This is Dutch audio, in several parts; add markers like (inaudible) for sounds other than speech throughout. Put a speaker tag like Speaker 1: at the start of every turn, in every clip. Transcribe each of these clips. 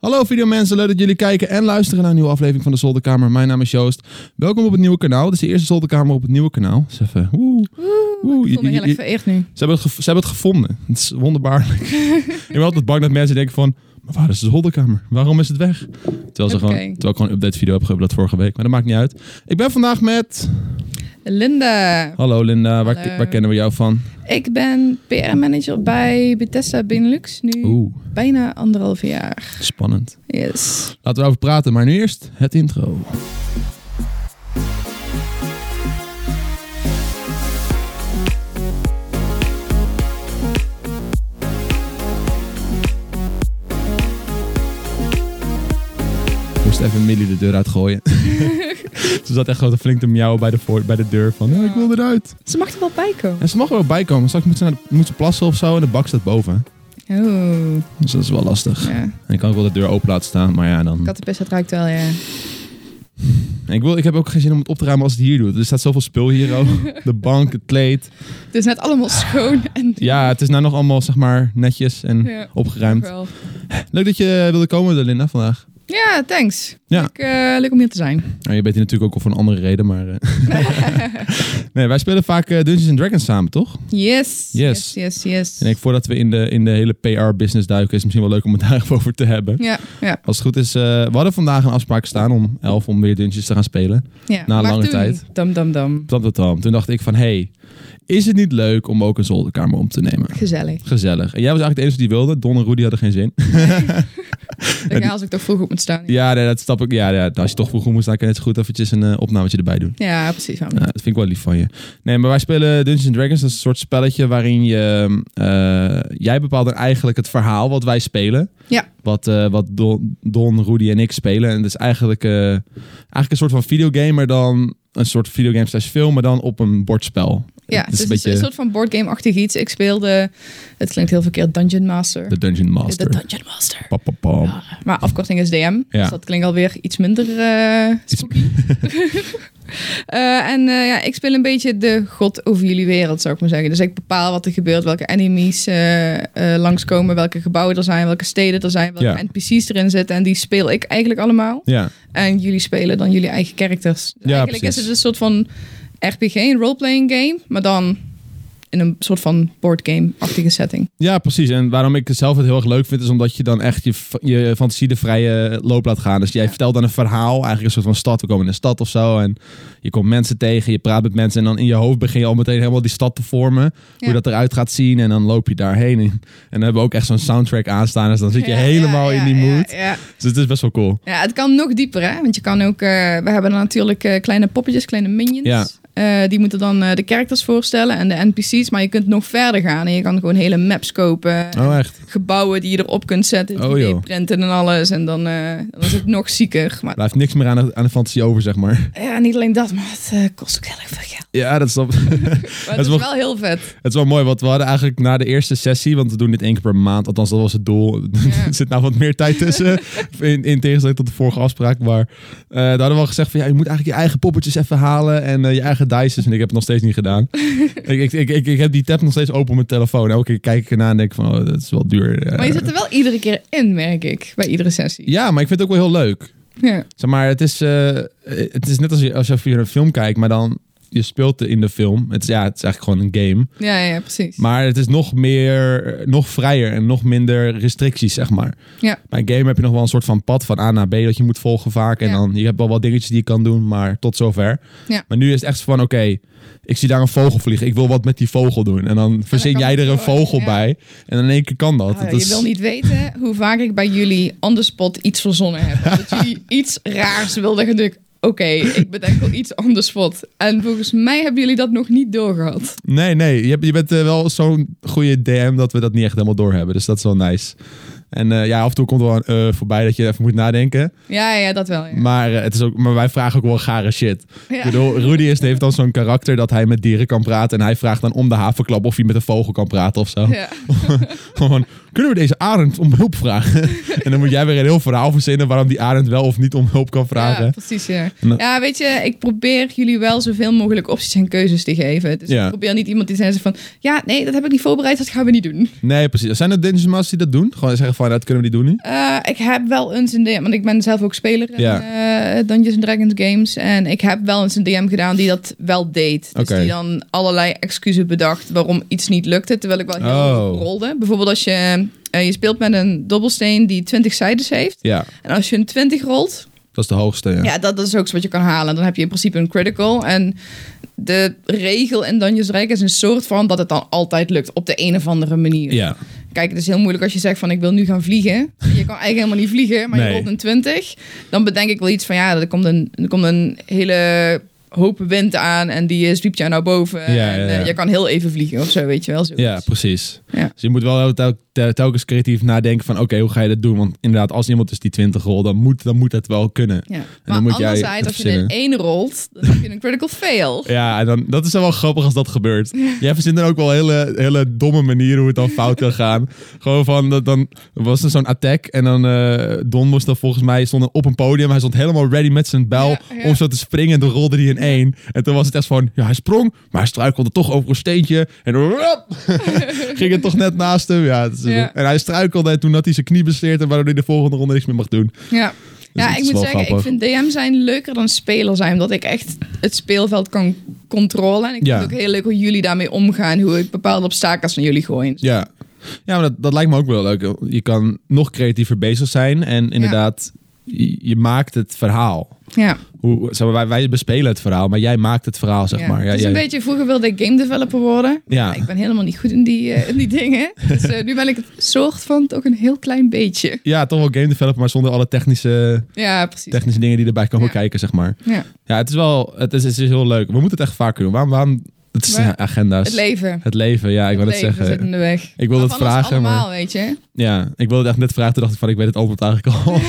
Speaker 1: Hallo videomensen, leuk dat jullie kijken en luisteren naar een nieuwe aflevering van de Zolderkamer. Mijn naam is Joost. Welkom op het nieuwe kanaal. Dit is de eerste Zolderkamer op het nieuwe kanaal. Is even, woe, woe.
Speaker 2: Ik voel me heel erg vereerd nu.
Speaker 1: Ze hebben, het gev- ze hebben het gevonden. Het is
Speaker 2: (laughs)
Speaker 1: wonderbaarlijk. ik ben altijd bang dat mensen denken van... Maar waar is de zolderkamer? Waarom is het weg? Terwijl, ze
Speaker 2: Oké.
Speaker 1: gewoon, terwijl ik gewoon een update video heb geüpload vorige week. Maar dat maakt niet uit. Ik ben vandaag met...
Speaker 2: Linda,
Speaker 1: Hallo Linda, waar,
Speaker 2: Hallo.
Speaker 1: waar kennen we jou van?
Speaker 2: ik ben PR-manager bij Bethesda Benelux nu
Speaker 1: Oeh,
Speaker 2: bijna anderhalf jaar.
Speaker 1: spannend.
Speaker 2: Yes.
Speaker 1: Laten we over praten, maar nu eerst het intro. Ik Moest even Millie de deur uitgooien. ze zat echt gewoon te flink te miauwen bij de, voor, bij de deur. Van, "Ja, ik wil eruit.
Speaker 2: Ze mag er wel bij komen.
Speaker 1: En ze mag er wel bij komen. Straks moet ze, naar de- moet ze plassen of zo. En de bak staat boven.
Speaker 2: Oh,
Speaker 1: Dus dat is wel lastig.
Speaker 2: ja.
Speaker 1: En ik kan ook wel de deur open laten staan. Maar ja, dan...
Speaker 2: Kattenpest, dat ruikt wel, ja.
Speaker 1: En Ik, wil, ik heb ook geen zin om het op te ruimen als het hier doet. Er staat zoveel spul hier ook. De bank, het kleed.
Speaker 2: Het is net allemaal schoon en...
Speaker 1: Ja, het is nou nog allemaal zeg maar netjes en
Speaker 2: Ja,
Speaker 1: opgeruimd.
Speaker 2: wel.
Speaker 1: Leuk dat je eh, wilde komen, Linda, vandaag.
Speaker 2: Ja, thanks.
Speaker 1: Ja.
Speaker 2: Leuk, eh, leuk om hier te zijn.
Speaker 1: Nou, je bent hier natuurlijk ook al voor een andere reden, maar... eh. nee, wij spelen vaak eh, Dungeons and Dragons samen, toch?
Speaker 2: Yes.
Speaker 1: Yes.
Speaker 2: Yes, yes, yes.
Speaker 1: En ik, voordat we in de, in de hele PR-business duiken, is het misschien wel leuk om het (laughs) daar even over te hebben.
Speaker 2: Ja, ja,
Speaker 1: Als het goed is, eh, we hadden vandaag een afspraak staan om 11 om weer Dungeons te gaan spelen.
Speaker 2: ja.
Speaker 1: Na
Speaker 2: Maar
Speaker 1: lange
Speaker 2: toen,
Speaker 1: tijd.
Speaker 2: Dam, dam, dam.
Speaker 1: Tam, tam, tam. Toen dacht ik van, hey, is het niet leuk om ook een zolderkamer om te nemen?
Speaker 2: Gezellig.
Speaker 1: Gezellig. En jij was eigenlijk de enige die wilde. Don en Rudy hadden geen zin.
Speaker 2: Ik als ik toch vroeg op moet staan.
Speaker 1: Ja, nee, dat snap ik. Ja, ja, als je toch vroeg moest, dan kan je net zo goed eventjes een eh, opnametje erbij doen.
Speaker 2: Ja, precies. waarom
Speaker 1: Ja,
Speaker 2: niet?
Speaker 1: dat vind ik wel lief van je. Nee, maar wij spelen Dungeons and Dragons. Dat is een soort spelletje waarin je... eh, jij bepaalt dan eigenlijk het verhaal wat wij spelen.
Speaker 2: Ja.
Speaker 1: Wat, eh, wat Don, Don, Rudy en ik spelen. En het is eigenlijk, eh, eigenlijk een soort van videogame, maar dan... Een soort videogame slash film, maar dan op een bordspel.
Speaker 2: Ja, dus
Speaker 1: het
Speaker 2: het
Speaker 1: is
Speaker 2: is
Speaker 1: een beetje
Speaker 2: een soort van boardgame-achtig iets. Ik speelde, het klinkt heel verkeerd, Dungeon Master.
Speaker 1: de Dungeon Master.
Speaker 2: De Dungeon Master. Ah,
Speaker 1: Pam, pam, pam.
Speaker 2: Maar afkorting is DM,
Speaker 1: Ja.
Speaker 2: dus dat klinkt alweer iets minder eh, spooky. (laughs) Eh, en eh, ja, ik speel een beetje de god over jullie wereld, zou ik maar zeggen. Dus ik bepaal wat er gebeurt, welke enemies eh, eh, langskomen, welke gebouwen er zijn, welke steden er zijn, welke
Speaker 1: Ja.
Speaker 2: NPC's erin zitten. En die speel ik eigenlijk allemaal.
Speaker 1: Ja,
Speaker 2: En jullie spelen dan jullie eigen characters. Dus
Speaker 1: Ja,
Speaker 2: eigenlijk
Speaker 1: precies.
Speaker 2: is het een soort van RPG, een role-playing game, maar dan in een soort van boardgame-achtige setting.
Speaker 1: Ja, precies. En waarom ik het zelf het heel erg leuk vind, is omdat je dan echt je, fa- je fantasie de vrije loop laat gaan. Dus jij
Speaker 2: Ja.
Speaker 1: vertelt dan een verhaal, eigenlijk een soort van stad. We komen in een stad of zo en je komt mensen tegen, je praat met mensen en dan in je hoofd begin je al meteen helemaal die stad te vormen.
Speaker 2: Ja.
Speaker 1: Hoe dat eruit gaat zien en dan loop je daarheen. En dan hebben we ook echt zo'n soundtrack aanstaan, dus dan zit je
Speaker 2: Ja,
Speaker 1: helemaal
Speaker 2: ja,
Speaker 1: in die
Speaker 2: ja,
Speaker 1: mood.
Speaker 2: Ja, ja.
Speaker 1: Dus het is best wel cool.
Speaker 2: Ja, het kan nog dieper, hè? Want je kan ook... eh, we hebben dan natuurlijk eh, kleine poppetjes, kleine minions.
Speaker 1: Ja.
Speaker 2: Eh, die moeten dan eh, de characters voorstellen en de NPC's. Maar je kunt nog verder gaan. En je kan gewoon hele maps kopen.
Speaker 1: Oh, echt?
Speaker 2: Gebouwen die je erop kunt zetten.
Speaker 1: Oh, joh.
Speaker 2: 3D-printen en alles. En dan, eh, dan is het nog zieker. Maar
Speaker 1: Blijft niks meer aan de, aan de fantasie over, zeg maar.
Speaker 2: ja, niet alleen dat, maar het eh, kost ook heel erg veel geld.
Speaker 1: Ja, dat snap
Speaker 2: Maar
Speaker 1: Het
Speaker 2: het
Speaker 1: is
Speaker 2: is
Speaker 1: wel-
Speaker 2: wel heel vet.
Speaker 1: Het is wel mooi, want we hadden eigenlijk na de eerste sessie, want we doen dit één keer per maand, althans dat was het doel. (laughs) er zit nou wat meer tijd
Speaker 2: (laughs)
Speaker 1: tussen, in, in tegenstelling tot de vorige afspraak. Maar eh daar hadden we al gezegd van, ja, je moet eigenlijk je eigen poppetjes even halen en eh, je eigen dices. En ik heb het nog steeds niet
Speaker 2: (laughs)
Speaker 1: gedaan. ik, ik, ik, ik, ik heb die tab nog steeds open op mijn telefoon. Elke keer kijk ik erna en denk van, oh, dat is wel duur. eh.
Speaker 2: Maar je zit er wel iedere keer in, merk ik. Bij iedere sessie.
Speaker 1: Ja, maar ik vind het ook wel heel leuk.
Speaker 2: Ja.
Speaker 1: Zeg maar, het is, eh, het is net als je, als je via een film kijkt, maar dan... Je speelt in de film. Het is, ja, het is eigenlijk gewoon een game.
Speaker 2: Ja, ja, precies.
Speaker 1: Maar het is nog meer, nog vrijer en nog minder restricties, zeg maar.
Speaker 2: Ja.
Speaker 1: Bij een game heb je nog wel een soort van pad van A naar B dat je moet volgen vaak. En
Speaker 2: Ja.
Speaker 1: dan, je hebt wel wat dingetjes die je kan doen, maar tot zover.
Speaker 2: Ja.
Speaker 1: Maar nu is het echt zo van, oké, ik zie daar een vogel vliegen. Ik wil wat met die vogel doen. En dan verzin
Speaker 2: kan
Speaker 1: jij er
Speaker 2: het
Speaker 1: een
Speaker 2: gewoon,
Speaker 1: vogel
Speaker 2: ja.
Speaker 1: bij. En in één keer kan dat.
Speaker 2: Ah,
Speaker 1: dat
Speaker 2: je
Speaker 1: is,
Speaker 2: wil niet weten hoe vaak ik bij jullie on the spot iets verzonnen heb. Dat jullie iets raars wilden. Dan denk ik, oké, ik bedenk wel iets on the spot. En volgens mij hebben jullie dat nog niet doorgehad.
Speaker 1: Nee, nee. Je, hebt- je bent eh, wel zo'n goede DM dat we dat niet echt helemaal doorhebben. Dus dat is wel nice. En eh, ja, af en toe komt er wel een eh, voorbij dat je even moet nadenken.
Speaker 2: Ja, ja, dat wel. Ja.
Speaker 1: Maar, eh, het is ook, maar wij vragen ook wel gare shit.
Speaker 2: Ja.
Speaker 1: Ik bedoel, Rudy is, heeft dan zo'n karakter dat hij met dieren kan praten. En hij vraagt dan om de havenklap of hij met een vogel kan praten of zo.
Speaker 2: Ja.
Speaker 1: (laughs) Gewoon, Kunnen we deze arend om hulp vragen? (laughs) en dan moet jij weer een heel verhaal verzinnen waarom die arend wel of niet om hulp kan vragen.
Speaker 2: Ja, precies. Ja.
Speaker 1: Nou.
Speaker 2: ja, weet je, ik probeer jullie wel zoveel mogelijk opties en keuzes te geven. Dus
Speaker 1: Ja.
Speaker 2: ik probeer niet iemand die zegt van, ja, nee, dat heb ik niet voorbereid, dat gaan we niet doen.
Speaker 1: Nee, precies. Zijn er Dungeon Masters die dat doen? Gewoon zeggen van, dat kunnen we niet doen nu?
Speaker 2: Eh, ik heb wel eens een DM, want ik ben zelf ook speler in
Speaker 1: Ja.
Speaker 2: eh, Dungeons and Dragons games. En ik heb wel eens een DM gedaan die dat wel deed. Dus
Speaker 1: Oké.
Speaker 2: die dan allerlei excuses bedacht waarom iets niet lukte, terwijl ik wel heel
Speaker 1: Oh.
Speaker 2: goed rolde. Bijvoorbeeld als je, eh, je speelt met een dobbelsteen die 20 zijdes heeft.
Speaker 1: Ja,
Speaker 2: En als je een 20 rolt,
Speaker 1: dat is de hoogste. Ja.
Speaker 2: Ja, dat, dat is ook iets wat je kan halen. Dan heb je in principe een critical. En de regel in Dungeons Dragons is een soort van dat het dan altijd lukt. Op de een of andere manier.
Speaker 1: Ja.
Speaker 2: Kijk, het is heel moeilijk als je zegt van ik wil nu gaan vliegen. Je kan eigenlijk helemaal niet vliegen, maar
Speaker 1: Nee.
Speaker 2: je rolt een 20. Dan bedenk ik wel iets van ja, er komt een, er komt een hele hoop wind aan en die eh, zwiept jou naar boven.
Speaker 1: Ja,
Speaker 2: en
Speaker 1: ja, ja.
Speaker 2: eh, je kan heel even vliegen of zo, weet je wel. zoiets.
Speaker 1: Ja, precies.
Speaker 2: Ja.
Speaker 1: Dus je moet wel tel- tel- telkens creatief nadenken van oké, hoe ga je dat doen? Want inderdaad, als iemand dus die 20 rol, dan moet, dan moet dat wel kunnen.
Speaker 2: Ja.
Speaker 1: dan
Speaker 2: Maar
Speaker 1: moet jij het
Speaker 2: anderzijds, als je er
Speaker 1: verzinnen.
Speaker 2: één rolt, dan heb je een critical
Speaker 1: (laughs)
Speaker 2: fail.
Speaker 1: Ja, en dan, dat is dan wel grappig als dat gebeurt. Jij verzint dan ook wel hele, hele domme manieren hoe het dan fout kan gaan. Gewoon van, dat dan was er zo'n attack en dan eh, Don moest dan volgens mij stond dan op een podium. Hij stond helemaal ready met zijn bel
Speaker 2: Ja, ja.
Speaker 1: om zo te springen en toen rolde hij in één. En toen was het echt van, ja hij sprong, maar hij struikelde toch over een steentje. En dan wrap, ging het toch net naast hem. Ja, het is-
Speaker 2: Ja.
Speaker 1: En hij struikelde en toen had hij zijn knie besleerd en waardoor hij de volgende ronde niks meer mag doen.
Speaker 2: Ja.
Speaker 1: het
Speaker 2: ja, ik
Speaker 1: Dus is
Speaker 2: moet
Speaker 1: wel
Speaker 2: zeggen,
Speaker 1: grappig.
Speaker 2: ik vind DM zijn leuker dan speler zijn. Omdat ik echt het speelveld kan controleren. En ik
Speaker 1: Ja.
Speaker 2: vind het ook heel leuk hoe jullie daarmee omgaan. Hoe ik bepaalde obstakels van jullie gooi.
Speaker 1: Ja, ja maar dat, dat lijkt me ook wel leuk. Je kan nog creatiever bezig zijn en inderdaad, je, je maakt het verhaal.
Speaker 2: Ja,
Speaker 1: Hoe, zeg maar, wij, wij bespelen het verhaal, maar jij maakt het verhaal, zeg
Speaker 2: ja.
Speaker 1: maar. Ja,
Speaker 2: het is een
Speaker 1: jij-
Speaker 2: beetje, vroeger wilde ik game developer worden.
Speaker 1: Ja.
Speaker 2: Ik ben helemaal niet goed in die, eh,
Speaker 1: (laughs)
Speaker 2: in die dingen. Dus eh, nu ben ik het soort van toch een heel klein beetje.
Speaker 1: ja, toch wel game developer, maar zonder alle technische,
Speaker 2: Ja, precies.
Speaker 1: technische dingen die erbij komen
Speaker 2: Ja.
Speaker 1: kijken, zeg maar.
Speaker 2: Ja.
Speaker 1: Ja, het is wel het is, het is heel leuk. We moeten het echt vaker doen. Waarom? waarom het is
Speaker 2: Maar-
Speaker 1: ja, agenda's.
Speaker 2: Het leven.
Speaker 1: Het leven, ja, ik wil het
Speaker 2: leven
Speaker 1: zeggen.
Speaker 2: zit in de weg.
Speaker 1: Ik wilde het
Speaker 2: Waarvan ons
Speaker 1: vragen, maar-
Speaker 2: allemaal, weet je.
Speaker 1: Ja, ik wilde het echt net vragen. Toen dacht ik van, ik weet het antwoord eigenlijk
Speaker 2: (laughs)
Speaker 1: al.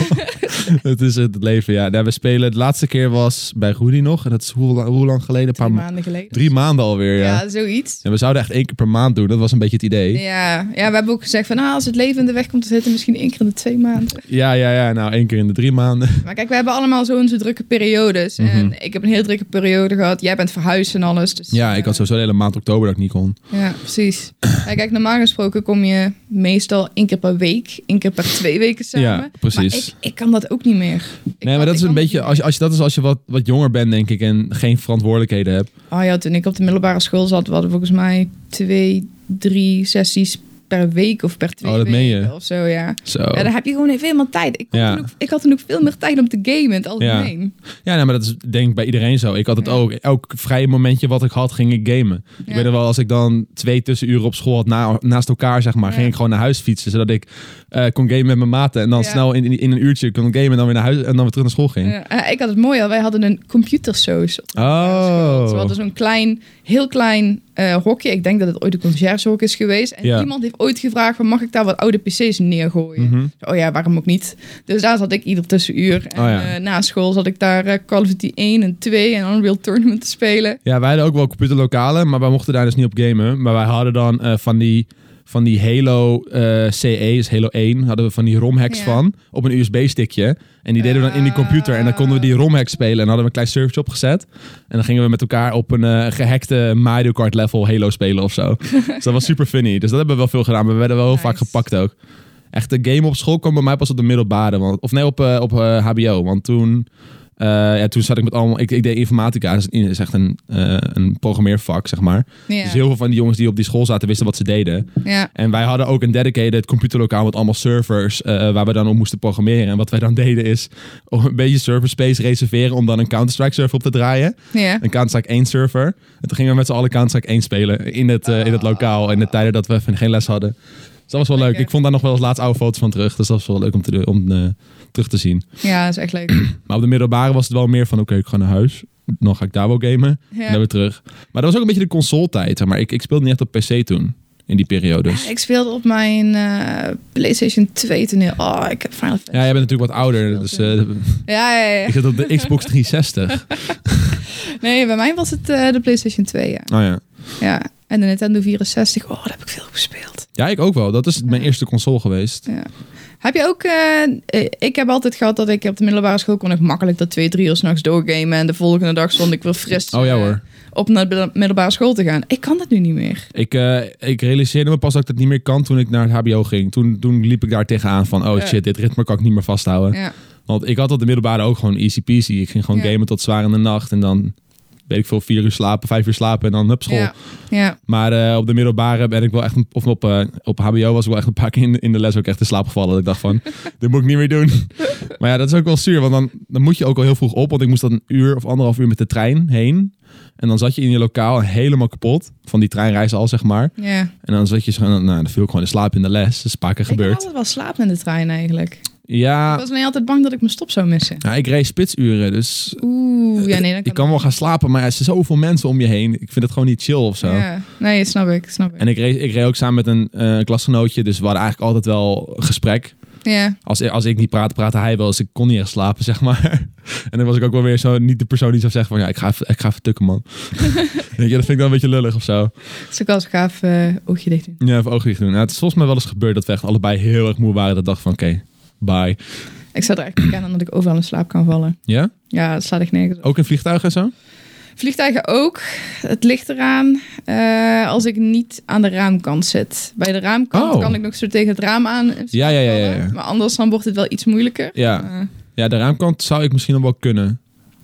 Speaker 1: het is het leven, ja. Nou, we spelen, de laatste keer was bij Rudy nog. En dat is hoe, la- hoe lang geleden? Een
Speaker 2: Drie
Speaker 1: paar ma-
Speaker 2: maanden geleden.
Speaker 1: Drie maanden alweer, ja.
Speaker 2: ja, zoiets.
Speaker 1: En we zouden echt één keer per maand doen. Dat was een beetje het idee.
Speaker 2: Ja, ja, we hebben ook gezegd van ah, als het leven in de weg komt te zitten, misschien één keer in de twee maanden.
Speaker 1: Ja, ja, ja. Nou, één keer in de drie
Speaker 2: (laughs)
Speaker 1: maanden.
Speaker 2: Maar kijk, we hebben allemaal zo'n zo drukke periodes.
Speaker 1: Mhm.
Speaker 2: En ik heb een heel drukke periode gehad. Jij bent verhuisd en alles. Dus,
Speaker 1: Ja, ik had
Speaker 2: eh,
Speaker 1: sowieso de hele maand oktober dat ik niet kon.
Speaker 2: Ja, precies. Ja, kijk, normaal gesproken kom je meestal één keer per week, één keer per twee weken samen.
Speaker 1: Ja, precies.
Speaker 2: Maar ik, ik kan dat ook niet meer. Ik
Speaker 1: nee,
Speaker 2: kan-
Speaker 1: maar dat
Speaker 2: ik
Speaker 1: is een
Speaker 2: kan
Speaker 1: beetje...
Speaker 2: niet
Speaker 1: Als je, als je, dat is als je wat, wat jonger bent, denk ik. En geen verantwoordelijkheden hebt.
Speaker 2: meer. Oh ja, toen ik op de middelbare school zat, we hadden volgens mij twee, drie sessies per week of per twee
Speaker 1: Oh, dat meen je.
Speaker 2: weken of zo, ja.
Speaker 1: Zo.
Speaker 2: Ja, dan heb je gewoon even helemaal tijd. Ik, kon
Speaker 1: Ja.
Speaker 2: toen ook- ik had toen ook veel meer tijd om te gamen in het algemeen.
Speaker 1: Ja, nee, maar dat is denk ik bij iedereen zo. Ik had het
Speaker 2: Ja.
Speaker 1: ook. Elk vrije momentje wat ik had, ging ik gamen. Ik
Speaker 2: Ja.
Speaker 1: weet nog wel, als ik dan twee tussenuren op school had na, naast elkaar, zeg maar,
Speaker 2: Ja.
Speaker 1: ging ik gewoon naar huis fietsen. Zodat ik eh, kon gamen met mijn maten. En dan
Speaker 2: Ja.
Speaker 1: snel in, in, in een uurtje kon gamen en dan weer naar huis en dan weer terug naar school ging.
Speaker 2: Ja, eh, ik had het mooi al. Wij hadden een computersoos. op de middelbare school.
Speaker 1: Oh.
Speaker 2: Dus We hadden zo'n klein, heel klein eh, hokje. Ik denk dat het ooit een conciërgehok is geweest. En
Speaker 1: Ja.
Speaker 2: iemand heeft ooit gevraagd, van, mag ik daar wat oude pc's neergooien?
Speaker 1: Mhm.
Speaker 2: Oh ja, waarom ook niet? Dus daar zat ik ieder tussenuur. En
Speaker 1: Oh ja.
Speaker 2: eh, na school zat ik daar eh, Call of Duty 1 en 2 en Unreal Tournament te spelen.
Speaker 1: Ja, wij hadden ook wel computerlokalen, maar wij mochten daar dus niet op gamen. Maar wij hadden dan eh, van die... Van die Halo eh, CE, dus Halo 1, hadden we van die romhacks
Speaker 2: Ja.
Speaker 1: van op een USB-stickje. En die deden we dan in die computer. En dan konden we die romhack spelen. En dan hadden we een klein servertje opgezet. En dan gingen we met elkaar op een eh, gehackte Mario Kart level Halo spelen of zo. dus
Speaker 2: (laughs)
Speaker 1: dat was super funny. Dus dat hebben we wel veel gedaan. Maar we werden wel heel
Speaker 2: Nice.
Speaker 1: vaak gepakt ook. Echt, de game op school kwam bij mij pas op de middelbare. Want, of nee, op, eh, op eh, HBO. Want toen, eh, ja, toen zat ik met allemaal... Ik, ik deed informatica. Dat is- is echt een, eh, een programmeervak, zeg maar.
Speaker 2: Ja.
Speaker 1: Dus heel veel van die jongens die op die school zaten, wisten wat ze deden.
Speaker 2: ja.
Speaker 1: En wij hadden ook een dedicated computerlokaal met allemaal servers eh, waar we dan op moesten programmeren. En wat wij dan deden is een beetje server space reserveren om dan een Counter-Strike server op te draaien.
Speaker 2: ja.
Speaker 1: Een Counter-Strike 1 server. En toen gingen we met z'n allen Counter-Strike 1 spelen in het, eh, in het lokaal. In de tijden dat we even geen les hadden. Dus dat was wel leuk.
Speaker 2: Ah. Lekker.
Speaker 1: Ik vond daar nog wel eens laatst oude foto's van terug. Dus dat was wel leuk om, te, doen- om eh, terug te zien.
Speaker 2: Ja, dat is echt leuk.
Speaker 1: Maar op de middelbare was het wel meer van oké, ik ga naar huis. Dan ga ik daar wel gamen. En dan
Speaker 2: Ja.
Speaker 1: weer terug. Maar dat was ook een beetje de console tijd. zeg Maar ik, ik speelde niet echt op PC toen. In die Dus, periodes.
Speaker 2: Ja, Ik speelde op mijn eh, PlayStation 2 toen. heel- Oh, ik heb Final Fantasy.
Speaker 1: Ja, jij bent natuurlijk wat ouder. Dus, eh,
Speaker 2: Ja, ja, ja.
Speaker 1: ik zit op de
Speaker 2: (laughs)
Speaker 1: Xbox 360.
Speaker 2: Nee, bij mij was het eh, de PlayStation 2, ja.
Speaker 1: Oh ja.
Speaker 2: Ja, En de Nintendo 64, oh, daar heb ik veel gespeeld.
Speaker 1: Ja, ik ook wel. Dat is mijn eerste console geweest.
Speaker 2: Ja. Heb je ook... eh, eh, ik heb altijd gehad dat ik op de middelbare school kon ik makkelijk dat twee, drie uur s'nachts doorgamen. En de volgende dag stond ik weer fris
Speaker 1: Oh ja
Speaker 2: eh,
Speaker 1: hoor.
Speaker 2: op naar de middelbare school te gaan. Ik kan dat nu niet meer.
Speaker 1: Ik, eh, ik realiseerde me pas dat ik dat niet meer kan toen ik naar het hbo ging. Toen, toen liep ik daar tegenaan van, oh
Speaker 2: Ja.
Speaker 1: shit, dit ritme kan ik niet meer vasthouden.
Speaker 2: Ja.
Speaker 1: Want ik had dat de middelbare ook gewoon E easy peasy. Ik ging gewoon
Speaker 2: Ja.
Speaker 1: gamen tot zwaar in de nacht. En dan, weet ik veel, vier uur slapen, vijf uur slapen en dan hup school.
Speaker 2: Ja. ja.
Speaker 1: Maar eh, op de middelbare ben ik wel echt, een- of op, eh, op HBO was ik wel echt een paar keer in, in de les ook echt in slaap gevallen. Dat ik dacht
Speaker 2: (laughs)
Speaker 1: van, dit moet ik niet meer doen. maar ja, dat is ook wel zuur, want dan, dan moet je ook al heel vroeg op. Want ik moest dan een uur of anderhalf uur met de trein heen. En dan zat je in je lokaal helemaal kapot van die treinreis al, zeg maar.
Speaker 2: ja.
Speaker 1: En dan zat je zo, nou, dan viel ik gewoon in slaap in de les. Dat Ah. is een paar keer
Speaker 2: Ik heb
Speaker 1: gebeurd.
Speaker 2: altijd wel slaap in de trein eigenlijk. Ik
Speaker 1: Ja,
Speaker 2: was me altijd bang dat ik mijn stop zou missen.
Speaker 1: ja, ik reed spitsuren, dus
Speaker 2: Oeh, ja, nee, dan
Speaker 1: ik kan wel gaan slapen. Maar er zijn zoveel mensen om je heen. Ik vind het gewoon niet chill of zo.
Speaker 2: Ja. Nee, snap ik, snap ik.
Speaker 1: En ik reed, ik reed ook samen met een eh, klasgenootje, dus we hadden eigenlijk altijd wel gesprek.
Speaker 2: Ja,
Speaker 1: Als, als ik niet praatte, praatte hij wel. Dus ik kon niet echt slapen, zeg maar. (laughs) En dan was ik ook wel weer zo niet de persoon die zou zeggen van... Ja, ik ga even, ik ga even tukken,
Speaker 2: (laughs)
Speaker 1: man. Denk je, dat vind ik dan een beetje lullig of zo.
Speaker 2: dat is ook wel eens dus gaaf eh, oogje dicht doen.
Speaker 1: Ja, even ogen dicht doen. Nou, het is volgens mij wel eens gebeurd dat we echt allebei heel erg moe waren. Dat dacht van, oké, bye.
Speaker 2: Ik zou er echt niet aan dat ik overal in slaap kan vallen.
Speaker 1: Ja?
Speaker 2: Ja, dat slaat echt nergens op.
Speaker 1: Ook in vliegtuigen en zo?
Speaker 2: Vliegtuigen ook. Het ligt eraan. eh, als ik niet aan de raamkant zit. Bij de raamkant
Speaker 1: Oh.
Speaker 2: kan ik nog zo tegen het raam aan. in slaap
Speaker 1: Ja, ja, ja, ja,
Speaker 2: vallen.
Speaker 1: ja.
Speaker 2: Maar anders dan wordt het wel iets moeilijker.
Speaker 1: Ja.
Speaker 2: Eh,
Speaker 1: Ja, de raamkant zou ik misschien nog wel kunnen.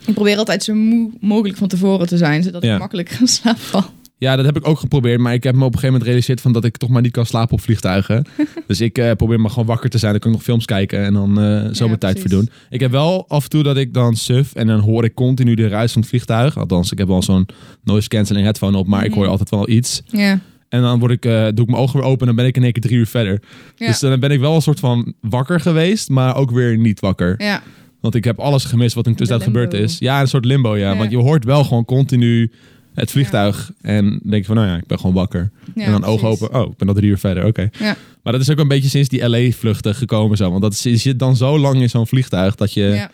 Speaker 2: ik probeer altijd zo moe mogelijk van tevoren te zijn. Zodat
Speaker 1: Ja.
Speaker 2: ik makkelijk in slaap val.
Speaker 1: Ja, dat heb ik ook geprobeerd. Maar ik heb me op een gegeven moment realiseerd van dat ik toch maar niet kan slapen op
Speaker 2: (laughs)
Speaker 1: vliegtuigen. dus ik eh, probeer maar gewoon wakker te zijn. Dan kan ik nog films kijken en dan eh, zo
Speaker 2: Ja,
Speaker 1: mijn tijd
Speaker 2: precies.
Speaker 1: verdoen. Ik heb wel af en toe dat ik dan suf en dan hoor ik continu de ruis van het vliegtuig. Althans, ik heb wel zo'n noise cancelling headphone op, maar ik hoor
Speaker 2: Mhm.
Speaker 1: altijd wel iets.
Speaker 2: Ja.
Speaker 1: En dan word ik, eh, doe ik mijn ogen weer open en dan ben ik in één keer drie uur verder.
Speaker 2: Ja.
Speaker 1: Dus dan ben ik wel een soort van wakker geweest, maar ook weer niet wakker.
Speaker 2: ja.
Speaker 1: Want ik heb alles gemist wat in de tussentijd
Speaker 2: limbo.
Speaker 1: gebeurd is. Ja, een soort limbo, ja.
Speaker 2: Ja.
Speaker 1: Want je hoort wel gewoon continu het vliegtuig. En dan denk je van, nou ja, ik ben gewoon wakker.
Speaker 2: Ja,
Speaker 1: en dan
Speaker 2: precies.
Speaker 1: ogen open. Oh, ik ben al drie uur verder. Oké.
Speaker 2: Ja.
Speaker 1: Maar dat is ook een beetje sinds die LA-vluchten gekomen zo. Want dat is, je zit dan zo lang in zo'n vliegtuig dat je...
Speaker 2: ja.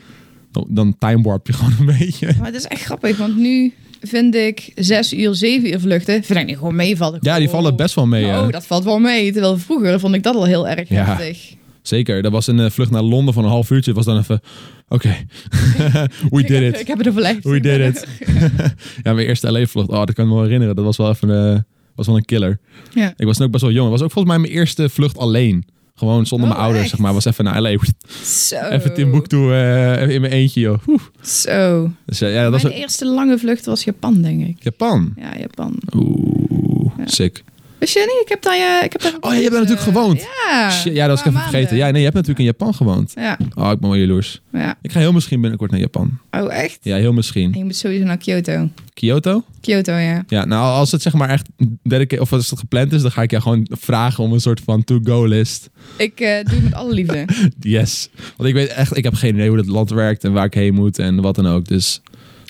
Speaker 1: Dan, dan time warp je (laughs) gewoon een beetje.
Speaker 2: Maar het is echt grappig, want nu vind ik zes uur, zeven uur vluchten. Vind ik niet gewoon meevallen.
Speaker 1: Ja, die
Speaker 2: Gewoon-
Speaker 1: vallen best wel mee.
Speaker 2: Nou,
Speaker 1: ja.
Speaker 2: Oh. dat valt wel mee. Terwijl vroeger vond ik dat al heel erg
Speaker 1: Ja.
Speaker 2: heftig.
Speaker 1: Zeker. Dat was een eh, vlucht naar Londen van een half uurtje. was dan even... Oké. (laughs) We
Speaker 2: ik
Speaker 1: did
Speaker 2: heb,
Speaker 1: it.
Speaker 2: (laughs) Ik heb het overlegd.
Speaker 1: We did
Speaker 2: (laughs)
Speaker 1: it. (laughs) ja, mijn eerste LA-vlucht. Oh, dat kan ik me wel herinneren. Dat was wel even... eh, was wel een killer.
Speaker 2: Ja.
Speaker 1: Ik was toen ook best wel jong. Het was ook volgens mij mijn eerste vlucht alleen. Gewoon zonder
Speaker 2: Oh,
Speaker 1: mijn ouders,
Speaker 2: echt? Oh.
Speaker 1: zeg maar. Was even naar LA.
Speaker 2: Zo.
Speaker 1: Even Timbuktu eh even in mijn eentje, joh. Oeh.
Speaker 2: Zo.
Speaker 1: Dus, eh, ja, dat was
Speaker 2: Mijn
Speaker 1: ook-
Speaker 2: eerste lange vlucht was Japan, denk ik.
Speaker 1: Japan.
Speaker 2: Ja, Japan.
Speaker 1: Oeh,
Speaker 2: Ja.
Speaker 1: sick.
Speaker 2: Wist je niet? Ik heb daar... eh, ik heb daar eh,
Speaker 1: Oh, ja, je bent natuurlijk gewoond.
Speaker 2: Ja.
Speaker 1: Shit, ja, dat was ik
Speaker 2: Ah,
Speaker 1: even
Speaker 2: Een paar
Speaker 1: vergeten. Ja,
Speaker 2: maanden.
Speaker 1: nee, je hebt natuurlijk in Japan gewoond.
Speaker 2: Ja,
Speaker 1: Oh, ik ben wel jaloers.
Speaker 2: ja.
Speaker 1: Ik ga heel misschien binnenkort naar Japan.
Speaker 2: Oh, echt?
Speaker 1: Ja, heel misschien.
Speaker 2: En je moet sowieso naar Kyoto.
Speaker 1: Kyoto?
Speaker 2: Kyoto, ja.
Speaker 1: Ja, nou, als het zeg maar echt dedica- of als het gepland is, dan ga ik jou gewoon vragen om een soort van to-go list.
Speaker 2: Ik eh, doe het met alle
Speaker 1: (laughs)
Speaker 2: liefde.
Speaker 1: Yes. Want ik weet echt, ik heb geen idee hoe dat land werkt en waar ik heen moet en wat dan ook. Dus,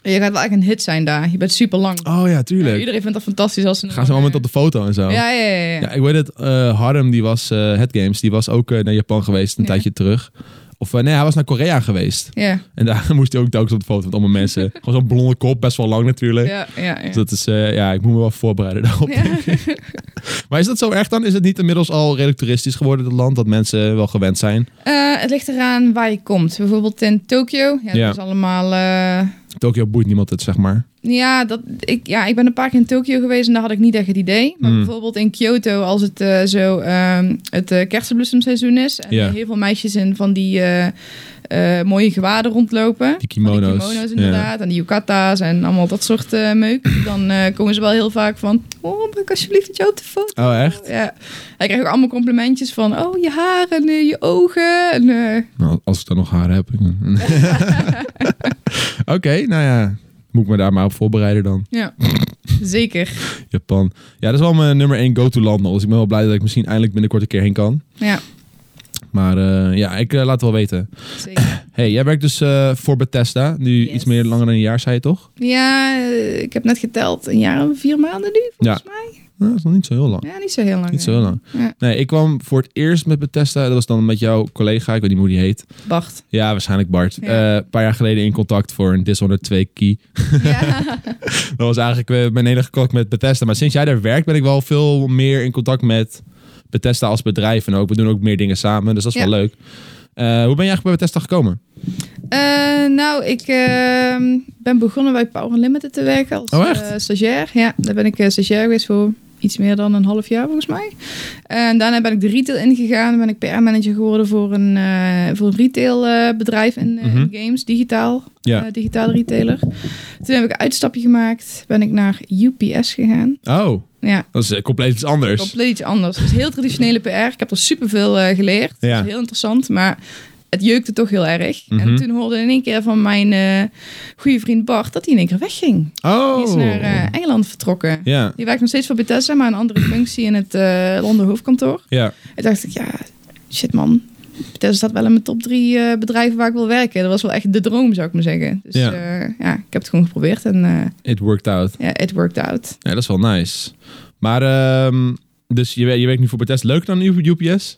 Speaker 2: Je gaat wel echt een hit zijn daar. Je bent super lang.
Speaker 1: oh ja, tuurlijk.
Speaker 2: iedereen vindt dat fantastisch als ze... eh,
Speaker 1: Gaan ze allemaal met op de foto en zo.
Speaker 2: Ja, ja, ja. ja.
Speaker 1: Ja, ik weet het. eh Harm, die was, eh Head Games, die was ook eh, naar Japan geweest een
Speaker 2: Ja.
Speaker 1: tijdje terug. Of eh, nee, hij was naar Korea geweest.
Speaker 2: Ja,
Speaker 1: En daar (laughs) moest hij ook telkens op de foto met allemaal
Speaker 2: (laughs)
Speaker 1: mensen. Gewoon zo'n blonde kop, best wel lang natuurlijk.
Speaker 2: ja, ja. ja.
Speaker 1: Dus dat is, eh, ja, ik moet me wel voorbereiden daarop.
Speaker 2: Ja.
Speaker 1: (laughs) Maar is dat zo erg dan? Is het niet inmiddels al redelijk toeristisch geworden, het land? Dat mensen wel gewend zijn?
Speaker 2: Eh, het ligt eraan waar je komt. Bijvoorbeeld in Tokio. Ja,
Speaker 1: Ja.
Speaker 2: dat is allemaal... eh,
Speaker 1: Tokio boeit niemand het, zeg maar.
Speaker 2: Oh, Ja, dat, ik, ja, ik ben een paar keer in Tokio geweest en daar had ik niet echt het idee. Maar
Speaker 1: Hmm.
Speaker 2: bijvoorbeeld in Kyoto, als het eh, zo ehm, het eh, kersenbloesemseizoen is... en
Speaker 1: Ja.
Speaker 2: er heel veel meisjes in van die eh, eh, mooie gewaden rondlopen...
Speaker 1: Die
Speaker 2: Van
Speaker 1: kimono's.
Speaker 2: Die kimono's inderdaad, en die yukata's en allemaal dat soort eh, meuk. Dan eh, komen ze wel heel vaak van... Oh, mag ik alsjeblieft met jou op de foto?
Speaker 1: Ja. Oh, echt?
Speaker 2: Ja. Hij krijgt ook allemaal complimentjes van... Oh, je haren, en eh, je ogen. En, eh,
Speaker 1: Nou, als ik dan (laughs) nog haar heb.
Speaker 2: (laughs)
Speaker 1: Oké, nou ja. Moet ik me daar maar op voorbereiden dan. (laughs)
Speaker 2: ja, zeker.
Speaker 1: Japan. Ja, dat is wel mijn nummer één go-to land nog. Dus ik ben wel blij dat ik misschien eindelijk binnenkort een keer heen kan.
Speaker 2: Ja,
Speaker 1: Maar eh, ja, ik eh, laat het wel weten.
Speaker 2: zeker.
Speaker 1: hey, jij werkt dus eh, voor Bethesda. Nu
Speaker 2: Yes.
Speaker 1: iets meer langer dan een jaar, zei je toch?
Speaker 2: Ja, eh, ik heb net geteld. Een jaar en vier maanden nu, volgens mij.
Speaker 1: Nou, dat is nog niet zo heel lang.
Speaker 2: Ja, niet zo heel lang. eh.
Speaker 1: Niet zo heel lang.
Speaker 2: Ja.
Speaker 1: Nee, ik kwam voor het eerst met Bethesda. Dat was dan met jouw collega, ik weet niet hoe die heet. (laughs)
Speaker 2: Wacht.
Speaker 1: Ja, waarschijnlijk Bart. Eh, Een
Speaker 2: Ja.
Speaker 1: paar jaar geleden in contact voor een Dishonored 2 key.
Speaker 2: Ja.
Speaker 1: Dat was eigenlijk eh, mijn enige contact met Bethesda. Maar sinds jij daar werkt ben ik wel veel meer in contact met Bethesda als bedrijf. En ook, we doen ook meer dingen samen, dus dat is
Speaker 2: Ja.
Speaker 1: wel leuk. Eh, hoe ben je eigenlijk bij Bethesda gekomen?
Speaker 2: Eh, nou, ik ehm, ben begonnen bij Power Unlimited te werken als
Speaker 1: Oh, echt?
Speaker 2: eh, stagiair. Ja, daar ben ik eh, stagiair geweest voor iets meer dan een half jaar volgens mij. En daarna ben ik de retail ingegaan. Ben ik PR-manager geworden voor een, eh, voor een retailbedrijf in, eh, in
Speaker 1: Mhm.
Speaker 2: games, digitaal.
Speaker 1: Ja.
Speaker 2: eh, digitale retailer. Toen heb ik een uitstapje gemaakt. Ben ik naar UPS gegaan.
Speaker 1: Oh,
Speaker 2: Ja,
Speaker 1: dat is eh, compleet iets anders.
Speaker 2: compleet iets anders. Dus heel traditionele PR. Ik heb er superveel eh geleerd.
Speaker 1: Ja.
Speaker 2: Dat is heel interessant, maar het jeukte toch heel erg.
Speaker 1: Mhm.
Speaker 2: En toen hoorde in één keer van mijn eh, goede vriend Bart dat hij in één keer wegging.
Speaker 1: Oh.
Speaker 2: Die is naar eh, Engeland vertrokken.
Speaker 1: Ja,
Speaker 2: Die werkt nog steeds voor Bethesda, maar een andere functie in het eh Londen hoofdkantoor.
Speaker 1: ja.
Speaker 2: En dacht ik, ja, shit man. Bethesda staat wel in mijn top drie eh, bedrijven waar ik wil werken. Dat was wel echt de droom, zou ik maar zeggen. Dus
Speaker 1: Ja.
Speaker 2: ja, ja ik heb het gewoon geprobeerd en eh,
Speaker 1: It worked out.
Speaker 2: ja, it worked out.
Speaker 1: Ja, dat is wel nice. Maar, ehm, dus je, wer- je werkt nu voor Bethesda. Leuk dan U- UPS? (laughs)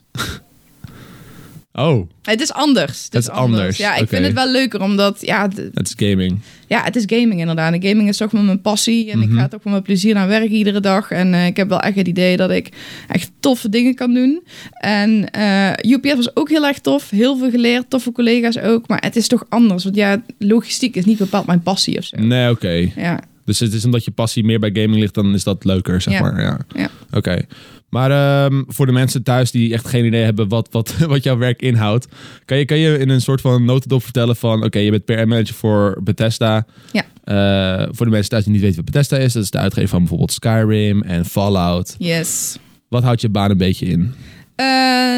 Speaker 1: oh,
Speaker 2: Het is anders. Het,
Speaker 1: Het is anders,
Speaker 2: Ja, ik
Speaker 1: oké.
Speaker 2: vind het wel leuker, omdat ja, de-
Speaker 1: dat is gaming.
Speaker 2: Ja, het is gaming inderdaad. En gaming is toch wel mijn passie. En
Speaker 1: Mhm.
Speaker 2: ik ga toch wel mijn plezier naar werk iedere dag. En eh, ik heb wel echt het idee dat ik echt toffe dingen kan doen. En eh UPF was ook heel erg tof. Heel veel geleerd, toffe collega's ook. Maar het is toch anders. Want ja, logistiek is niet bepaald mijn passie of zo.
Speaker 1: Nee, oké.
Speaker 2: Ja,
Speaker 1: Dus het is omdat je passie meer bij gaming ligt, dan is dat leuker, zeg
Speaker 2: Ja.
Speaker 1: maar. Ja.
Speaker 2: Ja.
Speaker 1: Oké. Maar ehm, voor de mensen thuis die echt geen idee hebben wat, wat, (laughs) wat jouw werk inhoudt, kan je, kan je in een soort van notendop vertellen van, oké, je bent PR-manager voor Bethesda.
Speaker 2: Ja.
Speaker 1: Eh, voor de mensen thuis die niet weten wat Bethesda is, dat is de uitgever van bijvoorbeeld Skyrim en Fallout.
Speaker 2: yes.
Speaker 1: Wat houdt je baan een beetje in?
Speaker 2: Eh,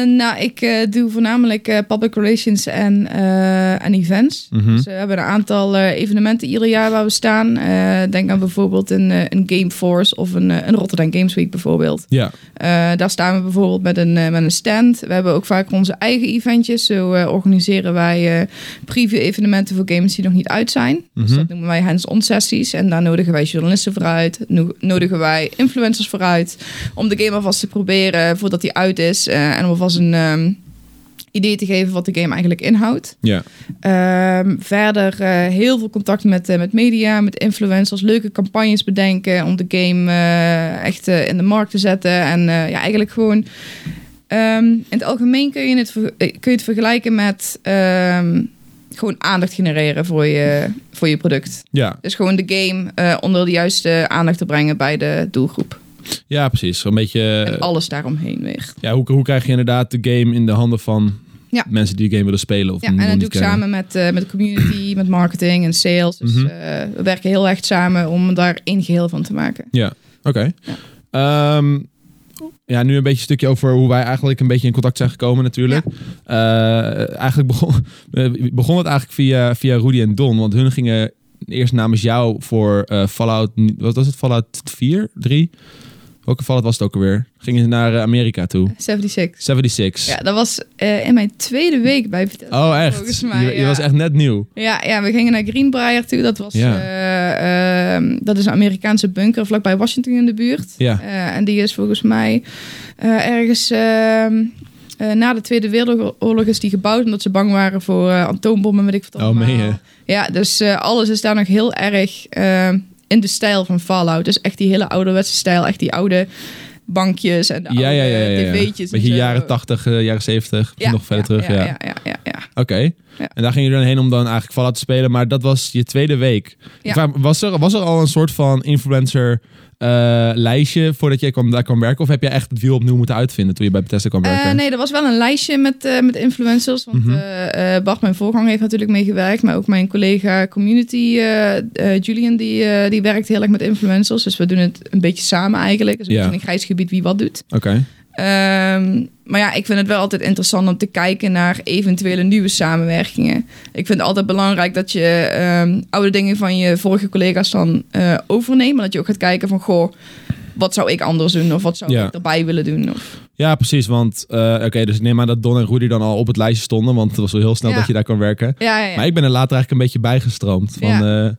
Speaker 2: nou, ik eh, doe voornamelijk eh, public relations en, eh, en events.
Speaker 1: Mhm.
Speaker 2: Dus eh, we hebben een aantal eh, evenementen ieder jaar waar we staan. Eh, denk aan bijvoorbeeld een, eh, een Game Force of een, eh, een Rotterdam Games Week bijvoorbeeld.
Speaker 1: Ja.
Speaker 2: Eh, daar staan we bijvoorbeeld met een, eh, met een stand. We hebben ook vaak onze eigen eventjes. Zo eh, organiseren wij eh, preview-evenementen voor games die nog niet uit zijn. Dus
Speaker 1: Mhm.
Speaker 2: dat noemen wij hands-on sessies. En daar nodigen wij journalisten voor uit. No- nodigen wij influencers voor uit. Om de game alvast te proberen voordat die uit is. eh, en om alvast een ehm, idee te geven wat de game eigenlijk inhoudt.
Speaker 1: Ja.
Speaker 2: Ehm, verder eh, heel veel contact met, eh, met media, met influencers. Leuke campagnes bedenken om de game eh, echt eh, in de markt te zetten. En eh, ja, eigenlijk gewoon... ehm, in het algemeen kun je het, ver- eh, kun je het vergelijken met... ehm, gewoon aandacht genereren voor je, voor je product.
Speaker 1: Ja.
Speaker 2: Dus gewoon de game eh, onder de juiste aandacht te brengen bij de doelgroep.
Speaker 1: ja, precies. Een beetje...
Speaker 2: en alles daaromheen weer.
Speaker 1: Ja, hoe, hoe krijg je inderdaad de game in de handen van
Speaker 2: Ja.
Speaker 1: mensen die de game willen spelen? Of
Speaker 2: Ja, en
Speaker 1: nog
Speaker 2: dat
Speaker 1: niet
Speaker 2: doe ik
Speaker 1: kennen?
Speaker 2: samen met, eh, met de community, (clears throat) met marketing en sales. Dus
Speaker 1: Mhm.
Speaker 2: eh, we werken heel echt samen om daar één geheel van te maken.
Speaker 1: Ja, oké. Ehm, ja, nu een beetje een stukje over hoe wij eigenlijk een beetje in contact zijn gekomen natuurlijk. Eh, eigenlijk begon, eh, begon het eigenlijk via, via Rudy en Don, want hun gingen eerst namens jou voor eh, Fallout, wat was het, Fallout 4, 3? Welke Fallout was het ook alweer? Gingen ze naar eh, Amerika toe.
Speaker 2: 76.
Speaker 1: 76.
Speaker 2: Ja, dat was eh, in mijn tweede week bij Vitesse.
Speaker 1: Oh,
Speaker 2: Volgens
Speaker 1: echt?
Speaker 2: mij,
Speaker 1: je, je
Speaker 2: ja.
Speaker 1: was echt net nieuw.
Speaker 2: Ja, ja, we gingen naar Greenbrier toe. Dat, was,
Speaker 1: Ja.
Speaker 2: eh, ehm, dat is een Amerikaanse bunker vlakbij Washington in de buurt.
Speaker 1: Ja.
Speaker 2: Eh, en die is volgens mij eh, ergens ehm, eh, na de Tweede Wereldoorlog is die gebouwd. Omdat ze bang waren voor eh atoombommen, weet ik wat
Speaker 1: Oh, meen je?
Speaker 2: Ja, dus eh, alles is daar nog heel erg ehm, in de stijl van Fallout. Dus echt die hele ouderwetse stijl. Echt die oude bankjes en de
Speaker 1: Ja,
Speaker 2: oude
Speaker 1: ja, ja. ja, ja.
Speaker 2: tv'tjes. en
Speaker 1: Beetje
Speaker 2: zo.
Speaker 1: jaren 80, eh, jaren 70,
Speaker 2: Ja,
Speaker 1: nog verder terug.
Speaker 2: ja, ja, ja, ja.
Speaker 1: Oké.
Speaker 2: Ja.
Speaker 1: En daar gingen jullie dan heen om dan eigenlijk Fallout te spelen. Maar dat was je tweede week. Ik
Speaker 2: Ja.
Speaker 1: vraag me, was, er, was er al een soort van influencer eh, lijstje voordat jij kwam, daar kwam werken? Of heb jij echt het wiel opnieuw moeten uitvinden toen je bij Bethesda kwam werken?
Speaker 2: Eh, nee, er was wel een lijstje met, eh, met influencers. Want
Speaker 1: Mhm.
Speaker 2: eh, eh, Bart, mijn voorganger, heeft natuurlijk meegewerkt. Maar ook mijn collega community, eh, eh, Julian, die, eh, die werkt heel erg met influencers. Dus we doen het een beetje samen eigenlijk. Dus
Speaker 1: Ja.
Speaker 2: in een grijs gebied wie wat doet.
Speaker 1: Oké.
Speaker 2: Ehm, maar ja, ik vind het wel altijd interessant om te kijken naar eventuele nieuwe samenwerkingen. Ik vind het altijd belangrijk dat je ehm, oude dingen van je vorige collega's dan eh, overneemt. Maar dat je ook gaat kijken van, goh, wat zou ik anders doen? Of wat zou
Speaker 1: Ja.
Speaker 2: ik erbij willen doen? Of...
Speaker 1: Ja, precies. Want eh, oké, dus ik neem aan dat Don en Rudy dan al op het lijstje stonden. Want het was wel heel snel
Speaker 2: Ja.
Speaker 1: dat je daar kwam werken.
Speaker 2: Ja, ja, ja.
Speaker 1: Maar ik ben er later eigenlijk een beetje bijgestroomd. Van, eh,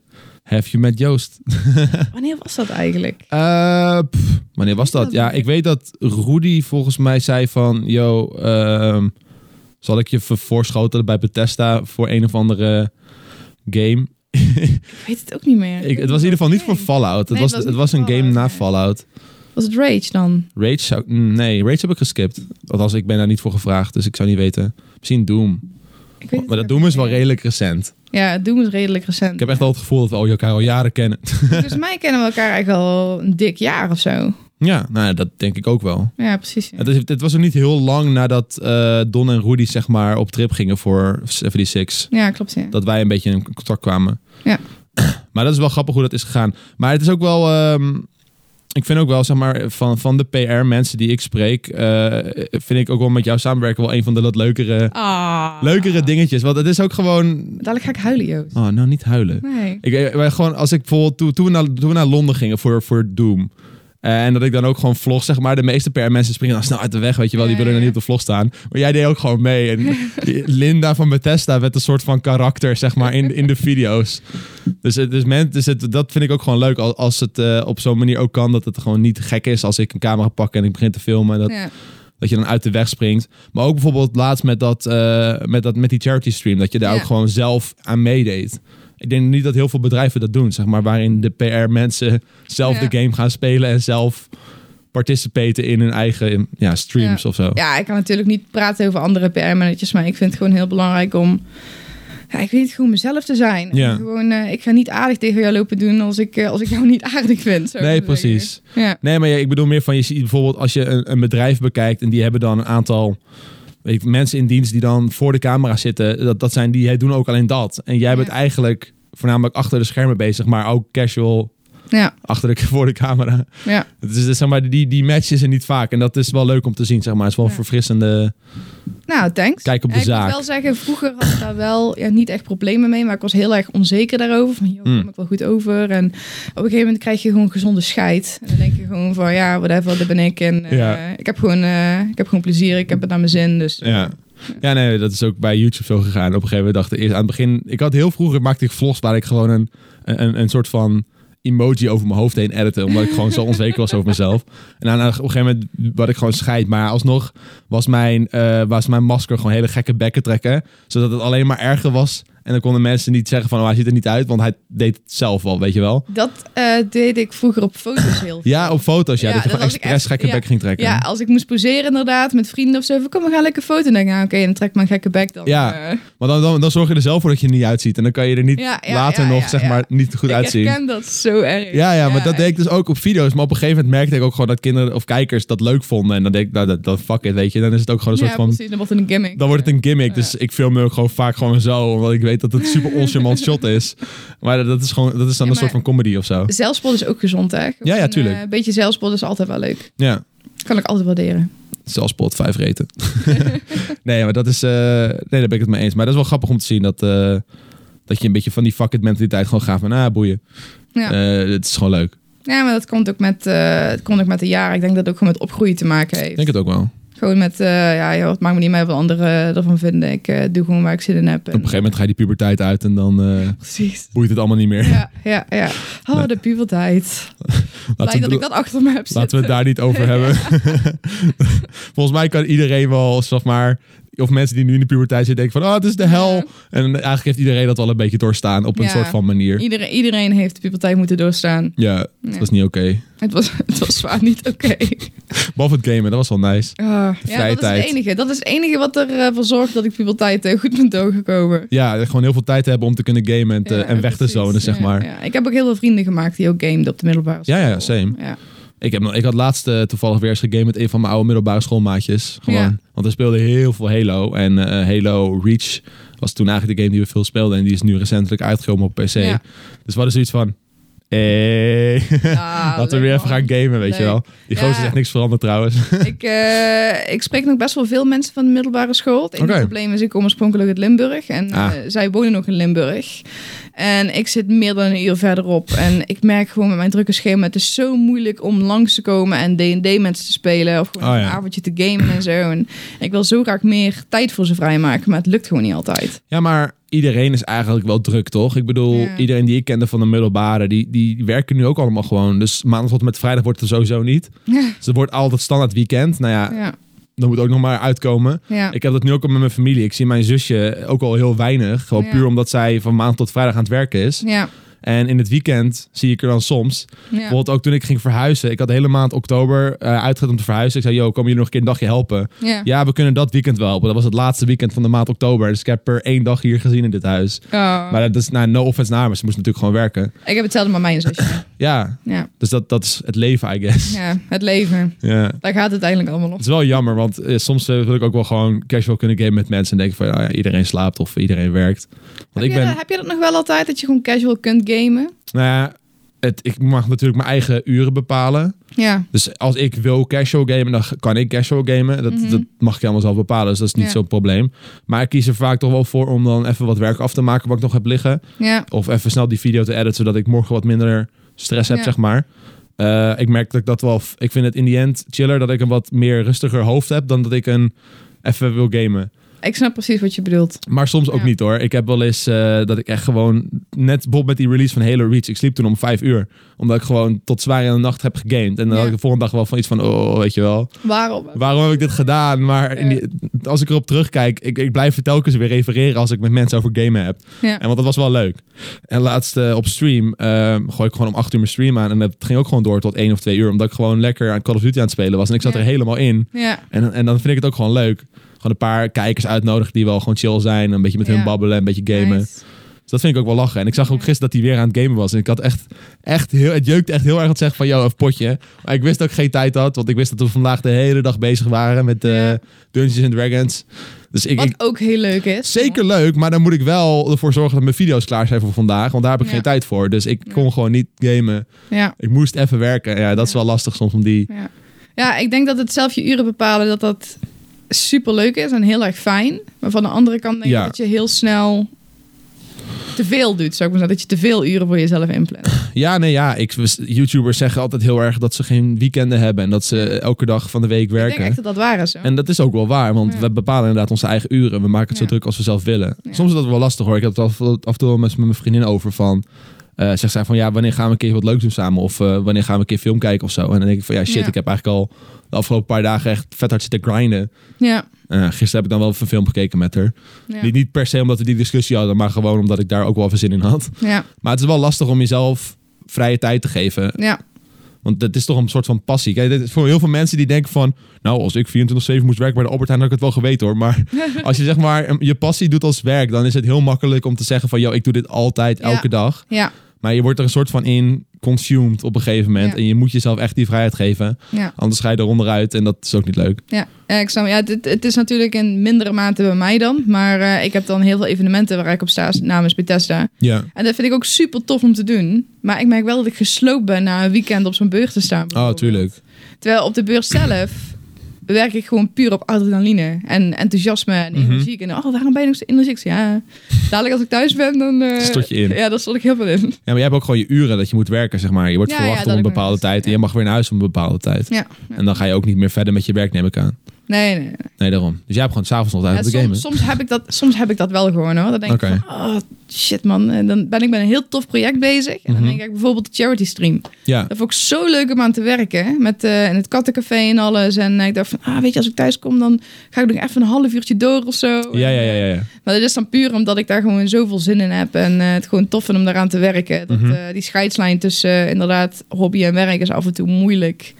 Speaker 1: Have You Met Joost?
Speaker 2: Wanneer was dat eigenlijk?
Speaker 1: Eh, pff, wanneer was dat? Ja, ik weet dat Rudy volgens mij zei van... Yo, ehm, zal ik je voorschoten bij Bethesda voor een of andere game?
Speaker 2: Ik weet het ook niet meer.
Speaker 1: ik, het was in ieder geval niet voor
Speaker 2: Nee.
Speaker 1: Fallout. Het
Speaker 2: Nee,
Speaker 1: was,
Speaker 2: het was
Speaker 1: het
Speaker 2: niet
Speaker 1: was een
Speaker 2: voor
Speaker 1: game na
Speaker 2: Fallout,
Speaker 1: Fallout.
Speaker 2: nee. Was het Rage dan?
Speaker 1: Rage zou... mm, Nee, Rage heb ik geskipt. Althans, ik ben daar niet voor gevraagd, dus ik zou niet weten. Misschien Doom.
Speaker 2: Ik weet het
Speaker 1: Maar dat
Speaker 2: ook
Speaker 1: Doom
Speaker 2: niet
Speaker 1: is wel
Speaker 2: meer.
Speaker 1: redelijk recent.
Speaker 2: Ja, Doom is redelijk recent.
Speaker 1: Ik heb echt al het gevoel dat we al elkaar al jaren kennen.
Speaker 2: (laughs) Volgens mij kennen we elkaar eigenlijk al een dik jaar of zo.
Speaker 1: ja, nou ja, dat denk ik ook wel.
Speaker 2: Ja, precies. ja.
Speaker 1: Het, is, het was ook niet heel lang nadat eh, Don en Rudy zeg maar, op trip gingen voor 76.
Speaker 2: Ja, klopt. Ja.
Speaker 1: Dat wij een beetje in contact kwamen.
Speaker 2: Ja.
Speaker 1: (clears throat) Maar dat is wel grappig hoe dat is gegaan. Maar het is ook wel... ehm, ik vind ook wel, zeg maar, van, van de PR-mensen die ik spreek... eh, vind ik ook wel met jou samenwerken wel een van de wat leukere,
Speaker 2: Ah.
Speaker 1: leukere dingetjes. Want het is ook gewoon...
Speaker 2: Dadelijk ga ik huilen, Joost.
Speaker 1: Oh, nou niet huilen.
Speaker 2: Nee.
Speaker 1: Ik, eh, wij gewoon, als ik bijvoorbeeld, toen, toen, we naar, toen we naar Londen gingen voor, voor Doom. eh, En dat ik dan ook gewoon vlog, zeg maar. De meeste per mensen springen dan snel uit de weg, weet je wel. Die
Speaker 2: Ja,
Speaker 1: willen dan
Speaker 2: ja.
Speaker 1: niet op de vlog staan. Maar jij deed ook gewoon mee.
Speaker 2: (laughs)
Speaker 1: En die Linda van Bethesda werd een soort van karakter, zeg maar, in, in de video's. Dus, het, is men, dus het, dat vind ik ook gewoon leuk. al- Als het eh, op zo'n manier ook kan, dat het gewoon niet gek is als ik een camera pak en ik begin te filmen. Dat,
Speaker 2: Ja.
Speaker 1: dat je dan uit de weg springt. Maar ook bijvoorbeeld laatst met, dat, eh, met, dat, met die charity stream. Dat je daar
Speaker 2: Ja.
Speaker 1: ook gewoon zelf aan meedeed. Ik denk niet dat heel veel bedrijven dat doen. Zeg maar, waarin de PR mensen zelf
Speaker 2: Ja.
Speaker 1: de game gaan spelen. En zelf participaten in hun eigen ja, streams of zo.
Speaker 2: ja, ik kan natuurlijk niet praten over andere PR-managers, maar ik vind het gewoon heel belangrijk om. Ja, ik weet het gewoon mezelf te zijn. En
Speaker 1: Ja.
Speaker 2: Gewoon, eh, ik ga niet aardig tegen jou lopen doen als ik, eh, als ik jou niet (laughs) aardig vind. zou ik
Speaker 1: Nee,
Speaker 2: maar zeggen.
Speaker 1: precies.
Speaker 2: Ja.
Speaker 1: Nee, maar ja, ik bedoel meer van... Je ziet bijvoorbeeld als je een, een bedrijf bekijkt... en die hebben dan een aantal... Weet ik, mensen in dienst die dan voor de camera zitten, dat, dat zijn die hey, doen ook alleen dat. En jij
Speaker 2: Ja.
Speaker 1: bent eigenlijk voornamelijk achter de schermen bezig, maar ook casual
Speaker 2: Ja,
Speaker 1: achter de, (laughs) voor de camera.
Speaker 2: ja.
Speaker 1: Het is, dus, zeg maar, die, die match is er niet vaak. En dat is wel leuk om te zien, zeg maar. Het is wel een
Speaker 2: Ja.
Speaker 1: verfrissende...
Speaker 2: Nou, thanks.
Speaker 1: Kijk op de
Speaker 2: Ja, ik
Speaker 1: zaak.
Speaker 2: moet wel zeggen, vroeger had ik daar wel ja, niet echt problemen mee, maar ik was heel erg onzeker daarover. Van, joh,
Speaker 1: Hmm.
Speaker 2: kom ik wel goed over? En op een gegeven moment krijg je gewoon gezonde scheid. En dan denk je gewoon van, ja, whatever, dat ben ik. En eh,
Speaker 1: Ja.
Speaker 2: ik, heb gewoon, eh, ik heb gewoon plezier, ik heb het naar mijn zin. Dus
Speaker 1: Ja. ja, nee, dat is ook bij YouTube zo gegaan. Op een gegeven moment dacht ik eerst aan het begin... Ik had heel vroeger, maakte ik vlogs waar ik gewoon een, een, een soort van emoji over mijn hoofd heen editen. Omdat ik gewoon
Speaker 2: (laughs)
Speaker 1: zo onzeker was over mezelf. En dan op een gegeven moment wat ik gewoon scheid. Maar alsnog was mijn, eh, was mijn masker gewoon hele gekke bekken trekken. Zodat het alleen maar erger was. En dan konden mensen niet zeggen van... Oh, hij ziet er niet uit, want hij deed het zelf al, weet je wel.
Speaker 2: Dat eh, deed ik vroeger op foto's heel veel.
Speaker 1: Ja, op foto's. Ja,
Speaker 2: Ja,
Speaker 1: dat je
Speaker 2: dat
Speaker 1: gewoon
Speaker 2: was ik
Speaker 1: expres
Speaker 2: echt-
Speaker 1: gekke
Speaker 2: ja.
Speaker 1: bek ging trekken.
Speaker 2: Ja, als ik moest poseren inderdaad, met vrienden of zo. Van, kom, we gaan lekker foto. En denk ik, nou, oké, dan trek ik mijn gekke bek dan.
Speaker 1: Ja,
Speaker 2: eh.
Speaker 1: Maar dan, dan, dan zorg je er zelf voor dat je er niet uitziet. En dan kan je er niet
Speaker 2: Ja, ja,
Speaker 1: later
Speaker 2: ja,
Speaker 1: nog,
Speaker 2: ja,
Speaker 1: zeg
Speaker 2: ja.
Speaker 1: maar, niet goed
Speaker 2: Ik
Speaker 1: uitzien.
Speaker 2: herken dat zo erg.
Speaker 1: Ja, ja, maar dat deed
Speaker 2: ik.
Speaker 1: ik dus ook op video's. Maar op een gegeven moment merkte ik ook gewoon dat kinderen of kijkers dat leuk vonden. En dan denk ik, nou, dat, dat fuck it, weet je. Dan is het ook gewoon een
Speaker 2: Ja,
Speaker 1: soort van...
Speaker 2: precies, dan wordt het een gimmick.
Speaker 1: Dan wordt het een gimmick. Dus
Speaker 2: Ja.
Speaker 1: ik film me ook gewoon vaak gewoon zo. Omdat ik weet dat het
Speaker 2: (laughs)
Speaker 1: super oncharmant shot is. Maar dat- dat is, gewoon, dat is dan
Speaker 2: Ja,
Speaker 1: een soort van
Speaker 2: maar-
Speaker 1: comedy of zo.
Speaker 2: Zelfspot is ook gezond, hè?
Speaker 1: Ja, ja,
Speaker 2: Een,
Speaker 1: tuurlijk.
Speaker 2: eh, Een beetje zelfspot is altijd wel leuk.
Speaker 1: Ja,
Speaker 2: Kan ik altijd waarderen.
Speaker 1: zelfs pot vijf
Speaker 2: (laughs)
Speaker 1: reten. (laughs) nee, maar dat is... eh, nee, daar ben ik het mee eens. Maar dat is wel grappig om te zien dat... eh, dat je een beetje van die fuck it mentaliteit gewoon gaat van... Ah, boeien.
Speaker 2: Ja.
Speaker 1: Eh, het is gewoon leuk.
Speaker 2: ja, maar dat komt ook met, eh, het komt ook met de jaren. Ik denk dat het ook gewoon met opgroeien te maken heeft.
Speaker 1: Ik denk het ook wel.
Speaker 2: Gewoon met, eh, ja, joh, het maakt me niet meer uit wat anderen ervan vinden. Ik eh, doe gewoon waar ik zin in heb.
Speaker 1: Op een gegeven moment ga je die puberteit uit en dan eh,
Speaker 2: Precies.
Speaker 1: boeit het allemaal niet meer.
Speaker 2: Ja, ja, ja. Oh,
Speaker 1: Nee.
Speaker 2: de puberteit.
Speaker 1: laten,
Speaker 2: Blij
Speaker 1: we,
Speaker 2: dat ik dat achter me heb
Speaker 1: laten
Speaker 2: zitten.
Speaker 1: we het daar niet
Speaker 2: (laughs)
Speaker 1: over hebben. (laughs) Volgens mij kan iedereen wel, zeg maar, of mensen die nu in de puberteit zitten, denken van, oh, het is de hel.
Speaker 2: Ja.
Speaker 1: En eigenlijk heeft iedereen dat wel een beetje doorstaan op een
Speaker 2: Ja.
Speaker 1: soort van manier.
Speaker 2: Iedereen, iedereen heeft de puberteit moeten doorstaan.
Speaker 1: Ja, dat
Speaker 2: Ja.
Speaker 1: was niet oké.
Speaker 2: Het, was, het was zwaar niet oké.
Speaker 1: (laughs) Behalve het gamen, dat was wel nice.
Speaker 2: Ah, ja,
Speaker 1: vrije
Speaker 2: dat is het
Speaker 1: tijd.
Speaker 2: enige. Dat is het enige wat ervoor zorgt dat ik puberteit eh, goed ben doorgekomen.
Speaker 1: Ja, gewoon heel veel tijd te hebben om te kunnen gamen en, te-
Speaker 2: Ja,
Speaker 1: en weg te
Speaker 2: precies.
Speaker 1: zonen, zeg
Speaker 2: Ja,
Speaker 1: maar.
Speaker 2: Ja. Ik heb ook heel veel vrienden gemaakt die ook gamen op de middelbare school.
Speaker 1: Ja, ja, same. (laughs)
Speaker 2: Ja.
Speaker 1: Ik, heb, nog- ik had laatst eh, toevallig weer eens gegamed met een van mijn oude middelbare schoolmaatjes. Gewoon.
Speaker 2: Ja.
Speaker 1: Want we speelden heel veel Halo. En eh, Halo Reach was toen eigenlijk de game die we veel speelden. En die is nu recentelijk uitgekomen op PC.
Speaker 2: Ja.
Speaker 1: Dus we hadden zoiets van... Hey. (laughs)
Speaker 2: Ah,
Speaker 1: Laten we
Speaker 2: leuk,
Speaker 1: weer even
Speaker 2: man.
Speaker 1: gaan gamen, weet je
Speaker 2: Leuk.
Speaker 1: wel. Die
Speaker 2: Ja.
Speaker 1: gozer is echt niks veranderd trouwens. (laughs)
Speaker 2: Ik, eh, ik spreek nog best wel veel mensen van de middelbare school. Het enige
Speaker 1: Oké.
Speaker 2: probleem is, ik kom oorspronkelijk uit Limburg. En
Speaker 1: Ah.
Speaker 2: eh, zij wonen nog in Limburg. En ik zit meer dan een uur verderop. En ik merk gewoon met mijn drukke schema, het is zo moeilijk om langs te komen en D&D mensen te spelen. Of gewoon
Speaker 1: Oh, ja.
Speaker 2: een avondje te gamen en zo. En ik wil zo graag meer tijd voor ze vrijmaken, maar het lukt gewoon niet altijd.
Speaker 1: Ja, maar iedereen is eigenlijk wel druk, toch? Ik bedoel,
Speaker 2: Ja.
Speaker 1: iedereen die ik kende van de middelbare, die, die werken nu ook allemaal gewoon. Dus maandag tot en met vrijdag wordt het er sowieso niet.
Speaker 2: Ja,
Speaker 1: Dus het wordt altijd standaard weekend. Nou ja,
Speaker 2: ja,
Speaker 1: dan moet ook nog maar uitkomen.
Speaker 2: ja.
Speaker 1: Ik heb dat nu ook al met mijn familie. Ik zie mijn zusje ook al heel weinig. Gewoon
Speaker 2: Ja.
Speaker 1: puur omdat zij van maandag tot vrijdag aan het werken is.
Speaker 2: Ja,
Speaker 1: En in het weekend zie ik er dan soms.
Speaker 2: ja,
Speaker 1: Bijvoorbeeld ook toen ik ging verhuizen. Ik had de hele maand oktober eh uitgezet om te verhuizen. Ik zei, yo, komen jullie nog een keer een dagje helpen?
Speaker 2: ja.
Speaker 1: Ja, we kunnen dat weekend wel helpen. Dat was het laatste weekend van de maand oktober. Dus ik heb er één dag hier gezien in dit huis.
Speaker 2: Oh.
Speaker 1: Maar dat is nou, no offense naar, maar ze moest natuurlijk gewoon werken.
Speaker 2: Ik heb hetzelfde met mijn zusje.
Speaker 1: Ja,
Speaker 2: Ja,
Speaker 1: dus dat, dat is het leven, I guess. Ja.
Speaker 2: ja, het leven. Daar gaat het eigenlijk allemaal om.
Speaker 1: Het is wel jammer, want eh, soms eh, wil ik ook wel gewoon casual kunnen gamen met mensen. En denken van, nou ja, iedereen slaapt of iedereen werkt. Want ik ben,
Speaker 2: heb, je, dat- heb je dat nog wel altijd, dat je gewoon casual kunt gamen?
Speaker 1: nou ja, het, ik mag natuurlijk mijn eigen uren bepalen.
Speaker 2: Ja,
Speaker 1: Dus als ik wil casual gamen, dan kan ik casual gamen. Dat,
Speaker 2: Mhm.
Speaker 1: dat mag ik helemaal zelf bepalen, dus dat is niet
Speaker 2: Ja.
Speaker 1: zo'n probleem. Maar ik kies er vaak toch wel voor om dan even wat werk af te maken wat ik nog heb liggen.
Speaker 2: ja,
Speaker 1: Of even snel die video te editen, zodat ik morgen wat minder stress heb,
Speaker 2: Ja.
Speaker 1: zeg maar. Eh, ik merk dat ik dat wel... f- Ik vind het in die end chiller dat ik een wat meer rustiger hoofd heb... dan dat ik een even wil gamen.
Speaker 2: ik snap precies wat je bedoelt.
Speaker 1: Maar soms ook
Speaker 2: Ja.
Speaker 1: niet hoor. Ik heb wel eens eh, dat ik echt gewoon... Net Bob met die release van Halo Reach. Ik sliep toen om vijf uur. Omdat ik gewoon tot zwaar in de nacht heb gegamed. En dan
Speaker 2: Ja.
Speaker 1: had ik de volgende dag wel van iets van... Oh, weet je wel.
Speaker 2: Waarom?
Speaker 1: Waarom heb ik dit gedaan? Maar in die- als ik erop terugkijk... Ik, ik blijf er telkens weer refereren als ik met mensen over gamen heb.
Speaker 2: Ja.
Speaker 1: En want dat was wel leuk. En laatst eh, op stream ehm, gooi ik gewoon om acht uur mijn stream aan. En dat ging ook gewoon door tot één of twee uur. Omdat ik gewoon lekker aan Call of Duty aan het spelen was. En ik zat
Speaker 2: Ja.
Speaker 1: er helemaal in.
Speaker 2: Ja,
Speaker 1: En, en dan vind ik het ook gewoon leuk. Gewoon een paar kijkers uitnodigen die wel gewoon chill zijn. Een beetje met hun
Speaker 2: Ja.
Speaker 1: babbelen, een beetje gamen.
Speaker 2: nice.
Speaker 1: Dus dat vind ik ook wel lachen. En ik zag ook
Speaker 2: Ja.
Speaker 1: gisteren dat hij weer aan het gamen was. En ik had echt, echt heel, het jeukte echt heel erg het zeggen van, joh, even potje. Maar ik wist dat ik geen tijd had. Want ik wist dat we vandaag de hele dag bezig waren met eh,
Speaker 2: Ja.
Speaker 1: Dungeons and Dragons. Dus ik, ik-
Speaker 2: Wat ook heel leuk is.
Speaker 1: Zeker leuk, maar dan moet ik wel ervoor zorgen dat mijn video's klaar zijn voor vandaag. Want daar heb ik
Speaker 2: Ja.
Speaker 1: geen tijd voor. Dus ik
Speaker 2: Ja.
Speaker 1: kon gewoon niet gamen.
Speaker 2: Ja,
Speaker 1: Ik moest even werken. Ja, dat is
Speaker 2: Ja.
Speaker 1: wel lastig soms om die.
Speaker 2: ja. ja, ik denk dat het zelf je uren bepalen, dat dat super leuk is en heel erg fijn. Maar van de andere kant denk ik
Speaker 1: Ja.
Speaker 2: dat je heel snel te veel doet, zou ik maar zeggen. Dat je te veel uren voor jezelf inplant.
Speaker 1: Ja, nee, ja. Ik, YouTubers zeggen altijd heel erg dat ze geen weekenden hebben. En dat ze elke dag van de week
Speaker 2: Ik denk
Speaker 1: werken.
Speaker 2: echt dat dat waar is. hoor.
Speaker 1: En dat is ook wel waar, want
Speaker 2: Ja.
Speaker 1: we bepalen inderdaad onze eigen uren. We maken het zo
Speaker 2: Ja.
Speaker 1: druk als we zelf willen.
Speaker 2: Ja.
Speaker 1: Soms is dat wel lastig hoor. Ik heb het af, af en toe wel eens met mijn vriendin over van. eh zegt zij van ja, wanneer gaan we een keer wat leuks doen samen? Of eh, wanneer gaan we een keer film kijken of zo? En dan denk ik van ja, shit,
Speaker 2: Ja.
Speaker 1: ik heb eigenlijk al de afgelopen paar dagen echt vet hard zitten grinden.
Speaker 2: Ja,
Speaker 1: Eh, gisteren heb ik dan wel even een film gekeken met haar.
Speaker 2: ja,
Speaker 1: Niet, niet per se omdat we die discussie hadden, maar gewoon omdat ik daar ook wel even zin in had.
Speaker 2: ja,
Speaker 1: Maar het is wel lastig om jezelf vrije tijd te geven.
Speaker 2: ja.
Speaker 1: Want dat is toch een soort van passie. Kijk, dit is voor heel veel mensen die denken van... Nou, als ik 24-7 moest werken bij de Albert Heijn, had ik het wel geweten hoor. Maar
Speaker 2: (laughs)
Speaker 1: als je zeg maar een- je passie doet als werk... dan is het heel makkelijk om te zeggen van... Yo, ik doe dit altijd,
Speaker 2: Ja.
Speaker 1: elke dag.
Speaker 2: ja.
Speaker 1: Maar je wordt er een soort van in consumed op een gegeven moment.
Speaker 2: Ja.
Speaker 1: En je moet jezelf echt die vrijheid geven.
Speaker 2: ja.
Speaker 1: Anders ga je eronder uit en dat is ook niet leuk.
Speaker 2: Ja, eh, ik snap. Ja, het- het, het is natuurlijk in mindere mate bij mij dan. Maar eh, ik heb dan heel veel evenementen waar ik op sta namens Bethesda.
Speaker 1: Ja.
Speaker 2: En dat vind ik ook super tof om te doen. Maar ik merk wel dat ik gesloopt ben na een weekend op zo'n beurs te staan.
Speaker 1: Oh,
Speaker 2: bijvoorbeeld.
Speaker 1: tuurlijk.
Speaker 2: Terwijl op de beurs zelf werk ik gewoon puur op adrenaline en enthousiasme en
Speaker 1: Mhm.
Speaker 2: energie. En oh, waarom ben je nog zo energiek? Ik zeg, Ja, dadelijk als ik thuis ben, dan... eh,
Speaker 1: Stort je in.
Speaker 2: Ja, dan stond ik heel veel in.
Speaker 1: Ja, maar jij hebt ook gewoon je uren dat je moet werken, zeg maar. Je wordt
Speaker 2: Ja, ja,
Speaker 1: verwacht
Speaker 2: dat
Speaker 1: om een
Speaker 2: ik
Speaker 1: bepaalde
Speaker 2: moet.
Speaker 1: tijd. En
Speaker 2: Ja.
Speaker 1: je mag weer naar huis om een bepaalde
Speaker 2: (laughs)
Speaker 1: tijd.
Speaker 2: Ja.
Speaker 1: En dan ga je ook niet meer verder met je werk, neem ik aan.
Speaker 2: Nee, nee, nee.
Speaker 1: Nee, daarom. Dus jij hebt gewoon s'avonds nog tijd
Speaker 2: Ja,
Speaker 1: om te gamen.
Speaker 2: soms, soms, heb ik dat, soms heb ik dat wel gewoon hoor. Dan denk
Speaker 1: Oké.
Speaker 2: ik van, oh shit man, en dan ben ik met een heel tof project bezig. En dan
Speaker 1: Mhm.
Speaker 2: denk ik bijvoorbeeld de charity stream.
Speaker 1: Ja.
Speaker 2: Dat vond ik zo leuk om aan te werken. Met eh, in het kattencafé en alles. En eh, ik dacht van, ah weet je, als ik thuis kom dan ga ik nog even een half uurtje door of zo. eh,
Speaker 1: Ja, ja, ja, ja, ja.
Speaker 2: Maar dat is dan puur omdat ik daar gewoon zoveel zin in heb. En eh, het gewoon tof vind om daaraan te werken. Dat,
Speaker 1: Mhm.
Speaker 2: eh, die scheidslijn tussen eh, inderdaad hobby en werk is af en toe moeilijk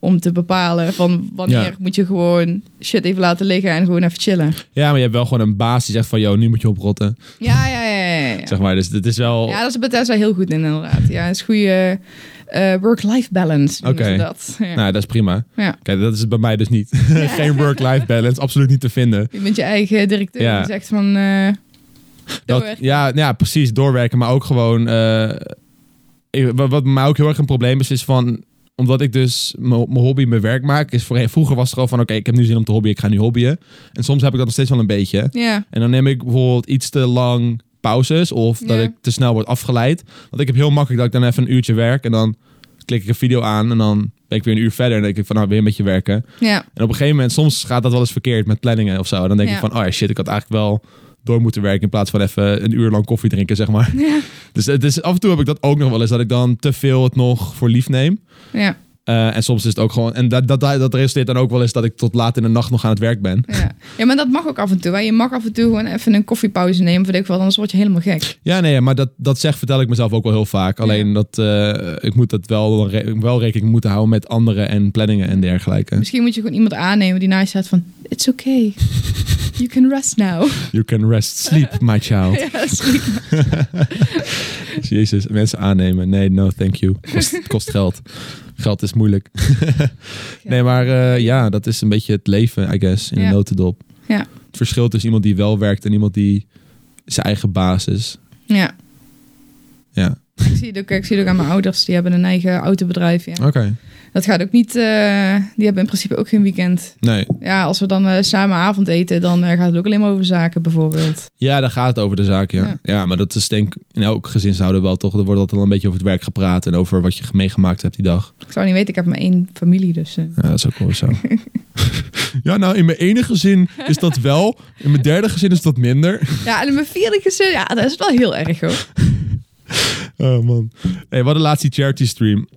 Speaker 2: om te bepalen van wanneer
Speaker 1: Ja.
Speaker 2: moet je gewoon shit even laten liggen en gewoon even chillen.
Speaker 1: Ja, maar je hebt wel gewoon een baas die zegt van... ...joh, nu moet je oprotten,
Speaker 2: Ja, ja, ja, ja. ja.
Speaker 1: zeg maar. Dus dit is wel...
Speaker 2: Ja, dat is Bethesda heel goed in, inderdaad. Ja, het is goede eh, work-life balance. noemen
Speaker 1: Oké.
Speaker 2: ze Dat. Ja.
Speaker 1: Nou, dat is prima.
Speaker 2: Ja.
Speaker 1: Kijk, dat is het bij mij dus niet. (laughs) Geen work-life balance, absoluut niet te vinden.
Speaker 2: Je bent je eigen directeur
Speaker 1: Ja.
Speaker 2: die zegt van... eh,
Speaker 1: Dat,
Speaker 2: doorwerken.
Speaker 1: ja, nou ja, precies, doorwerken. Maar ook gewoon... eh, ik- wat, wat mij ook heel erg een probleem is, is van omdat ik dus mijn mijn hobby mijn werk maak, is voor, vroeger was het al van, oké, ik heb nu zin om te hobbyen, ik ga nu hobbyen. En soms heb ik dat nog steeds wel een beetje.
Speaker 2: ja,
Speaker 1: En dan neem ik bijvoorbeeld iets te lang pauzes of dat
Speaker 2: Ja.
Speaker 1: ik te snel word afgeleid. Want ik heb heel makkelijk dat ik dan even een uurtje werk en dan klik ik een video aan en dan ben ik weer een uur verder en dan denk ik van nou weer een beetje werken.
Speaker 2: Ja, (laughs)
Speaker 1: En op een gegeven moment, soms gaat dat wel eens verkeerd met planningen of zo. Dan denk
Speaker 2: Ja.
Speaker 1: ik van, oh ja, shit, ik had eigenlijk wel door moeten werken in plaats van even een uur lang koffie drinken, zeg maar. (laughs)
Speaker 2: ja,
Speaker 1: Dus het is, af en toe heb ik dat ook nog wel eens, dat ik dan te veel het nog voor lief neem.
Speaker 2: ja.
Speaker 1: Eh, en soms is het ook gewoon, en dat, dat, dat resulteert dan ook wel eens dat ik tot laat in de nacht nog aan het werk ben.
Speaker 2: Ja. ja, maar dat mag ook af en toe. Hè. Je mag af en toe gewoon even een koffiepauze nemen, weet ik wel, anders word je helemaal gek.
Speaker 1: Ja, nee, maar dat, dat zeg vertel ik mezelf ook wel heel vaak. Alleen dat eh, ik moet dat wel, re- wel rekening moeten houden met anderen en planningen en dergelijke.
Speaker 2: Misschien moet je gewoon iemand aannemen die naast je staat van, it's okay, you can rest now.
Speaker 1: You can rest, sleep, my child.
Speaker 2: (laughs) ja, dat is goed.
Speaker 1: Jezus, mensen aannemen. Nee, no, thank you. Kost, het kost geld. Geld is
Speaker 2: (laughs)
Speaker 1: moeilijk. nee, maar eh, ja, dat is een beetje het leven, I guess, in
Speaker 2: Ja.
Speaker 1: een notendop.
Speaker 2: Ja.
Speaker 1: Het verschil tussen iemand die wel werkt en iemand die zijn eigen basis.
Speaker 2: ja.
Speaker 1: Ja,
Speaker 2: Ik zie, het ook, ik zie het ook aan mijn ouders, die hebben een eigen autobedrijf. Ja.
Speaker 1: oké.
Speaker 2: Dat gaat ook niet, eh, die hebben in principe ook geen weekend.
Speaker 1: Nee.
Speaker 2: Ja, als we dan eh, samen avond eten, dan eh, gaat het ook alleen maar over zaken bijvoorbeeld.
Speaker 1: Ja, daar gaat het over de zaak, ja.
Speaker 2: Ja.
Speaker 1: ja. maar dat is denk ik in elk gezinshouden wel toch. Er wordt altijd wel een beetje over het werk gepraat en over wat je meegemaakt hebt die dag.
Speaker 2: Ik zou niet weten, ik heb maar één familie, dus... eh.
Speaker 1: Ja, dat is ook wel zo. (laughs) ja, nou, in mijn ene gezin is dat wel. In mijn derde gezin is dat minder.
Speaker 2: Ja, en in mijn vierde gezin, ja, dat is wel heel erg hoor.
Speaker 1: (laughs) Oh man. Hey, we hadden laatst die charity stream.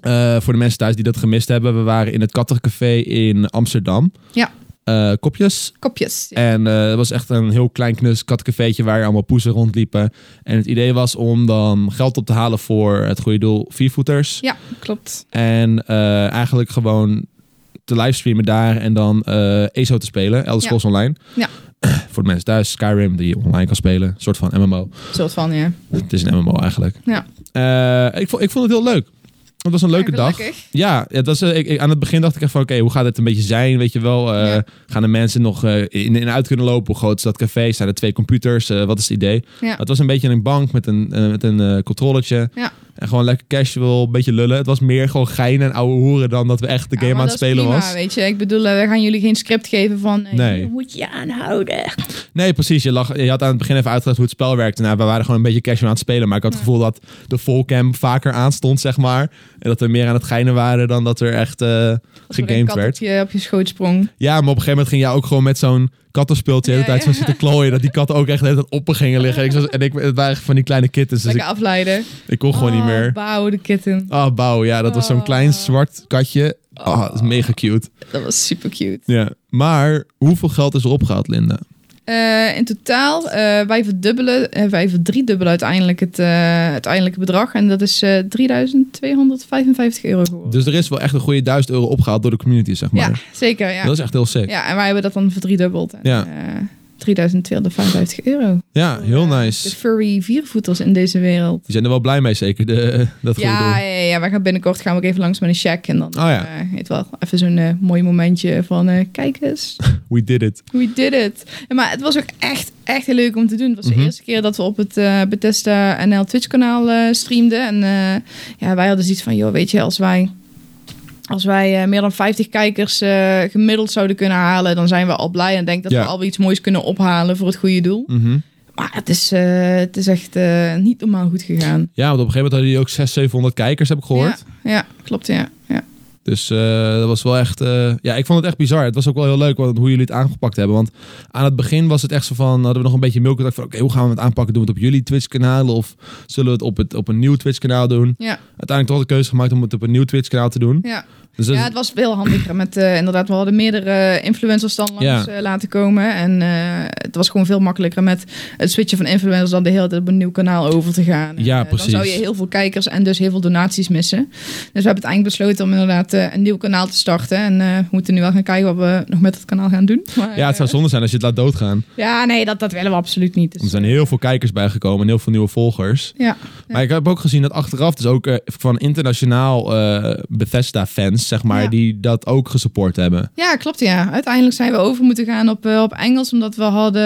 Speaker 1: Eh, voor de mensen thuis die dat gemist hebben. We waren in het Kattencafé in Amsterdam.
Speaker 2: Ja.
Speaker 1: Eh, kopjes.
Speaker 2: Kopjes.
Speaker 1: En eh het was echt een heel klein knus kattencafeetje waar allemaal poezen rondliepen. En het idee was om dan geld op te halen voor het goede doel viervoeters.
Speaker 2: Ja, klopt.
Speaker 1: En eh, eigenlijk gewoon te livestreamen daar en dan eh ESO te spelen. Elder
Speaker 2: Ja.
Speaker 1: Scrolls Online.
Speaker 2: Ja.
Speaker 1: (clears throat) voor de mensen thuis. Skyrim die je online kan spelen. Een soort van MMO.
Speaker 2: Soort van, ja.
Speaker 1: Het is een MMO eigenlijk.
Speaker 2: Ja.
Speaker 1: Eh, ik, vond, ik vond het heel leuk. Het was een leuke
Speaker 2: Ja,
Speaker 1: dag.
Speaker 2: gelukkig.
Speaker 1: Ja, het was, eh, ik, ik- aan het begin dacht ik echt van... oké, hoe gaat het een beetje zijn? Weet je wel, eh,
Speaker 2: Ja.
Speaker 1: gaan de mensen nog eh, in en uit kunnen lopen? Hoe groot is dat café? Zijn er twee computers? Eh, wat is het idee?
Speaker 2: Ja.
Speaker 1: Het was een beetje een bank met een, eh, met een eh controllertje.
Speaker 2: Ja.
Speaker 1: En gewoon lekker casual, een beetje lullen. Het was meer gewoon gein en ouwe hoeren... dan dat we echt de
Speaker 2: Ja,
Speaker 1: game
Speaker 2: maar
Speaker 1: aan
Speaker 2: dat
Speaker 1: het
Speaker 2: is
Speaker 1: spelen
Speaker 2: prima,
Speaker 1: was.
Speaker 2: Weet je, ik bedoel, eh, we gaan jullie geen script geven van. eh,
Speaker 1: Nee.
Speaker 2: je moet je aanhouden.
Speaker 1: Nee, precies. Je, lag, je had aan het begin even uitgelegd hoe het spel werkte. Nou, we waren gewoon een beetje casual aan het spelen. Maar ik had het gevoel dat de volcam vaker aanstond, zeg maar. En dat we meer aan het geinen waren dan dat er echt eh,
Speaker 2: Als er een
Speaker 1: gegamed
Speaker 2: kat
Speaker 1: werd. Dus
Speaker 2: Op je, op je schoot sprong.
Speaker 1: Ja, maar op een gegeven moment ging jij ook gewoon met zo'n kattenspeeltje de hele
Speaker 2: Ja,
Speaker 1: tijd zo
Speaker 2: ja.
Speaker 1: zitten klooien. Dat die katten ook echt de hele tijd op me gingen liggen. Ik was, en ik, het waren echt van die kleine kittens, dus
Speaker 2: Lekker
Speaker 1: ik,
Speaker 2: afleiden.
Speaker 1: ik kon gewoon niet
Speaker 2: Oh,
Speaker 1: meer.
Speaker 2: Bauw, de kitten.
Speaker 1: Ah, bouw, ja, dat was zo'n klein
Speaker 2: Oh.
Speaker 1: zwart katje. Ah, dat is mega cute.
Speaker 2: Dat was super cute.
Speaker 1: Ja. Maar hoeveel geld is er opgehaald, Linda?
Speaker 2: Eh, in totaal, eh, wij verdubbelen, eh, wij verdriedubbelen uiteindelijk het, eh, het uiteindelijke bedrag. En dat is eh 3255 euro geworden.
Speaker 1: Dus er is wel echt een goede 1000 euro opgehaald door de community, zeg maar.
Speaker 2: ja, zeker. Ja.
Speaker 1: Dat is echt heel sick.
Speaker 2: ja, en wij hebben dat dan verdriedubbeld. En,
Speaker 1: Ja.
Speaker 2: eh, 3255 euro.
Speaker 1: Ja, heel
Speaker 2: De
Speaker 1: nice.
Speaker 2: furry viervoeters in deze wereld.
Speaker 1: Die zijn er wel blij mee, zeker. De, dat goede
Speaker 2: Ja,
Speaker 1: doel.
Speaker 2: ja, ja, wij gaan binnenkort gaan we ook even langs met een check. En dan
Speaker 1: Oh ja.
Speaker 2: eh, weet wel even zo'n eh, mooi momentje van eh, kijk eens,
Speaker 1: We did it.
Speaker 2: we did it. Ja, maar het was ook echt, echt heel leuk om te doen. Het was
Speaker 1: Mhm.
Speaker 2: de eerste keer dat we op het eh Bethesda NL Twitch kanaal eh, streamden. En eh, ja, wij hadden zoiets van, joh, weet je, als wij... Als wij eh, meer dan 50 kijkers eh, gemiddeld zouden kunnen halen, dan zijn we al blij. En denk dat
Speaker 1: Ja.
Speaker 2: we alweer iets moois kunnen ophalen voor het goede doel.
Speaker 1: Mhm.
Speaker 2: Maar het is, eh, het is echt eh, niet normaal goed gegaan.
Speaker 1: Ja, want op een gegeven moment hadden die ook 600, 700 kijkers, heb ik gehoord.
Speaker 2: Ja, ja klopt, ja. ja.
Speaker 1: Dus eh, dat was wel echt... eh, ja, ik vond het echt bizar. Het was ook wel heel leuk want, hoe jullie het aangepakt hebben. Want aan het begin was het echt zo van... Hadden we nog een beetje milk van... Oké, hoe gaan we het aanpakken? Doen we het op jullie Twitch-kanaal? Of zullen we het op, het op een nieuw Twitch-kanaal doen?
Speaker 2: Ja.
Speaker 1: Uiteindelijk toch de keuze gemaakt om het op een nieuw Twitch-kanaal te doen.
Speaker 2: Ja,
Speaker 1: Dus dat-
Speaker 2: ja het was heel handiger. Met, eh, inderdaad, we hadden meerdere influencers dan langs
Speaker 1: Ja.
Speaker 2: eh, laten komen. En eh, het was gewoon veel makkelijker met het switchen van influencers dan de hele tijd op een nieuw kanaal over te gaan. En,
Speaker 1: Ja,
Speaker 2: eh,
Speaker 1: precies.
Speaker 2: Dan zou je heel veel kijkers en dus heel veel donaties missen. Dus we hebben uiteindelijk besloten om inderdaad eh, een nieuw kanaal te starten. En eh, we moeten nu wel gaan kijken wat we nog met het kanaal gaan doen. Maar,
Speaker 1: ja, het zou
Speaker 2: eh,
Speaker 1: zonde zijn als je het laat doodgaan.
Speaker 2: ja, nee, dat, dat willen we absoluut niet. Dus,
Speaker 1: Er zijn heel veel kijkers bijgekomen en heel veel nieuwe volgers.
Speaker 2: Ja.
Speaker 1: Maar ik heb ook gezien dat achteraf dus ook eh, van internationaal eh, Bethesda-fans, zeg maar,
Speaker 2: Ja.
Speaker 1: die dat ook gesupport hebben.
Speaker 2: Ja, klopt ja. Uiteindelijk zijn we over moeten gaan op, eh, op Engels, omdat we hadden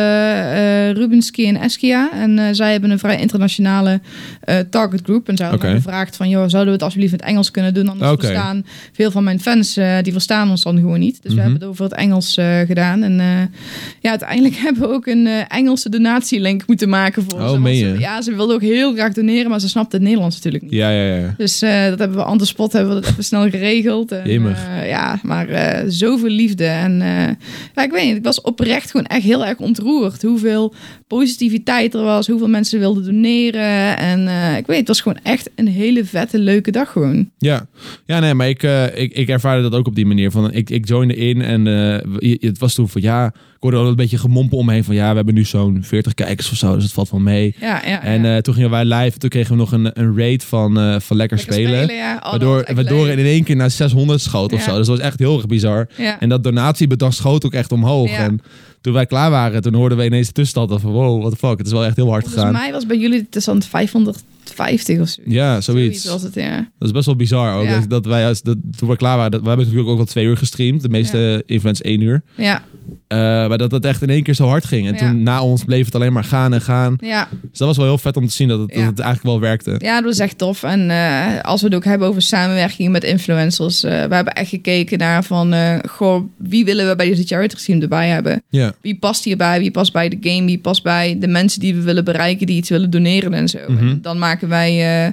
Speaker 2: eh, Rubenski en Eskia. En eh, zij hebben een vrij internationale eh, target group. En zij hadden
Speaker 1: Oké.
Speaker 2: mij gevraagd van, joh, zouden we het alsjeblieft in het Engels kunnen doen? Anders
Speaker 1: Oké.
Speaker 2: verstaan veel van mijn fans eh, die verstaan ons dan gewoon niet. Dus
Speaker 1: Mhm.
Speaker 2: we hebben het over het Engels eh, gedaan. En eh, ja, uiteindelijk (laughs) hebben we ook een eh, Engelse donatielink moeten maken voor
Speaker 1: Oh,
Speaker 2: ons. Want
Speaker 1: meen
Speaker 2: ze-
Speaker 1: je?
Speaker 2: Ja, ze wilden ook heel graag doneren, maar ze snapte het Nederlands natuurlijk niet.
Speaker 1: Ja, ja, ja.
Speaker 2: Dus eh, dat hebben we aan de spot, hebben we dat even snel geregeld. En,
Speaker 1: Jemig.
Speaker 2: eh, ja, maar eh, zoveel liefde. En eh, ja, ik weet niet, ik was oprecht gewoon echt heel erg ontroerd. Hoeveel positiviteit er was, hoeveel mensen wilden doneren. En eh, ik weet, het was gewoon echt een hele vette, leuke dag gewoon.
Speaker 1: Ja, ja nee, maar ik, eh, ik, ik ervaarde dat ook op die manier. Van, ik, ik joinde in en eh, je- je- het was toen van ja, ik hoorde al een beetje gemompel omheen van ja, we hebben nu zo'n 40 kijkers of zo, dus het valt wel mee.
Speaker 2: Ja, ja.
Speaker 1: En
Speaker 2: ja.
Speaker 1: eh, toen gingen wij live, toen kregen we nog een, een rate van, eh, van lekker,
Speaker 2: Lekker
Speaker 1: spelen.
Speaker 2: ja. Oh, dat was
Speaker 1: waardoor
Speaker 2: echt
Speaker 1: waardoor
Speaker 2: leuk.
Speaker 1: het in één keer naar 600 schoot of
Speaker 2: Ja.
Speaker 1: zo. Dus dat was echt heel erg bizar.
Speaker 2: Ja.
Speaker 1: En dat donatiebedrag schoot ook echt omhoog.
Speaker 2: Ja.
Speaker 1: En toen wij klaar waren, toen hoorden we ineens de tussenstand van wow, what the fuck, het is wel echt heel hard
Speaker 2: Volgens
Speaker 1: gegaan.
Speaker 2: mij was bij jullie de tussenstand 550 of zo.
Speaker 1: Ja, zoiets.
Speaker 2: was het, ja.
Speaker 1: Dat is best wel bizar ook.
Speaker 2: Ja.
Speaker 1: Dat, dat wij, als- dat, toen we klaar waren, dat, we hebben natuurlijk ook wel twee uur gestreamd. De meeste influence één uur.
Speaker 2: Ja,
Speaker 1: Eh, maar dat dat echt in één keer zo hard ging. En
Speaker 2: Ja.
Speaker 1: toen na ons bleef het alleen maar gaan en gaan.
Speaker 2: ja.
Speaker 1: Dus dat was wel heel vet om te zien dat het, dat
Speaker 2: Ja.
Speaker 1: het eigenlijk wel werkte.
Speaker 2: Ja, dat was echt tof. En eh, als we het ook hebben over samenwerking met influencers, eh, we hebben echt gekeken naar van, eh, goh, wie willen we bij deze charity team erbij hebben?
Speaker 1: Ja.
Speaker 2: Wie past hierbij? Wie past bij de game? Wie past bij de mensen die we willen bereiken, die iets willen doneren en zo?
Speaker 1: Mhm.
Speaker 2: En dan maken wij eh,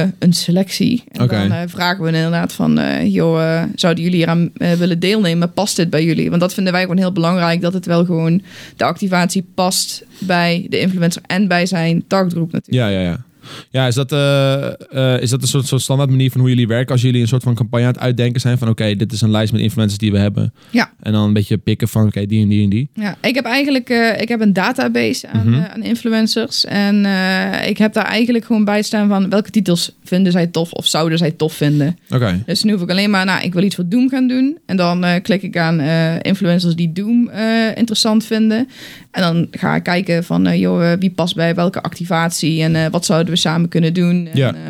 Speaker 2: eh, een selectie. En
Speaker 1: Oké.
Speaker 2: dan eh, vragen we inderdaad van, eh, joh, eh, zouden jullie hieraan eh, willen deelnemen? Past dit bij jullie? Want dat vinden wij gewoon heel belangrijk, dat het wel gewoon de activatie past bij de influencer en bij zijn targetgroep natuurlijk.
Speaker 1: Ja, ja, ja. Ja, is dat, eh, eh, is dat een soort, soort standaard manier van hoe jullie werken? Als jullie een soort van campagne aan het uitdenken zijn van... oké, dit is een lijst met influencers die we hebben.
Speaker 2: Ja.
Speaker 1: En dan een beetje pikken van oké, die en die en die.
Speaker 2: Ja, ik heb eigenlijk eh, ik heb een database aan,
Speaker 1: Mhm.
Speaker 2: eh, aan influencers. En eh, ik heb daar eigenlijk gewoon bij staan van welke titels vinden zij tof of zouden zij tof vinden.
Speaker 1: Oké,
Speaker 2: Dus nu hoef ik alleen maar, nou, ik wil iets voor Doom gaan doen. En dan eh, klik ik aan eh, influencers die Doom eh, interessant vinden. En dan ga ik kijken van, eh, joh, eh, wie past bij welke activatie en eh, wat zouden we samen kunnen doen. En,
Speaker 1: Ja.
Speaker 2: eh,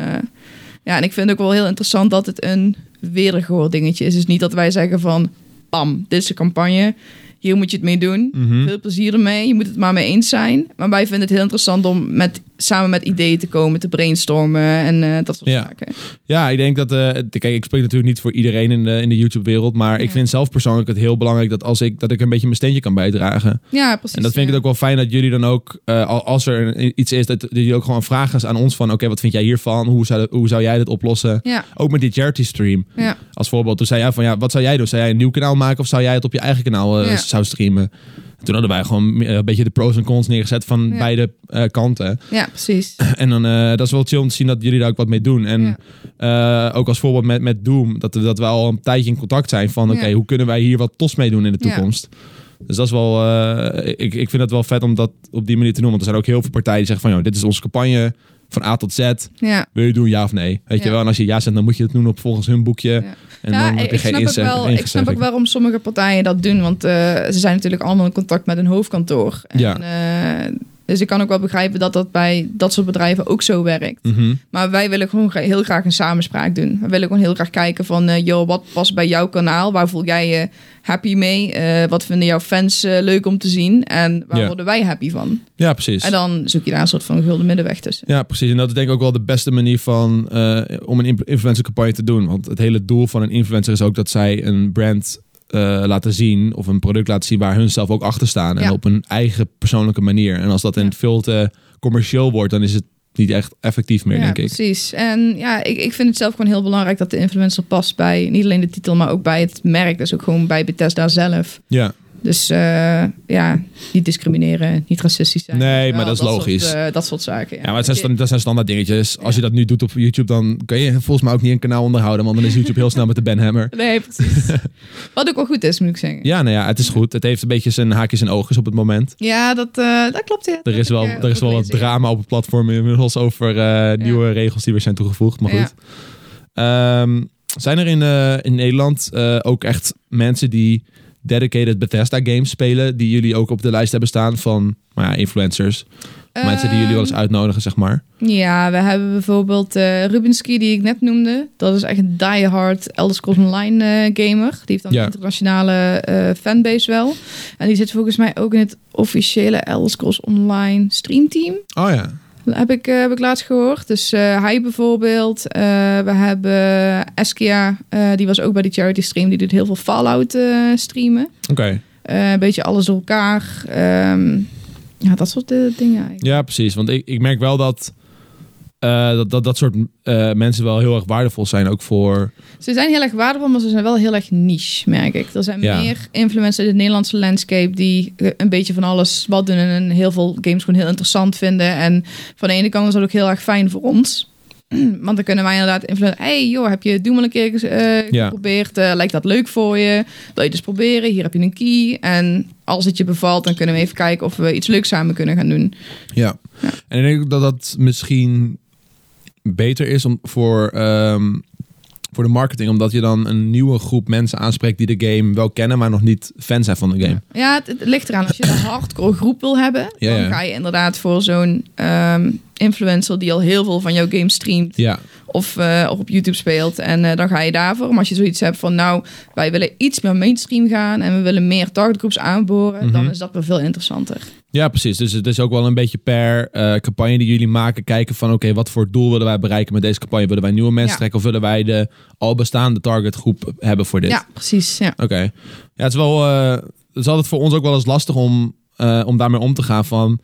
Speaker 2: ja, en ik vind ook wel heel interessant dat het een weergehoor dingetje is. Dus niet dat wij zeggen van, pam, dit is de campagne, hier moet je het mee doen.
Speaker 1: Mhm.
Speaker 2: Veel plezier ermee. Je moet het maar mee eens zijn. Maar wij vinden het heel interessant om met, samen met ideeën te komen, te brainstormen en eh, dat soort
Speaker 1: Ja.
Speaker 2: zaken.
Speaker 1: Ja, ik denk dat. eh, het- kijk, ik spreek natuurlijk niet voor iedereen in de, in de YouTube-wereld. Maar ik
Speaker 2: Ja.
Speaker 1: vind zelf persoonlijk het heel belangrijk dat, als ik, dat ik een beetje mijn steentje kan bijdragen.
Speaker 2: Ja, precies.
Speaker 1: En dat vind ik
Speaker 2: ja.
Speaker 1: het ook wel fijn dat jullie dan ook. eh, al- als er een- iets is, dat, dat jullie ook gewoon vragen aan ons: van oké, wat vind jij hiervan? Hoe zou, hoe zou jij dit oplossen?
Speaker 2: Ja,
Speaker 1: Ook met die charity stream.
Speaker 2: ja,
Speaker 1: Als voorbeeld, toen zei jij van ja, wat zou jij doen? Zou jij een nieuw kanaal maken of zou jij het op je eigen kanaal eh,
Speaker 2: Ja.
Speaker 1: zou streamen? En toen hadden wij gewoon eh, een beetje de pros en cons neergezet van
Speaker 2: Ja.
Speaker 1: beide eh, kanten.
Speaker 2: ja, precies.
Speaker 1: En dan, eh, dat is wel chill om te zien dat jullie daar ook wat mee doen. En eh, ook als voorbeeld met, met Doom, dat, we- dat we al een tijdje in contact zijn van... oké,
Speaker 2: Ja.
Speaker 1: hoe kunnen wij hier wat tos mee doen in de
Speaker 2: Ja.
Speaker 1: toekomst? Dus dat is wel... eh, ik, ik vind het wel vet om dat op die manier te noemen. Want er zijn ook heel veel partijen die zeggen van... Joh, dit is onze campagne van A tot Z.
Speaker 2: Ja.
Speaker 1: Wil je het doen, ja of nee? Weet
Speaker 2: Ja.
Speaker 1: je wel, en als je ja zegt, dan moet je het doen op volgens hun boekje. En
Speaker 2: ja,
Speaker 1: dan heb
Speaker 2: ik,
Speaker 1: je
Speaker 2: ik
Speaker 1: geen
Speaker 2: snap ook
Speaker 1: inzet.
Speaker 2: wel,
Speaker 1: geen
Speaker 2: ik snap ook
Speaker 1: gezegd.
Speaker 2: waarom sommige partijen dat doen, want eh, ze zijn natuurlijk allemaal in contact met een hoofdkantoor. En,
Speaker 1: Ja.
Speaker 2: eh, dus ik kan ook wel begrijpen dat dat bij dat soort bedrijven ook zo werkt.
Speaker 1: Mhm.
Speaker 2: Maar wij willen gewoon gra- heel graag een samenspraak doen. We willen gewoon heel graag kijken van, eh, joh, wat past bij jouw kanaal? Waar voel jij je happy mee? Eh, wat vinden jouw fans eh, leuk om te zien? En waar
Speaker 1: Ja. Dus-
Speaker 2: worden wij happy van?
Speaker 1: Ja, precies.
Speaker 2: En dan zoek je daar een soort van gulden middenweg tussen.
Speaker 1: Ja, precies. En dat is denk ik ook wel de beste manier van, eh, om een imp- influencercampagne te doen. Want het hele doel van een influencer is ook dat zij een brand eh, laten zien of een product laten zien waar hun zelf ook achter staan. En
Speaker 2: Ja.
Speaker 1: op hun eigen persoonlijke manier. En als dat in
Speaker 2: Ja.
Speaker 1: veel te commercieel wordt, dan is het niet echt effectief meer,
Speaker 2: ja,
Speaker 1: denk ik.
Speaker 2: precies. En ja, ik, ik vind het zelf gewoon heel belangrijk dat de influencer past bij niet alleen de titel, maar ook bij het merk. Dus ook gewoon bij Bethesda zelf.
Speaker 1: Ja,
Speaker 2: Dus eh, ja, niet discrimineren, niet racistisch zijn.
Speaker 1: Nee,
Speaker 2: Weet je
Speaker 1: maar dat is logisch.
Speaker 2: Soort, eh, dat soort zaken. Ja,
Speaker 1: ja maar het zijn, stand- dat zijn standaard dingetjes. Als je dat nu doet op YouTube, dan kan je volgens mij ook niet een kanaal onderhouden. Want dan is YouTube heel snel met de banhammer.
Speaker 2: Nee, precies.
Speaker 1: (laughs)
Speaker 2: Wat ook wel goed is, moet ik zeggen.
Speaker 1: Ja, nou ja, het is goed. Het heeft een beetje zijn haakjes en oogjes op het moment.
Speaker 2: Ja, dat, eh, dat eh, klopt. Ja.
Speaker 1: Er is wel, er is wel wat drama op het platform inmiddels over eh, nieuwe regels die weer zijn toegevoegd. Maar
Speaker 2: Ja.
Speaker 1: goed. Ehm, zijn er in, eh, in Nederland eh, ook echt mensen die dedicated Bethesda games spelen, die jullie ook op de lijst hebben staan van maar ja, influencers? mensen die jullie wel
Speaker 2: Ehm.
Speaker 1: eens uitnodigen, zeg maar.
Speaker 2: Ja, we hebben bijvoorbeeld eh Rubenski, die ik net noemde. Dat is echt een diehard Elder Scrolls Online eh, gamer. Die heeft dan
Speaker 1: Ja.
Speaker 2: een internationale eh, fanbase wel. En die zit volgens mij ook in het officiële Elder Scrolls Online streamteam.
Speaker 1: Oh ja.
Speaker 2: Heb ik, eh, heb ik laatst gehoord. Dus eh, hij bijvoorbeeld. Eh, we hebben Eskia. eh, die was ook bij de charity stream. Die doet heel veel Fallout eh, streamen.
Speaker 1: Oké.
Speaker 2: Eh, een beetje alles door elkaar. Ehm, ja, dat soort eh, dingen eigenlijk.
Speaker 1: Ja, precies. Want ik, ik merk wel dat, eh, dat, dat dat soort eh, mensen wel heel erg waardevol zijn. Ook voor...
Speaker 2: Ze zijn heel erg waardevol, maar ze zijn wel heel erg niche, merk ik. Er zijn
Speaker 1: Ja.
Speaker 2: meer influencers in het Nederlandse landscape die eh, een beetje van alles wat doen en heel veel games gewoon heel interessant vinden. En van de ene kant is dat ook heel erg fijn voor ons. (clears throat) Want dan kunnen wij inderdaad influencers... hey, joh, heb je Doom al een keer eh,
Speaker 1: Ja.
Speaker 2: geprobeerd? Eh, lijkt dat leuk voor je? Wil je dus proberen? Hier heb je een key. En als het je bevalt, dan kunnen we even kijken of we iets leuks samen kunnen gaan doen.
Speaker 1: Ja. En ik denk ook dat dat misschien beter is om, voor, ehm, voor de marketing. Omdat je dan een nieuwe groep mensen aanspreekt die de game wel kennen, maar nog niet fan zijn van de game.
Speaker 2: Ja, het, het ligt eraan. Als je een hardcore groep wil hebben,
Speaker 1: Ja, ja.
Speaker 2: dan ga je inderdaad voor zo'n ehm, influencer die al heel veel van jouw game streamt
Speaker 1: Ja,
Speaker 2: of, eh, of op YouTube speelt. En eh, dan ga je daarvoor. Maar als je zoiets hebt van, nou, wij willen iets meer mainstream gaan en we willen meer targetgroeps aanboren, dan
Speaker 1: Mhm.
Speaker 2: is dat weer veel interessanter.
Speaker 1: ja precies. Dus het is ook wel een beetje per eh, campagne die jullie maken. Kijken van oké, wat voor doel willen wij bereiken met deze campagne? Willen wij nieuwe mensen
Speaker 2: Ja.
Speaker 1: trekken of willen wij de al bestaande targetgroep hebben voor dit?
Speaker 2: Ja, precies. Ja.
Speaker 1: Oké. Ja, het is wel. eh, het is altijd voor ons ook wel eens lastig om, eh, om daarmee om te gaan. Van,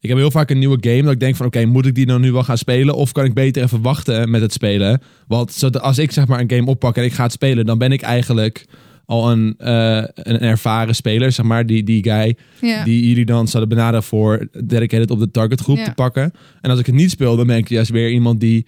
Speaker 1: ik heb heel vaak een nieuwe game dat ik denk van, oké, moet ik die nou nu wel gaan spelen of kan ik beter even wachten met het spelen? Want zod- als ik zeg maar een game oppak en ik ga het spelen, dan ben ik eigenlijk al een, eh, een ervaren speler, zeg maar, die, die guy
Speaker 2: Ja.
Speaker 1: die jullie dan zouden benaderen voor dedicated op de targetgroep
Speaker 2: Ja.
Speaker 1: te pakken. En als ik het niet speel, dan ben ik juist weer iemand die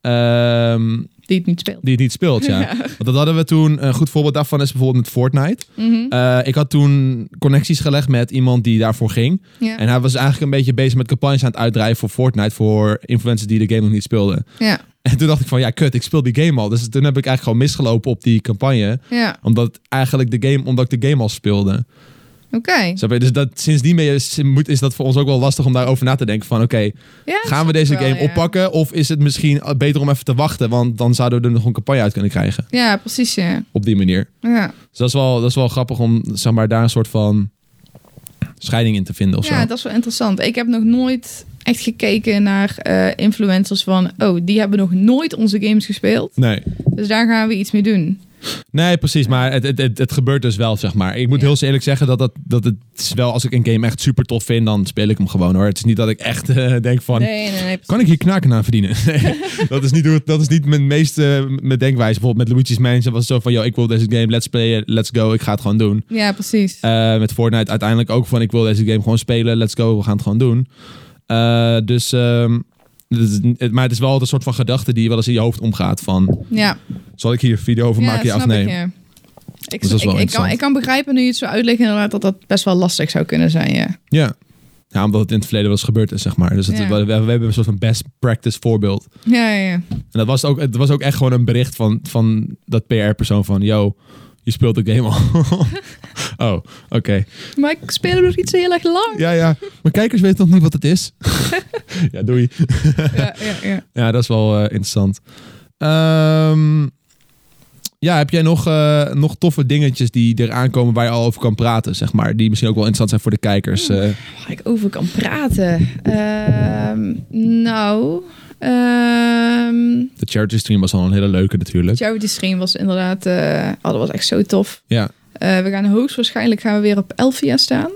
Speaker 1: ehm,
Speaker 2: Die het niet speelt.
Speaker 1: die het niet speelt,
Speaker 2: (laughs)
Speaker 1: ja. Want dat hadden we toen, een goed voorbeeld daarvan is bijvoorbeeld met Fortnite.
Speaker 2: Mhm.
Speaker 1: Eh, ik had toen connecties gelegd met iemand die daarvoor ging.
Speaker 2: ja.
Speaker 1: En hij was eigenlijk een beetje bezig met campagnes aan het uitdrijven voor Fortnite. Voor influencers die de game nog niet speelden.
Speaker 2: ja.
Speaker 1: En toen dacht ik van, ja kut, ik speel die game al. Dus toen heb ik eigenlijk gewoon misgelopen op die campagne.
Speaker 2: Ja.
Speaker 1: Omdat eigenlijk de game, omdat ik de game al speelde.
Speaker 2: Oké.
Speaker 1: Snap je? Dus dat, sindsdien ben je- is, moet- is dat voor ons ook wel lastig om daarover na te denken. Van oké,
Speaker 2: Ja,
Speaker 1: gaan we
Speaker 2: snap
Speaker 1: deze
Speaker 2: ik wel,
Speaker 1: game
Speaker 2: ja.
Speaker 1: oppakken? Of is het misschien eh, beter om even te wachten? Want dan zouden we er nog een campagne uit kunnen krijgen.
Speaker 2: Ja, precies. Ja.
Speaker 1: Op die manier.
Speaker 2: Ja.
Speaker 1: Dus dat is wel, dat is wel grappig om zeg maar, daar een soort van scheiding in te vinden of
Speaker 2: Ja,
Speaker 1: zo.
Speaker 2: dat is wel interessant. Ik heb nog nooit echt gekeken naar eh, influencers van... oh, die hebben nog nooit onze games gespeeld.
Speaker 1: Nee.
Speaker 2: Dus daar gaan we iets mee doen.
Speaker 1: nee, precies. Maar het, het, het, het gebeurt dus wel, zeg maar. Ik moet
Speaker 2: Ja.
Speaker 1: heel eerlijk zeggen dat, dat, dat het is wel... als ik een game echt super tof vind, dan speel ik hem gewoon hoor. Het is niet dat ik echt eh, denk van...
Speaker 2: Nee, nee, nee. precies.
Speaker 1: Kan ik hier knaken aan verdienen? (laughs) Nee,
Speaker 2: (laughs)
Speaker 1: dat, is niet, hoe het- dat is niet mijn meeste eh, mijn denkwijze. Bijvoorbeeld met Luigi's Mansion was het zo van... Yo, ik wil deze game, let's play, let's go, ik ga het gewoon doen.
Speaker 2: Ja, precies.
Speaker 1: Eh, met Fortnite uiteindelijk ook van ik wil deze game gewoon spelen. Let's go, we gaan het gewoon doen. Eh, dus, ehm, het is- het- maar het is wel altijd een soort van gedachte die wel eens in je hoofd omgaat van
Speaker 2: ja,
Speaker 1: zal ik hier een video over
Speaker 2: ja
Speaker 1: maken ja
Speaker 2: dat
Speaker 1: of
Speaker 2: snap
Speaker 1: nee?
Speaker 2: ik, ja. Ik,
Speaker 1: Dus dat is wel
Speaker 2: ik, ik kan,
Speaker 1: interessant.
Speaker 2: ik kan begrijpen nu je het zo uitlegt inderdaad dat dat best wel lastig zou kunnen zijn, ja.
Speaker 1: Ja. ja, omdat het in het verleden wel eens gebeurd is zeg maar. Dus het-
Speaker 2: Ja.
Speaker 1: we, we hebben een soort van best practice voorbeeld.
Speaker 2: Ja, ja, ja.
Speaker 1: En dat was ook, het was ook echt gewoon een bericht van, van dat PR persoon van yo, je speelt de game al. (laughs) oh, oké.
Speaker 2: Maar ik speel hem nog iets heel erg lang.
Speaker 1: Ja, ja. Mijn kijkers weten nog niet wat het is. (laughs) ja, doei.
Speaker 2: Ja, ja, ja.
Speaker 1: Ja, dat is wel eh, interessant. Ehm, ja, heb jij nog, eh, nog toffe dingetjes die eraan komen waar je al over kan praten, zeg maar? Die misschien ook wel interessant zijn voor de kijkers.
Speaker 2: Mm.
Speaker 1: eh.
Speaker 2: Waar ik over kan praten. Ehm, nou, ehm,
Speaker 1: de charity stream was al een hele leuke natuurlijk.
Speaker 2: charity stream was inderdaad, eh, oh, dat was echt zo tof.
Speaker 1: Ja,
Speaker 2: Eh, we gaan hoogstwaarschijnlijk gaan we weer op Elvia staan.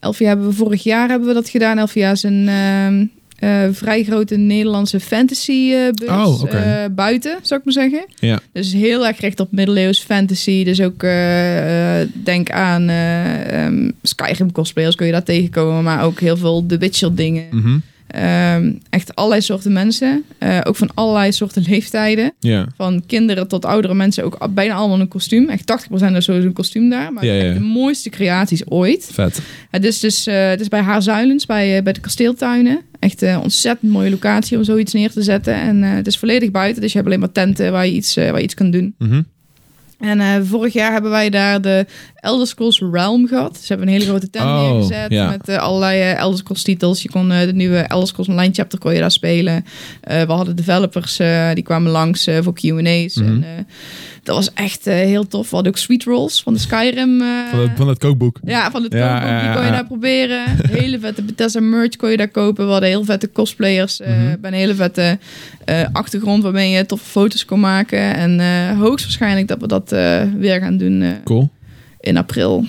Speaker 2: Elvia hebben we vorig jaar hebben we dat gedaan. Elvia is een ehm, eh, vrij grote Nederlandse fantasy eh, beurs.
Speaker 1: Oh, oké.
Speaker 2: eh, buiten, zou ik maar zeggen.
Speaker 1: ja,
Speaker 2: Dus heel erg gericht op middeleeuws fantasy. Dus ook eh, eh, denk aan eh, ehm, Skyrim cosplayers kun je daar tegenkomen. Maar ook heel veel The Witcher dingen.
Speaker 1: mhm,
Speaker 2: Ehm, echt allerlei soorten mensen. Eh, ook van allerlei soorten (laughs) leeftijden.
Speaker 1: ja,
Speaker 2: Van kinderen tot oudere mensen ook bijna allemaal een kostuum. Echt 80% is sowieso een kostuum daar. Maar
Speaker 1: Ja,
Speaker 2: echt
Speaker 1: ja.
Speaker 2: de mooiste creaties ooit.
Speaker 1: vet.
Speaker 2: Het is dus eh, het is bij Haarzuilens, bij, eh, bij de kasteeltuinen. Echt een ontzettend mooie locatie om zoiets neer te zetten. En eh, het is volledig buiten, dus je hebt alleen maar tenten waar je iets, eh, waar je iets kan doen.
Speaker 1: Mhm.
Speaker 2: En eh, vorig jaar hebben wij daar de Elder Scrolls Realm gehad. Ze hebben een hele grote tent
Speaker 1: Oh,
Speaker 2: neergezet
Speaker 1: ja.
Speaker 2: met eh, allerlei eh, Elder Scrolls titels. Je kon eh, de nieuwe Elder Scrolls Online chapter kon je daar spelen. Eh, we hadden developers eh, die kwamen langs eh, voor Q&A's. En,
Speaker 1: Mhm.
Speaker 2: eh, dat was echt eh, heel tof. We hadden ook Sweet Rolls van de Skyrim. eh,
Speaker 1: Van, het, van het kookboek.
Speaker 2: ja, van de
Speaker 1: Ja,
Speaker 2: toonbank, die
Speaker 1: ja,
Speaker 2: kon je
Speaker 1: ja.
Speaker 2: daar proberen. Hele vette Bethesda merch kon je daar kopen. We hadden heel vette cosplayers. eh
Speaker 1: Mhm.
Speaker 2: Bij een hele vette eh, achtergrond waarmee je toffe foto's kon maken. En eh, hoogstwaarschijnlijk dat we dat eh, weer gaan doen eh,
Speaker 1: Cool.
Speaker 2: in april.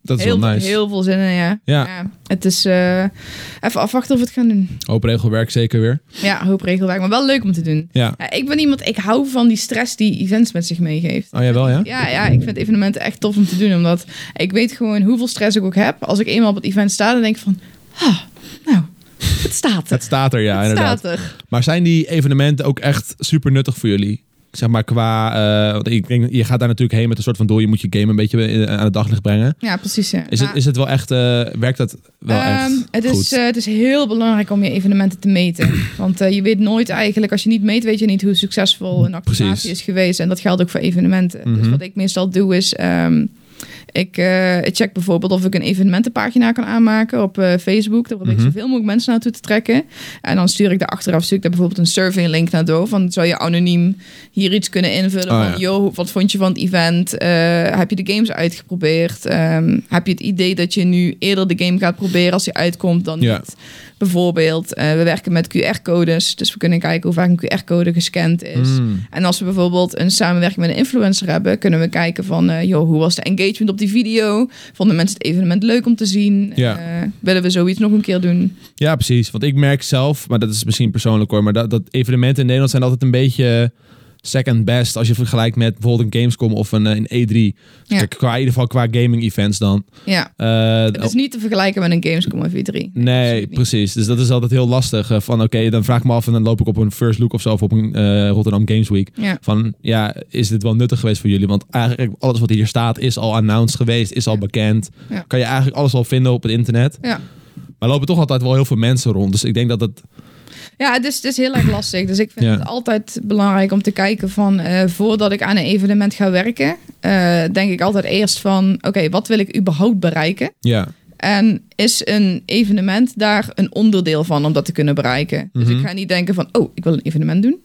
Speaker 1: Dat is
Speaker 2: heel,
Speaker 1: wel
Speaker 2: veel-
Speaker 1: nice.
Speaker 2: heel veel zin in, ja.
Speaker 1: Ja.
Speaker 2: het is eh, even afwachten of we het gaan doen.
Speaker 1: Hoop regelwerk zeker weer.
Speaker 2: Ja, hoop regelwerk, maar wel leuk om te doen.
Speaker 1: Ja.
Speaker 2: Ja, ik ben iemand, ik hou van die stress die events met zich meegeeft.
Speaker 1: Oh, jawel, ja?
Speaker 2: Ja, ja, ik vind evenementen echt tof om te doen. Omdat ik weet gewoon hoeveel stress ik ook heb. Als ik eenmaal op het event sta, dan denk ik van... Ah, nou, het staat er.
Speaker 1: Het staat er, ja,
Speaker 2: het
Speaker 1: inderdaad.
Speaker 2: staat er.
Speaker 1: Maar zijn die evenementen ook echt super nuttig voor jullie? Zeg maar qua, eh, want ik denk, je gaat daar natuurlijk heen met een soort van doel, je moet je game een beetje eh, aan het daglicht brengen.
Speaker 2: Ja, precies. Ja.
Speaker 1: Is, het,
Speaker 2: Nou,
Speaker 1: is het wel echt, eh, werkt dat wel
Speaker 2: ehm,
Speaker 1: echt
Speaker 2: het,
Speaker 1: goed?
Speaker 2: is, eh, het is heel belangrijk om je evenementen te meten. (clears throat) Want eh, je weet nooit eigenlijk, als je niet meet, weet je niet hoe succesvol een activatie
Speaker 1: Precies.
Speaker 2: is geweest. En dat geldt ook voor evenementen. Dus
Speaker 1: Mhm.
Speaker 2: wat ik meestal doe is. ehm, ik eh, check bijvoorbeeld of ik een evenementenpagina kan aanmaken op eh, Facebook. Daar probeer ik
Speaker 1: Mhm.
Speaker 2: zoveel mogelijk mensen naartoe te trekken. En dan stuur ik daar achteraf stuur ik daar bijvoorbeeld een survey link naar door. Van zou je anoniem hier iets kunnen invullen?
Speaker 1: Oh,
Speaker 2: van,
Speaker 1: ja.
Speaker 2: yo, wat vond je van het event? Eh, heb je de games uitgeprobeerd? Ehm, heb je het idee dat je nu eerder de game gaat proberen als die uitkomt dan
Speaker 1: Ja.
Speaker 2: niet? Bijvoorbeeld, eh, we werken met QR-codes. Dus we kunnen kijken hoe vaak een QR-code gescand is.
Speaker 1: Mm.
Speaker 2: En als we bijvoorbeeld een samenwerking met een influencer hebben, kunnen we kijken van, eh, joh, hoe was de engagement op die video? Vonden mensen het evenement leuk om te zien?
Speaker 1: Ja.
Speaker 2: Eh, willen we zoiets nog een keer doen?
Speaker 1: Ja, precies. Want ik merk zelf, maar dat is misschien persoonlijk hoor, maar dat, dat evenementen in Nederland zijn altijd een beetje second best als je vergelijkt met bijvoorbeeld een Gamescom of een, eh, een E3.
Speaker 2: Ja.
Speaker 1: Kijk, qua, in ieder geval qua gaming events dan.
Speaker 2: Ja.
Speaker 1: Eh,
Speaker 2: Het is niet te vergelijken met een Gamescom of E V3. absoluut
Speaker 1: Nee,
Speaker 2: niet.
Speaker 1: precies. Dus dat is altijd heel lastig. eh, Van oké, dan vraag ik me af en dan loop ik op een first look of zo of op een eh, Rotterdam Games Week.
Speaker 2: Ja.
Speaker 1: Van ja, is dit wel nuttig geweest voor jullie? Want eigenlijk alles wat hier staat is al announced geweest, is al
Speaker 2: Ja.
Speaker 1: bekend.
Speaker 2: Ja.
Speaker 1: Kan je eigenlijk alles al vinden op het internet.
Speaker 2: Ja.
Speaker 1: Maar lopen toch altijd wel heel veel mensen rond. Dus ik denk dat dat...
Speaker 2: Ja, het is, het is heel erg lastig. Dus ik vind
Speaker 1: Ja.
Speaker 2: het altijd belangrijk om te kijken van eh, voordat ik aan een evenement ga werken, eh, denk ik altijd eerst van oké, wat wil ik überhaupt bereiken?
Speaker 1: Ja,
Speaker 2: En is een evenement daar een onderdeel van om dat te kunnen bereiken? Dus
Speaker 1: Mhm.
Speaker 2: ik ga niet denken van, oh, ik wil een evenement doen.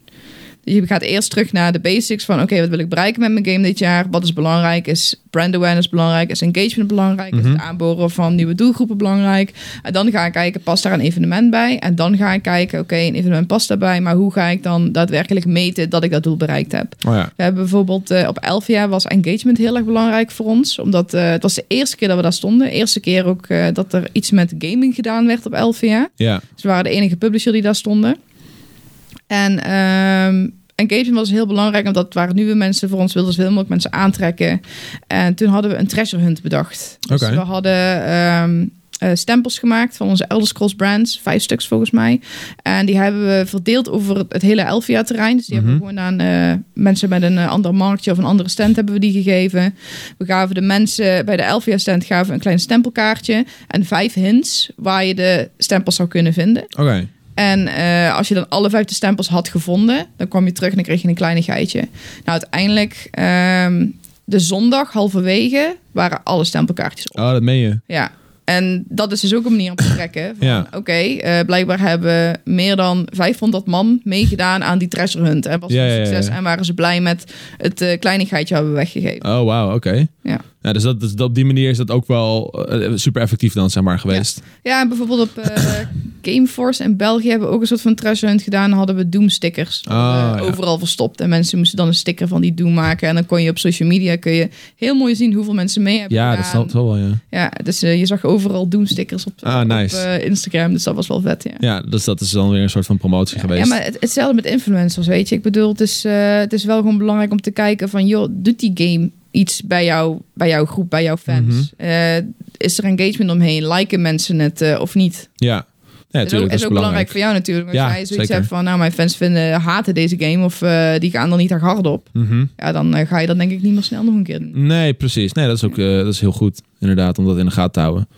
Speaker 2: Dus je gaat eerst terug naar de basics van, oké, wat wil ik bereiken met mijn game dit jaar? Wat is belangrijk? Is brand awareness belangrijk? Is engagement belangrijk? Is
Speaker 1: Mhm.
Speaker 2: het aanboren van nieuwe doelgroepen belangrijk? En dan ga ik kijken, past daar een evenement bij? En dan ga ik kijken, oké, een evenement past daarbij, maar hoe ga ik dan daadwerkelijk meten dat ik dat doel bereikt heb?
Speaker 1: oh ja.
Speaker 2: We hebben bijvoorbeeld eh, op 11 jaar was engagement heel erg belangrijk voor ons. Omdat eh, het was de eerste keer dat we daar stonden. Eerste keer ook eh, dat er iets met gaming gedaan werd op 11 jaar.
Speaker 1: Ja,
Speaker 2: Ze waren de enige publisher die daar stonden. En ehm, engagement was heel belangrijk, omdat het waren nieuwe mensen voor ons. wilden zoveel mogelijk mensen aantrekken. En toen hadden we een treasure hunt bedacht. Dus
Speaker 1: Oké.
Speaker 2: we hadden ehm, eh, stempels gemaakt van onze Elder Scrolls brands. Vijf stuks volgens mij. En die hebben we verdeeld over het, het hele Elvia terrein. Dus die hebben we gewoon aan eh, mensen met een eh, ander marktje of een andere stand hebben we die gegeven. We gaven de mensen bij de Elvia stand gaven we een klein stempelkaartje. En vijf hints waar je de stempels zou kunnen vinden.
Speaker 1: oké.
Speaker 2: En eh, als je dan alle vijf de stempels had gevonden, dan kwam je terug en dan kreeg je een kleinigheidje. Nou, uiteindelijk, ehm, de zondag halverwege waren alle stempelkaartjes op.
Speaker 1: Oh, dat meen je.
Speaker 2: Ja. En dat is dus ook een manier om te trekken. Van,
Speaker 1: Ja.
Speaker 2: Oké, eh, blijkbaar hebben meer dan 500 man meegedaan aan die treasure hunt. En was het
Speaker 1: Ja,
Speaker 2: een
Speaker 1: ja, ja,
Speaker 2: succes
Speaker 1: ja.
Speaker 2: en waren ze blij met het eh, kleinigheidje hebben we weggegeven.
Speaker 1: Oh, wauw, oké.
Speaker 2: Ja.
Speaker 1: Ja, dus dat, dus dat- op die manier is dat ook wel eh, super effectief dan, zeg maar, geweest.
Speaker 2: Ja, en bijvoorbeeld op eh,
Speaker 1: (coughs)
Speaker 2: Gameforce in België hebben we ook een soort van treasure hunt gedaan. Hadden we Doom stickers
Speaker 1: Ah,
Speaker 2: eh,
Speaker 1: ja.
Speaker 2: overal verstopt. En mensen moesten dan een sticker van die Doom maken. En dan kon je op social media kun je heel mooi zien hoeveel mensen mee hebben
Speaker 1: Ja, dat
Speaker 2: gedaan.
Speaker 1: snapt wel, wel, ja.
Speaker 2: Ja, dus eh, je zag overal Doom stickers op,
Speaker 1: Ah, nice.
Speaker 2: op eh, Instagram. Dus dat was wel vet, ja.
Speaker 1: Ja, dus dat is dan weer een soort van promotie geweest.
Speaker 2: Ja, maar het, hetzelfde met influencers, weet je. Ik bedoel, het is, eh, het is wel gewoon belangrijk om te kijken van... joh, doet die game iets bij, jou, bij jouw groep, bij jouw fans?
Speaker 1: Mhm.
Speaker 2: Eh, is er engagement omheen? Liken mensen het eh, of niet?
Speaker 1: Ja, ja
Speaker 2: is ook,
Speaker 1: natuurlijk.
Speaker 2: is ook belangrijk voor jou natuurlijk. Als
Speaker 1: Ja,
Speaker 2: jij zoiets
Speaker 1: zeker.
Speaker 2: hebt van, nou, mijn fans vinden, haten deze game... of eh, die gaan er niet erg hard op.
Speaker 1: Mhm.
Speaker 2: Ja, dan eh, ga je dat denk ik niet meer snel nog een keer doen.
Speaker 1: Nee, precies. Nee, dat is ook eh, dat is heel goed. Inderdaad, om dat in de gaten te houden.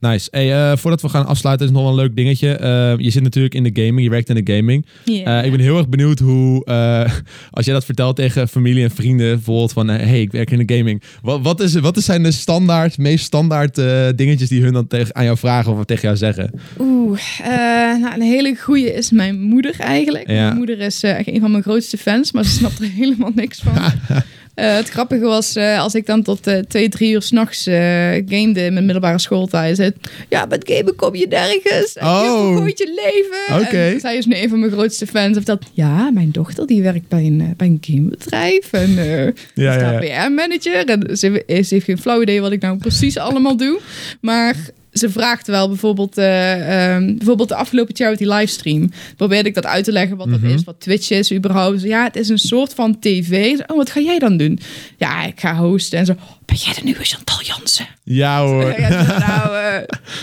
Speaker 1: Nice. Hey, eh, voordat we gaan afsluiten is nog wel een leuk dingetje. Eh, je zit natuurlijk in de gaming, je werkt in de gaming.
Speaker 2: Ja.
Speaker 1: Eh, ik ben heel erg benieuwd hoe, eh, (laughs) als jij dat vertelt tegen familie en vrienden, bijvoorbeeld van, eh, hey, ik werk in de gaming. Wat, wat, is, wat zijn de standaard, meest standaard eh, dingetjes die hun dan tegen, aan jou vragen of tegen jou zeggen?
Speaker 2: Oeh, eh, nou, een hele goeie is mijn moeder eigenlijk.
Speaker 1: Ja.
Speaker 2: Mijn moeder is eh, echt een van mijn grootste fans, maar ze snapt er (laughs) helemaal niks van. Eh, het grappige was, eh, als ik dan tot eh, twee, drie uur s'nachts eh gamede in mijn middelbare schooltijd. zei het, ja, met gamen kom je nergens. En
Speaker 1: Oh.
Speaker 2: Je vergooit je leven.
Speaker 1: Oké.
Speaker 2: En zij is nu een van mijn grootste fans. Of dat, ja, mijn dochter die werkt bij een, eh, bij een gamebedrijf. En eh,
Speaker 1: Ja,
Speaker 2: is
Speaker 1: ja,
Speaker 2: daar
Speaker 1: ja.
Speaker 2: PR-manager. En ze, eh, ze heeft geen flauw idee wat ik nou precies allemaal doe. Maar ze vraagt wel bijvoorbeeld, eh, ehm, bijvoorbeeld de afgelopen charity livestream. Probeerde ik dat uit te leggen wat
Speaker 1: Mhm.
Speaker 2: dat is, wat Twitch is überhaupt. Ze, Ja, het is een soort van tv. Ze, Oh, wat ga jij dan doen? Ja, ik ga hosten. En zo, ben jij de nieuwe Chantal Jansen?
Speaker 1: Ja hoor.
Speaker 2: (laughs) Ja, ik zeg, nou, eh,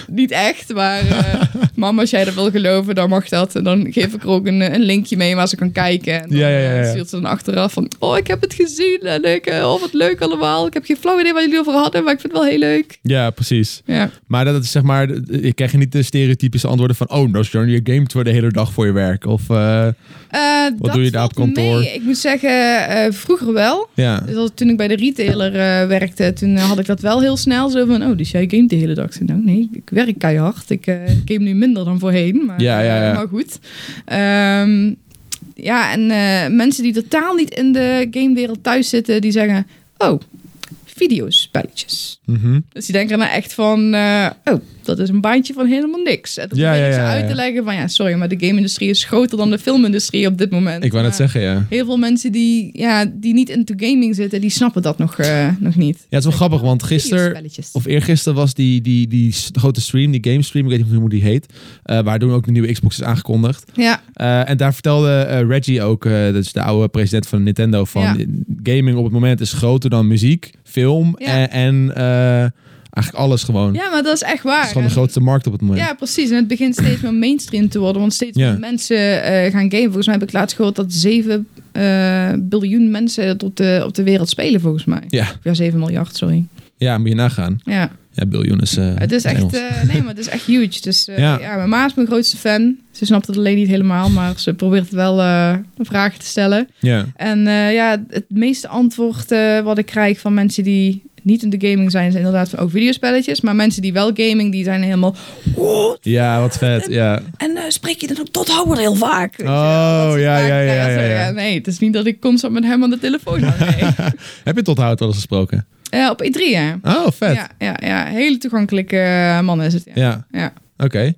Speaker 2: niet echt, maar
Speaker 1: (laughs)
Speaker 2: eh mama, als jij dat wil geloven, dan mag dat. En dan geef ik er ook een, eh, een linkje mee waar ze kan kijken. En dan
Speaker 1: Ja, ja, ja, ja.
Speaker 2: eh, stuurt ze dan achteraf van, oh, ik heb het gezien en ik, eh, oh, wat leuk allemaal. Ik heb geen flauw idee waar jullie over hadden, maar ik vind het wel heel leuk.
Speaker 1: Ja, precies.
Speaker 2: Ja,
Speaker 1: Maar dat is zeg maar, ik krijg je niet de stereotypische antwoorden van, oh, dat is dan je game voor de hele dag voor je werk. Of, eh,
Speaker 2: Eh, dat
Speaker 1: doe je daar
Speaker 2: valt
Speaker 1: op kantoor?
Speaker 2: mee. Ik moet zeggen, eh, vroeger wel.
Speaker 1: ja.
Speaker 2: Dus als- toen ik bij de retailer eh, werkte, toen eh, had ik dat wel heel snel. Zo van, oh, dus jij gamet de hele dag. Ik zei, nou nee, ik werk keihard. Ik eh, game nu minder dan voorheen, maar,
Speaker 1: Ja, ja, ja.
Speaker 2: eh, maar goed. Ehm, ja, en eh, mensen die totaal niet in de gamewereld thuis zitten, die zeggen... Oh, videospelletjes.
Speaker 1: Mhm.
Speaker 2: Dus die denken dan echt van... eh, oh, dat is een baantje van helemaal niks. En dan
Speaker 1: Ja,
Speaker 2: probeer
Speaker 1: ja,
Speaker 2: ik ze
Speaker 1: ja,
Speaker 2: uit te
Speaker 1: ja.
Speaker 2: leggen van... Ja, sorry, maar de game-industrie is groter dan de filmindustrie op dit moment. Eh,
Speaker 1: Ik wou net
Speaker 2: Maar-
Speaker 1: zeggen, ja.
Speaker 2: heel veel mensen die, ja, die niet into gaming zitten, die snappen dat nog, eh, nog niet.
Speaker 1: Ja, het is wel grappig, want gisteren,
Speaker 2: Videospelletjes.
Speaker 1: Of eergisteren was die, die, die s- grote stream, die game stream, ik weet niet hoe die heet. eh, waar toen ook de nieuwe Xbox is aangekondigd.
Speaker 2: Ja,
Speaker 1: Eh, en daar vertelde eh, Reggie ook, eh, dat is de oude president van Nintendo, van
Speaker 2: Ja.
Speaker 1: gaming op het moment is groter dan muziek, film
Speaker 2: Ja.
Speaker 1: en, en, eh, eigenlijk alles gewoon.
Speaker 2: ja, maar dat is echt
Speaker 1: Het is
Speaker 2: waar.
Speaker 1: gewoon de
Speaker 2: En-
Speaker 1: grootste markt op het moment.
Speaker 2: Ja, precies. En het begint steeds meer mainstream te worden, want steeds
Speaker 1: Ja.
Speaker 2: meer mensen eh, gaan gamen. Volgens mij heb ik laatst gehoord dat 7 eh, biljoen mensen het op de, op de wereld spelen, volgens mij.
Speaker 1: Ja.
Speaker 2: Of Ja, 7 miljard, sorry.
Speaker 1: Ja, moet je nagaan.
Speaker 2: Ja,
Speaker 1: Ja, biljoen is... eh,
Speaker 2: het is echt,
Speaker 1: Engels.
Speaker 2: eh, nee, maar het is echt huge. Dus eh,
Speaker 1: Ja.
Speaker 2: ja. mijn ma is mijn grootste fan. Ze snapt het alleen niet helemaal, maar ze probeert het wel eh, vragen te stellen.
Speaker 1: Ja.
Speaker 2: En eh, ja, het meeste antwoord eh, wat ik krijg van mensen die niet in de gaming zijn, zijn inderdaad van ook videospelletjes. Maar mensen die wel gaming, die zijn helemaal. "Oh,
Speaker 1: ja, wat vet.
Speaker 2: (laughs)
Speaker 1: Ja.
Speaker 2: en eh, spreek je dan ook tot Howard heel vaak? Weet je wel,
Speaker 1: Oh,
Speaker 2: dat soort
Speaker 1: ja,
Speaker 2: vragen.
Speaker 1: ja, ja,
Speaker 2: Nou,
Speaker 1: ja,
Speaker 2: sorry,
Speaker 1: ja.
Speaker 2: Nee, het is niet dat ik constant met hem aan de telefoon hang.
Speaker 1: (laughs)
Speaker 2: nee.
Speaker 1: Heb je tot hout wel eens gesproken?
Speaker 2: Eh, op E3, hè?
Speaker 1: Oh, vet. Ja.
Speaker 2: Ja, ja, ja, hele toegankelijke eh, man is het. Ja. Ja.
Speaker 1: Oké.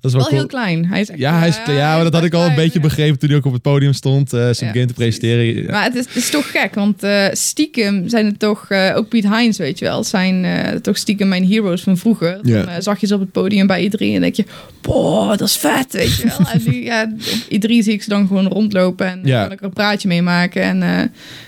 Speaker 1: Dat is wel,
Speaker 2: Wel
Speaker 1: cool.
Speaker 2: heel klein. Hij is echt,
Speaker 1: Ja, hij is, ja, maar dat had
Speaker 2: echt
Speaker 1: ik al een
Speaker 2: klein,
Speaker 1: beetje
Speaker 2: ja.
Speaker 1: begrepen toen hij ook op het podium stond. eh zijn
Speaker 2: Ja,
Speaker 1: game te
Speaker 2: precies.
Speaker 1: presenteren. Ja.
Speaker 2: Maar het is, het is toch gek, want eh, stiekem zijn het toch, eh, ook Piet Heinz, weet je wel, zijn eh, toch stiekem mijn heroes van vroeger.
Speaker 1: Ja.
Speaker 2: Dan eh, zag je ze op het podium bij iedereen en denk je, boah, dat is vet, weet je wel. en nu, ja, iedereen zie ik ze dan gewoon rondlopen en
Speaker 1: Ja.
Speaker 2: kan ik er een praatje mee maken. En eh,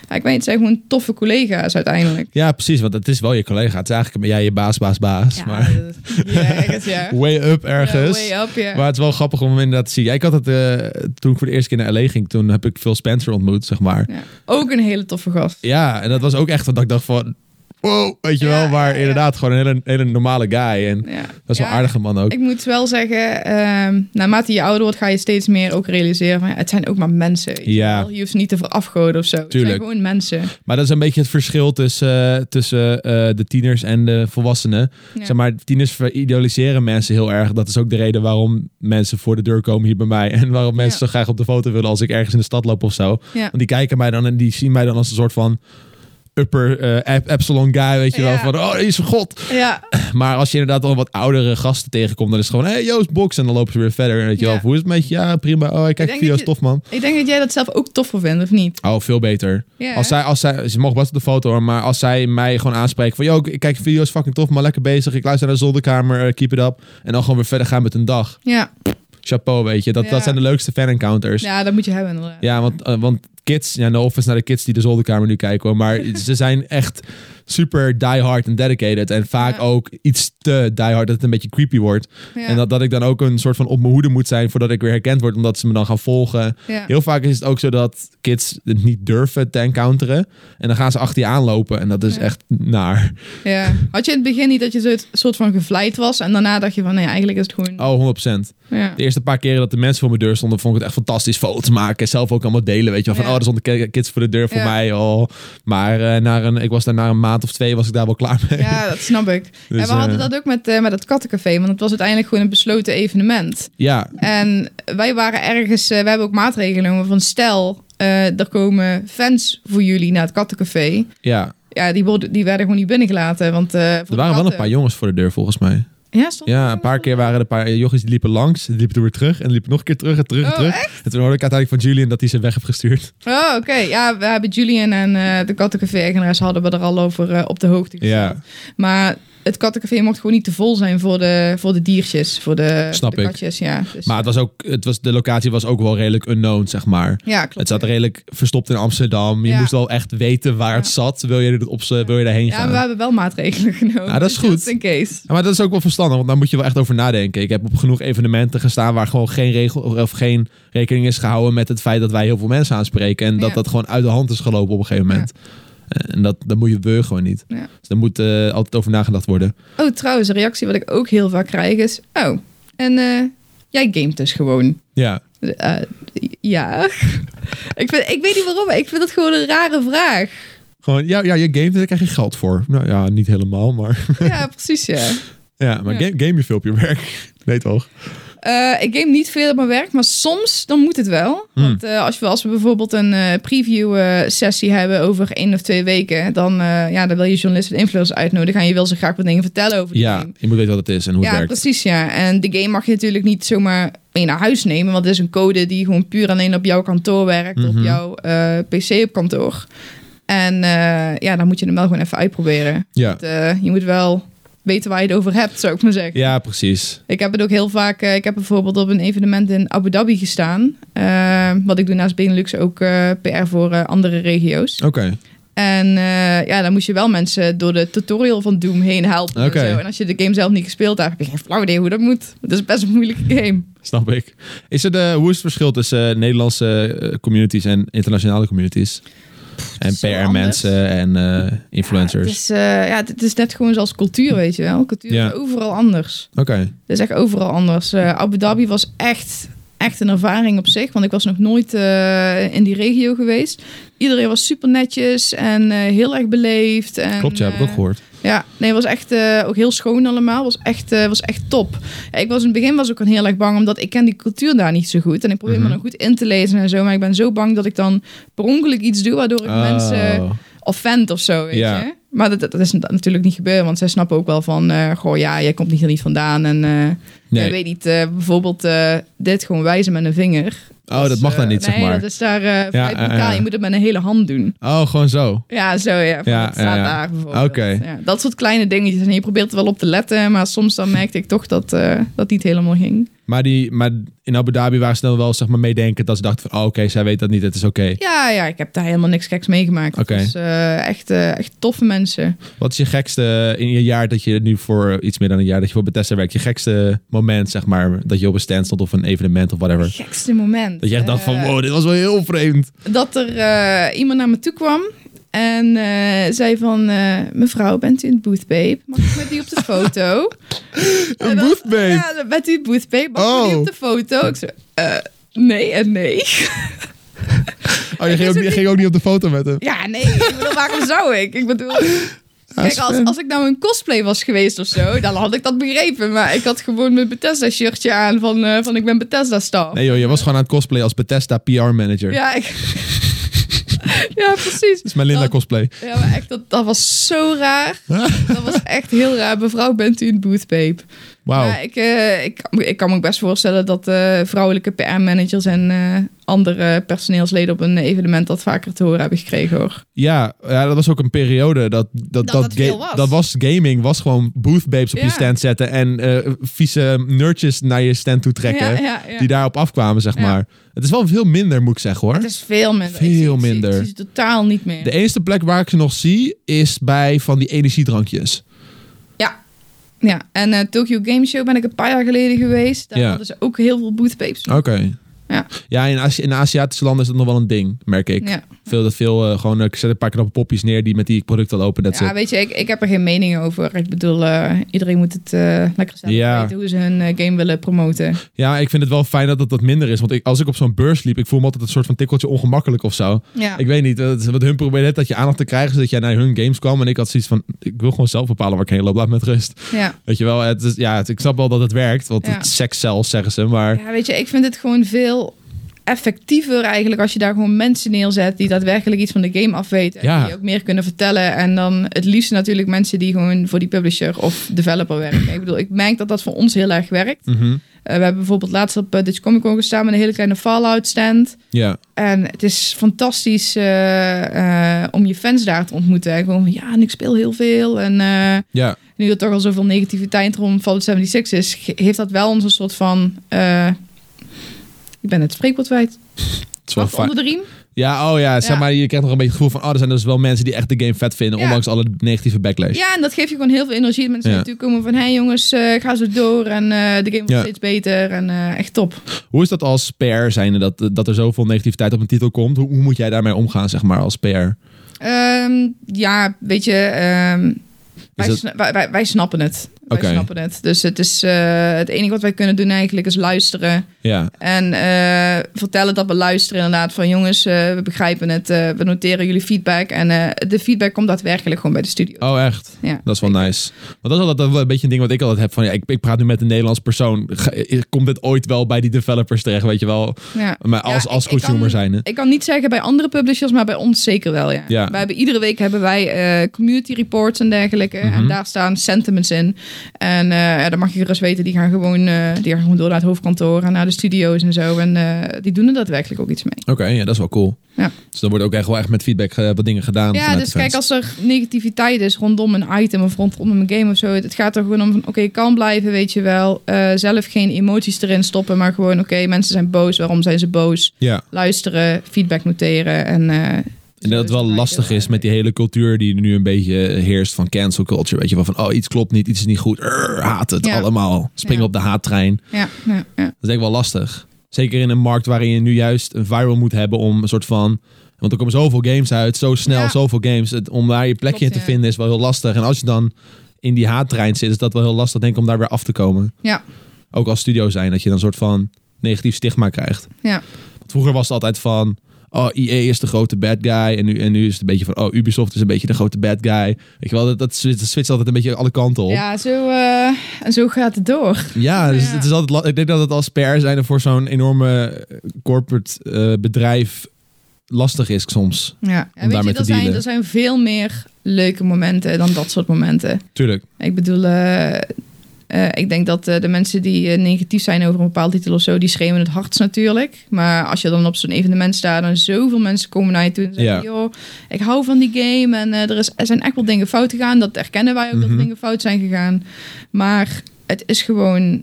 Speaker 2: ja, ik weet, het zijn gewoon toffe collega's uiteindelijk.
Speaker 1: Ja, precies. Want het is wel je collega. Het is eigenlijk jij je baas, baas, baas. maar
Speaker 2: dat- ja, ergens, ja.
Speaker 1: way up (laughs) ergens.
Speaker 2: Ja, way up, ja.
Speaker 1: Maar het is wel grappig om hem inderdaad te zien. Ja, ik had het eh, toen ik voor de eerste keer naar LA ging. Toen heb ik Phil Spencer ontmoet, zeg maar.
Speaker 2: Ja. Ook een hele toffe gast.
Speaker 1: Ja, en dat was ook echt wat ik dacht van... Wow, weet je
Speaker 2: Ja,
Speaker 1: wel. Maar
Speaker 2: ja, ja.
Speaker 1: inderdaad gewoon een hele, hele normale guy. En
Speaker 2: Ja.
Speaker 1: dat is wel
Speaker 2: Ja.
Speaker 1: een aardige man ook.
Speaker 2: Ik moet wel zeggen, ehm, naarmate je ouder wordt, ga je steeds meer ook realiseren van ja, het zijn ook maar mensen. weet je
Speaker 1: Ja.
Speaker 2: wel. Je hoeft ze niet te verafgoden of zo. Het zijn
Speaker 1: Tuurlijk.
Speaker 2: gewoon mensen.
Speaker 1: Maar dat is een beetje het verschil tussen, eh, tussen eh, de tieners en de volwassenen.
Speaker 2: Ja.
Speaker 1: Zeg maar, tieners veridealiseren mensen heel erg. Dat is ook de reden waarom mensen voor de deur komen hier bij mij. En waarom mensen
Speaker 2: Ja.
Speaker 1: zo graag op de foto willen als ik ergens in de stad loop of zo.
Speaker 2: Ja.
Speaker 1: Want die kijken mij dan en die zien mij dan als een soort van upper eh, ep- epsilon guy, weet je wel.
Speaker 2: Ja.
Speaker 1: Van, oh, hij is een god.
Speaker 2: Ja,
Speaker 1: Maar als je inderdaad al wat oudere gasten tegenkomt, dan is het gewoon, hé, hey, Joost Box. En dan lopen ze weer verder, weet je
Speaker 2: Ja.
Speaker 1: wel. Of, Hoe is het met je? Ja, prima. Oh, ik kijk
Speaker 2: denk
Speaker 1: video's,
Speaker 2: dat je-
Speaker 1: tof man.
Speaker 2: ik denk dat jij dat zelf ook toffer vindt, of niet?
Speaker 1: Oh, veel beter.
Speaker 2: Ja,
Speaker 1: Als
Speaker 2: hè?
Speaker 1: zij, als zij, ze mogen best op de foto hoor, maar als zij mij gewoon aanspreken van, yo, ik kijk video's, fucking tof, maar lekker bezig. Ik luister naar de zolderkamer, eh, keep it up. En dan gewoon weer verder gaan met een dag.
Speaker 2: ja.
Speaker 1: Chapeau, weet je. Dat,
Speaker 2: Ja.
Speaker 1: dat zijn de leukste fan encounters. Ja,
Speaker 2: ja, dat moet je hebben inderdaad.
Speaker 1: want, eh, want kids, ja, no offense naar de kids die de zolderkamer nu kijken, hoor,
Speaker 2: (laughs)
Speaker 1: maar ze zijn echt super diehard en dedicated. En vaak
Speaker 2: Ja.
Speaker 1: ook iets te diehard dat het een beetje creepy wordt.
Speaker 2: Ja.
Speaker 1: En dat, dat ik dan ook een soort van op mijn hoede moet zijn voordat ik weer herkend word, omdat ze me dan gaan volgen.
Speaker 2: ja.
Speaker 1: Heel vaak is het ook zo dat kids het niet durven te encounteren. En dan gaan ze achter je aanlopen. En dat is
Speaker 2: Ja.
Speaker 1: echt naar.
Speaker 2: Ja. Had je in het begin niet dat je zo het soort van gevleid was en daarna dacht je van, nee, eigenlijk is het gewoon...
Speaker 1: Oh, 100%.
Speaker 2: ja.
Speaker 1: De eerste paar keren dat de mensen voor mijn deur stonden, vond ik het echt fantastisch. Foto's maken, zelf ook allemaal delen. Weet je wel, van
Speaker 2: Ja.
Speaker 1: oh, er stonden ki- kids voor de deur voor
Speaker 2: Ja.
Speaker 1: mij. Oh. Maar eh, na een, ik was daar na een maand of twee, was ik daar wel klaar mee.
Speaker 2: Ja, dat snap ik.
Speaker 1: (laughs) Dus,
Speaker 2: en we hadden
Speaker 1: eh,
Speaker 2: dat ook met, eh, met het kattencafé, want het was uiteindelijk gewoon een besloten evenement.
Speaker 1: Ja,
Speaker 2: En wij waren ergens, eh, we hebben ook maatregelen genomen van stel, eh, er komen fans voor jullie naar het kattencafé.
Speaker 1: ja.
Speaker 2: Ja, die, worden, die werden gewoon niet binnengelaten, want... eh,
Speaker 1: Er
Speaker 2: voor
Speaker 1: waren wel een
Speaker 2: katten-
Speaker 1: paar jongens voor de deur volgens mij.
Speaker 2: Ja, stond
Speaker 1: Ja, een paar keer waren er een paar jochies die liepen langs. Die liepen toen weer terug en die liepen nog een keer terug en terug en
Speaker 2: Oh,
Speaker 1: terug. En toen hoorde ik uiteindelijk van Julian dat hij ze weg heeft gestuurd.
Speaker 2: Oh, oké. Ja, we hebben Julian en eh, de kattencafé-eigenares hadden we er al over eh, op de hoogte
Speaker 1: Ja.
Speaker 2: gesteld. Maar het kattencafé mocht gewoon niet te vol zijn voor de, voor de diertjes, voor de,
Speaker 1: Snap
Speaker 2: voor de
Speaker 1: ik.
Speaker 2: katjes. Ja, Dus-
Speaker 1: Maar het was ook, het was, de locatie was ook wel redelijk unknown, zeg maar.
Speaker 2: ja klopt.
Speaker 1: Het zat redelijk verstopt in Amsterdam. Je
Speaker 2: Ja.
Speaker 1: moest wel echt weten waar het
Speaker 2: Ja.
Speaker 1: zat. Wil je, er op, ze- wil je daarheen
Speaker 2: Ja,
Speaker 1: gaan?
Speaker 2: maar we hebben wel maatregelen (laughs) genomen.
Speaker 1: Nou, dat is
Speaker 2: Dus
Speaker 1: goed.
Speaker 2: just in case.
Speaker 1: Ja, maar dat is ook wel verstandig, want daar moet je wel echt over nadenken. Ik heb op genoeg evenementen gestaan waar gewoon geen, regel, of geen rekening is gehouden met het feit dat wij heel veel mensen aanspreken. En dat
Speaker 2: Ja.
Speaker 1: dat gewoon uit de hand is gelopen op een gegeven moment. En dat, dat moet je wil je gewoon niet.
Speaker 2: Ja.
Speaker 1: Dus daar moet eh, altijd over nagedacht worden.
Speaker 2: Oh, trouwens, een reactie wat ik ook heel vaak krijg is... Oh, en eh, jij gamet dus gewoon.
Speaker 1: Ja,
Speaker 2: Eh, ja. (laughs) ik, vind, ik weet niet waarom, maar ik vind dat gewoon een rare
Speaker 1: (laughs)
Speaker 2: vraag.
Speaker 1: gewoon, ja, ja je game, daar krijg je geld voor. Nou ja, niet helemaal, maar (laughs)
Speaker 2: Ja, precies, ja.
Speaker 1: ja, maar
Speaker 2: Ja.
Speaker 1: Game, game je veel op je werk. (laughs) Nee toch?
Speaker 2: Eh, ik game niet veel op mijn werk, maar soms dan moet het wel.
Speaker 1: Hmm.
Speaker 2: Want eh, als, we, als we bijvoorbeeld een eh, preview eh, sessie hebben over één of twee weken, dan, eh, ja, dan wil je journalisten en influencers uitnodigen en je wil ze graag wat dingen vertellen over die
Speaker 1: Ja,
Speaker 2: game.
Speaker 1: je moet weten wat het is en hoe
Speaker 2: Ja,
Speaker 1: het werkt.
Speaker 2: precies, ja. En de game mag je natuurlijk niet zomaar mee naar huis nemen, want het is een code die gewoon puur alleen op jouw kantoor werkt,
Speaker 1: Mhm.
Speaker 2: op jouw eh, PC op kantoor. En eh, ja, dan moet je hem wel gewoon even uitproberen.
Speaker 1: Ja.
Speaker 2: Eh, je moet wel weten waar je het over hebt, zou ik maar zeggen.
Speaker 1: ja, precies.
Speaker 2: Ik heb het ook heel vaak. eh, ik heb bijvoorbeeld op een evenement in Abu Dhabi gestaan. Eh, wat ik doe naast Benelux ook eh, PR voor eh, andere regio's.
Speaker 1: Oké.
Speaker 2: En eh, ja, dan moest je wel mensen door de tutorial van Doom heen helpen.
Speaker 1: Oké.
Speaker 2: En, zo. en als je de game zelf niet gespeeld hebt, heb je geen flauw idee hoe dat moet. Het is best een moeilijke game.
Speaker 1: Snap ik. Is er de, hoe is het verschil tussen eh, Nederlandse eh, communities en internationale communities? en
Speaker 2: is zo
Speaker 1: PR-mensen en eh, influencers.
Speaker 2: Ja, het, is, eh, ja, het is net gewoon zoals cultuur, weet je wel. Cultuur
Speaker 1: Ja.
Speaker 2: is overal anders.
Speaker 1: Oké.
Speaker 2: Dat is echt overal anders. Eh, Abu Dhabi was echt, echt een ervaring op zich. Want ik was nog nooit eh, in die regio geweest. Iedereen was super netjes en eh, heel erg beleefd. En,
Speaker 1: Klopt, ja, heb ik ook
Speaker 2: eh,
Speaker 1: gehoord.
Speaker 2: Ja, nee, was echt eh, ook heel schoon allemaal. Was echt, eh, was echt top. Ja, ik was in het begin was ik ook heel erg bang, omdat ik ken die cultuur daar niet zo goed. En ik probeer
Speaker 1: Mhm.
Speaker 2: me dan goed in te lezen en zo. Maar ik ben zo bang dat ik dan per ongeluk iets doe, waardoor ik mensen
Speaker 1: Oh,
Speaker 2: offend of zo, weet
Speaker 1: Ja.
Speaker 2: je. Maar dat, dat is natuurlijk niet gebeurd, want zij snappen ook wel van... eh, goh, ja, jij komt niet hier niet vandaan en... eh,
Speaker 1: nee.
Speaker 2: ik weet niet, eh, bijvoorbeeld eh, dit gewoon wijzen met een vinger.
Speaker 1: oh dat mag
Speaker 2: dan
Speaker 1: daar niet, zeg
Speaker 2: eh, Nee,
Speaker 1: maar.
Speaker 2: dat is daar eh vrij
Speaker 1: ja,
Speaker 2: brutaal.
Speaker 1: ja.
Speaker 2: Je moet het met een hele hand doen.
Speaker 1: Oh, gewoon zo.
Speaker 2: Ja, zo ja. Van,
Speaker 1: Ja,
Speaker 2: het staat
Speaker 1: ja, ja.
Speaker 2: daar bijvoorbeeld.
Speaker 1: Oké.
Speaker 2: Ja, dat soort kleine dingetjes. En je probeert er wel op te letten, maar soms dan merkte ik toch dat eh, dat niet helemaal ging.
Speaker 1: Maar, die, maar in Abu Dhabi waren ze dan wel zeg maar, meedenkend dat ze dachten van... Oh, oké, zij weet dat niet, het is oké.
Speaker 2: Ja, ja, ik heb daar helemaal niks geks meegemaakt.
Speaker 1: Oké.
Speaker 2: Het was eh, echt, eh, echt toffe mensen.
Speaker 1: Wat is je gekste, eh, in je jaar dat je nu voor eh, iets meer dan een jaar dat je voor Bethesda werkt... je gekste moment, zeg maar, dat je op een stand stond of een evenement of whatever...
Speaker 2: Gekste moment.
Speaker 1: Dat je echt dacht van,
Speaker 2: Eh,
Speaker 1: wow, dit was wel heel vreemd.
Speaker 2: dat er eh, iemand naar me toe kwam en eh, zei van... eh, mevrouw, bent u in het booth, babe? Mag ik met u op de
Speaker 1: (laughs)
Speaker 2: foto? Eh,
Speaker 1: Een booth babe?
Speaker 2: Ja, dan bent u in het booth, babe? Mag ik
Speaker 1: Oh.
Speaker 2: met u op de foto? Ik zei, eh, nee en nee.
Speaker 1: Oh,
Speaker 2: (laughs)
Speaker 1: je ging ook,
Speaker 2: ook
Speaker 1: niet-
Speaker 2: niet-
Speaker 1: ging ook niet op de foto met hem.
Speaker 2: Ja, nee. Ik bedoel, waarom zou ik? Ik
Speaker 1: (laughs)
Speaker 2: bedoel... Kijk, als, als ik nou een cosplay was geweest of zo, dan had ik dat begrepen. Maar ik had gewoon mijn Bethesda-shirtje aan van, eh, van ik ben Bethesda-staf.
Speaker 1: Nee joh, je was gewoon aan het cosplay als Bethesda PR manager.
Speaker 2: ja, ik... (laughs) ja, precies.
Speaker 1: Dat is mijn Linda
Speaker 2: Dat-
Speaker 1: cosplay. (laughs)
Speaker 2: Ja, maar echt, dat, dat was zo raar. Dat was echt heel raar. Mevrouw, bent u een booth, babe?
Speaker 1: Wauw.
Speaker 2: Maar ik, eh, ik, kan me- ik kan me ook best voorstellen dat eh, vrouwelijke PR-managers en eh, andere personeelsleden op een evenement dat vaker te horen hebben gekregen hoor.
Speaker 1: Ja, ja, dat was ook een periode dat dat, dat,
Speaker 3: dat
Speaker 1: ga-
Speaker 3: veel was.
Speaker 1: dat was gaming, was gewoon booth babes op je
Speaker 2: Ja.
Speaker 1: stand zetten en eh vieze nerdjes naar je stand toe trekken.
Speaker 2: Ja, ja, ja.
Speaker 1: Die daarop afkwamen, zeg
Speaker 2: Ja.
Speaker 1: maar. Het is wel veel minder, moet ik zeggen hoor.
Speaker 2: Het is veel minder.
Speaker 1: Veel
Speaker 2: Ik zie- ik zie-
Speaker 1: minder.
Speaker 2: Ik zie, ze totaal niet meer.
Speaker 1: De enige plek waar ik ze nog zie is bij van die energiedrankjes.
Speaker 2: Ja.
Speaker 1: e-
Speaker 2: Ja, en eh, Tokyo Game Show ben ik een paar jaar geleden geweest. Daar
Speaker 1: Ja. Oh,
Speaker 2: hadden ze ook heel veel boothpapes.
Speaker 1: Oké.
Speaker 2: Ja.
Speaker 1: Ja, in, Azi- in Aziatische landen is dat nog wel een ding, merk ik.
Speaker 2: Ja.
Speaker 1: Veel dat veel eh, gewoon, eh, ik zet een paar knappe poppies neer die met die producten lopen. Dat
Speaker 2: ja, weet je, ik, ik heb er geen mening over. Ik bedoel, eh, iedereen moet het eh, lekker zelf
Speaker 1: Ja.
Speaker 2: weten hoe ze hun eh, game willen promoten.
Speaker 1: ja, ik vind het wel fijn dat dat, dat minder is. Want ik, als ik op zo'n beurs liep, ik voel me altijd een soort van tikkeltje ongemakkelijk of zo.
Speaker 2: Ja.
Speaker 1: Ik weet niet, dat is wat hun probeerde dat je aandacht te krijgen, zodat jij naar hun games kwam. En ik had zoiets van, ik wil gewoon zelf bepalen waar ik heen loop, laat me met rust.
Speaker 2: Ja.
Speaker 1: Weet je wel, het is, ja, het- ik snap wel dat het werkt, want
Speaker 2: Ja.
Speaker 1: het seks zelfs zeggen ze. Maar
Speaker 2: ja, weet je, ik vind het gewoon veel effectiever eigenlijk als je daar gewoon mensen neerzet die daadwerkelijk iets van de game afweten.
Speaker 1: Ja.
Speaker 2: En die ook meer kunnen vertellen. En dan het liefst natuurlijk mensen die gewoon voor die publisher of developer werken. ik bedoel, ik merk dat dat voor ons heel erg werkt.
Speaker 1: mhm,
Speaker 2: Eh, we hebben bijvoorbeeld laatst op uh, Dutch Comic Con gestaan met een hele kleine Fallout stand.
Speaker 1: ja,
Speaker 2: En het is fantastisch eh, eh, om je fans daar te ontmoeten. En gewoon, van, ja, en ik speel heel veel. En eh,
Speaker 1: ja.
Speaker 2: nu er toch al zoveel negativiteit rond Fallout 76 is, ge- heeft dat wel ons een soort van... eh, ik ben het spreekwoord kwijt.
Speaker 1: Het is wel
Speaker 2: Wat
Speaker 1: fijn.
Speaker 2: onder de riem?
Speaker 1: Ja, oh ja, zeg
Speaker 2: Ja.
Speaker 1: maar, je krijgt nog een beetje het gevoel van, oh, er zijn dus wel mensen die echt de game vet vinden,
Speaker 2: Ja.
Speaker 1: ondanks alle negatieve backlash.
Speaker 2: Ja, en dat geeft je gewoon heel veel energie. Mensen
Speaker 1: Ja.
Speaker 2: natuurlijk komen van, hé hey, jongens, eh, ga zo door. En eh, de game wordt
Speaker 1: Ja.
Speaker 2: steeds beter. En eh, echt top.
Speaker 1: Hoe is dat als PR zijnde, dat, dat er zoveel negativiteit op een titel komt? Hoe, hoe moet jij daarmee omgaan, zeg maar, als PR?
Speaker 2: Ehm, ja, weet je, ehm, wij,
Speaker 1: het-
Speaker 2: sna- wij, wij, wij snappen het. Wij
Speaker 1: Oké.
Speaker 2: snappen het. Dus het, is, eh, het enige wat wij kunnen doen eigenlijk is luisteren.
Speaker 1: Ja,
Speaker 2: En eh, vertellen dat we luisteren inderdaad. Van jongens, eh, we begrijpen het. eh, we noteren jullie feedback. En eh, de feedback komt daadwerkelijk gewoon bij de studio.
Speaker 1: oh echt?
Speaker 2: Ja.
Speaker 1: Dat is wel nice. Want dat is altijd wel een beetje een ding wat ik altijd heb. Van, ja, ik, ik praat nu met een Nederlands persoon. Ga- Komt dit ooit wel bij die developers terecht, weet je wel?
Speaker 2: Ja.
Speaker 1: Maar als,
Speaker 2: Ja,
Speaker 1: als
Speaker 2: ik- ik
Speaker 1: consumer
Speaker 2: kan-
Speaker 1: zijnde.
Speaker 2: Ik kan niet zeggen bij andere publishers, maar bij ons zeker wel, ja.
Speaker 1: Ja.
Speaker 2: Wij hebben, iedere week hebben wij eh, community reports en dergelijke.
Speaker 1: Mhm.
Speaker 2: En daar staan sentiments in. En eh ja, dan mag je gerust weten, die gaan, gewoon, eh, die gaan gewoon door naar het hoofdkantoor en naar de studio's en zo. En eh, die doen er daadwerkelijk ook iets mee.
Speaker 1: Oké, ja, dat is wel cool.
Speaker 2: Ja.
Speaker 1: Dus dan wordt ook echt wel echt met feedback eh, wat dingen gedaan.
Speaker 2: Ja,
Speaker 1: vanuit
Speaker 2: dus
Speaker 1: de fans.
Speaker 2: kijk, als er negativiteit is rondom een item of rondom een game of zo. Het het gaat er gewoon om van, oké, kalm blijven, weet je wel. Eh, zelf geen emoties erin stoppen, maar gewoon, oké, mensen zijn boos. Waarom zijn ze boos?
Speaker 1: Ja,
Speaker 2: Luisteren, feedback noteren en... eh,
Speaker 1: en dat het wel
Speaker 2: zo
Speaker 1: lastig
Speaker 2: heel
Speaker 1: is met
Speaker 2: erg.
Speaker 1: die hele cultuur die nu een beetje heerst van cancel culture. Weet je wel, van oh, iets klopt niet, iets is niet goed. Urgh, haat het
Speaker 2: Ja.
Speaker 1: allemaal. Spring
Speaker 2: Ja.
Speaker 1: op de haattrein.
Speaker 2: Ja, ja, ja.
Speaker 1: Dat is denk ik wel lastig. Zeker in een markt waarin je nu juist een viral moet hebben om een soort van... Want er komen zoveel games uit, zo snel,
Speaker 2: Ja.
Speaker 1: zoveel games. Het, om daar je plekje
Speaker 2: Klopt,
Speaker 1: in te
Speaker 2: ja.
Speaker 1: vinden is wel heel lastig. En als je dan in die haattrein zit, is dat wel heel lastig denk ik om daar weer af te komen.
Speaker 2: Ja.
Speaker 1: Ook als studio zijn, dat je dan een soort van negatief stigma krijgt.
Speaker 2: Ja.
Speaker 1: Want vroeger was het altijd van... Oh, EA is de grote bad guy. En nu, en nu is het een beetje van... Oh, Ubisoft is een beetje de grote bad guy. Weet je wel, dat, dat, switcht- dat switcht altijd een beetje alle kanten op.
Speaker 2: Ja, zo, eh, en zo gaat het door.
Speaker 1: Ja, dus
Speaker 2: Ja.
Speaker 1: het is altijd. la- Ik denk dat het als PR zijnde voor zo'n enorme eh, corporate eh, bedrijf lastig is soms.
Speaker 2: Ja. En weet
Speaker 1: daarmee
Speaker 2: je,
Speaker 1: te
Speaker 2: er zijn,
Speaker 1: dealen.
Speaker 2: er zijn veel meer leuke momenten dan dat soort momenten.
Speaker 1: Tuurlijk.
Speaker 2: Ik bedoel, eh, eh, ik denk dat eh, de mensen die eh, negatief zijn over een bepaald titel of zo, die schreeuwen het hardst natuurlijk. Maar als je dan op zo'n evenement staat en zoveel mensen komen naar je toe en zeggen,
Speaker 1: Ja.
Speaker 2: joh, ik hou van die game en eh, er, is, er zijn echt wel dingen fout gegaan. Dat erkennen wij ook, dat
Speaker 1: Mhm.
Speaker 2: er dingen fout zijn gegaan. Maar het is gewoon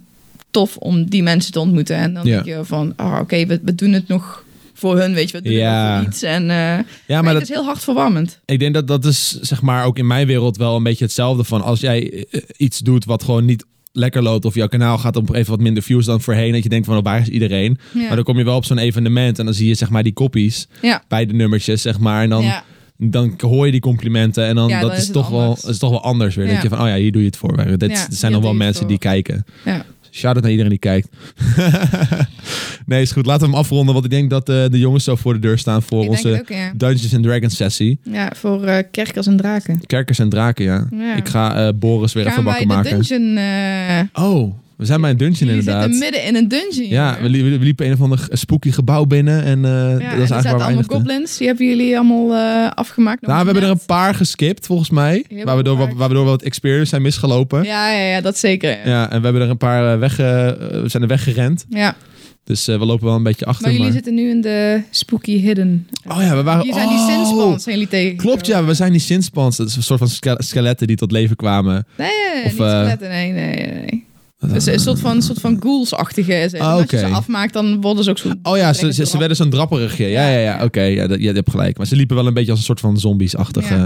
Speaker 2: tof om die mensen te ontmoeten. En dan
Speaker 1: Ja.
Speaker 2: denk je van, oh, oké, we, we doen het nog voor hun, weet je, we doen
Speaker 1: Ja.
Speaker 2: het nog voor iets. En, eh,
Speaker 1: Ja,
Speaker 2: maar
Speaker 1: maar
Speaker 2: het
Speaker 1: dat,
Speaker 2: is heel hartverwarmend.
Speaker 1: ik denk dat dat is zeg maar ook in mijn wereld wel een beetje hetzelfde van als jij eh, iets doet wat gewoon niet lekker loopt of jouw kanaal gaat op even wat minder views dan voorheen dat je denkt van oh, waar is iedereen
Speaker 2: Ja.
Speaker 1: maar dan kom je wel op zo'n evenement en dan zie je zeg maar die kopies
Speaker 2: Ja.
Speaker 1: bij de nummertjes zeg maar en dan,
Speaker 2: ja.
Speaker 1: dan hoor je die complimenten en dan
Speaker 2: Ja,
Speaker 1: dat
Speaker 2: dan
Speaker 1: is,
Speaker 2: is het
Speaker 1: toch wel
Speaker 2: anders.
Speaker 1: dat is toch wel anders weer
Speaker 2: Ja.
Speaker 1: denk je van oh ja hier doe je het voor dit
Speaker 2: Ja,
Speaker 1: er
Speaker 2: hier
Speaker 1: zijn nog wel
Speaker 2: doe je het
Speaker 1: mensen die kijken
Speaker 2: ja.
Speaker 1: Shout-out naar iedereen die kijkt. (laughs) nee, is goed. Laten we hem afronden. Want ik denk dat eh, de jongens zo voor de deur staan voor
Speaker 2: Ik denk het
Speaker 1: onze
Speaker 2: ook, ja.
Speaker 1: Dungeons and Dragons sessie.
Speaker 2: Ja, voor eh, kerkers en draken.
Speaker 1: Kerkers en draken, ja.
Speaker 2: Ja.
Speaker 1: Ik ga eh, Boris weer
Speaker 2: Gaan
Speaker 1: even
Speaker 2: wij
Speaker 1: wakker
Speaker 2: de
Speaker 1: maken.
Speaker 2: dungeon... eh,
Speaker 1: Oh, we We zijn bij een dungeon
Speaker 2: Jullie
Speaker 1: inderdaad.
Speaker 2: zitten midden in een dungeon.
Speaker 1: Ja, we, li- we liepen een of ander spooky gebouw binnen en eh,
Speaker 2: Ja,
Speaker 1: dat
Speaker 2: en
Speaker 1: is
Speaker 2: er
Speaker 1: eigenlijk waar
Speaker 2: zaten
Speaker 1: we
Speaker 2: allemaal
Speaker 1: eindigden.
Speaker 2: goblins. Die hebben jullie allemaal eh, afgemaakt.
Speaker 1: Nou, we hebben er een paar geskipt volgens mij,
Speaker 2: Heel
Speaker 1: waar we, door,
Speaker 2: veel
Speaker 1: wa-
Speaker 2: paar.
Speaker 1: waar we door wat experience zijn misgelopen. Ja,
Speaker 2: Ja, ja, ja, dat zeker. Ja.
Speaker 1: en we hebben er een paar eh, weg, eh, we zijn er weggerend,
Speaker 2: Ja.
Speaker 1: dus eh, we lopen wel een beetje achter.
Speaker 2: Maar jullie zitten nu in de spooky hidden.
Speaker 1: Oh ja, we waren...
Speaker 2: Hier zijn die
Speaker 1: oh,
Speaker 2: sinspans zijn jullie tegen.
Speaker 1: Klopt, ja, we zijn die sinspans. Dat is een soort van ske- skeletten die tot leven kwamen.
Speaker 2: Nee, nee, nee,
Speaker 1: Of,
Speaker 2: niet
Speaker 1: eh,
Speaker 2: skeletten. Nee, nee, nee, nee. Dus een soort van, soort van ghouls-achtige. is het.
Speaker 1: Ah,
Speaker 2: En Als je
Speaker 1: oké.
Speaker 2: ze afmaakt, dan worden ze ook zo...
Speaker 1: Oh ja, ze, ze, ze werden zo'n drapperigje. Ja, ja, ja, oké, ja, dat- ja, je hebt gelijk. Maar ze liepen wel een beetje als een soort van zombies-achtige...
Speaker 2: Ja.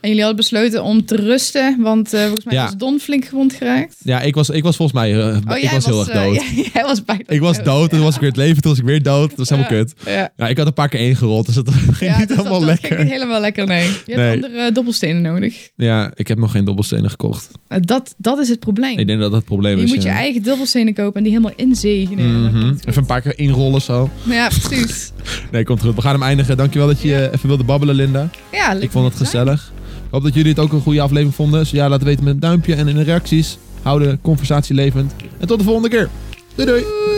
Speaker 2: En jullie hadden besloten om te rusten, want eh, volgens mij
Speaker 1: Ja.
Speaker 2: was Don flink gewond geraakt.
Speaker 1: Ja, ik was, ik was volgens mij eh,
Speaker 2: Oh,
Speaker 1: ik was, heel erg
Speaker 2: eh,
Speaker 1: dood.
Speaker 2: (laughs) jij- jij was bijna
Speaker 1: Ik was dood, toen was ik weer het leven, toen was ik weer dood. Dat was helemaal
Speaker 2: Ja.
Speaker 1: kut.
Speaker 2: Ja.
Speaker 1: Ja, ik had een paar keer ingerold, dus dat (laughs) ging
Speaker 2: Ja,
Speaker 1: niet
Speaker 2: dus dat-
Speaker 1: helemaal
Speaker 2: dat
Speaker 1: lekker.
Speaker 2: ging niet helemaal lekker, nee. Je
Speaker 1: Nee.
Speaker 2: hebt andere eh, dobbelstenen nodig.
Speaker 1: Ja, ik heb nog geen dobbelstenen gekocht.
Speaker 2: Eh, Dat, dat is het probleem.
Speaker 1: Ik denk dat dat het probleem
Speaker 2: je
Speaker 1: is.
Speaker 2: moet je
Speaker 1: ja.
Speaker 2: eigen dobbelstenen kopen en die helemaal inzegenen.
Speaker 1: Mhm. Even een paar keer inrollen zo.
Speaker 2: Ja, precies.
Speaker 1: Nee, komt goed. We gaan hem eindigen. Dankjewel dat je eh, even wilde babbelen, Linda.
Speaker 2: Ja, leuk
Speaker 1: Ik vond het
Speaker 2: om te zijn.
Speaker 1: gezellig. Ik hoop dat jullie het ook een goede aflevering vonden. Zo ja, laat het weten met een duimpje en in de reacties. Hou de conversatie levend. En tot de volgende keer. Doei doei.
Speaker 2: Doei.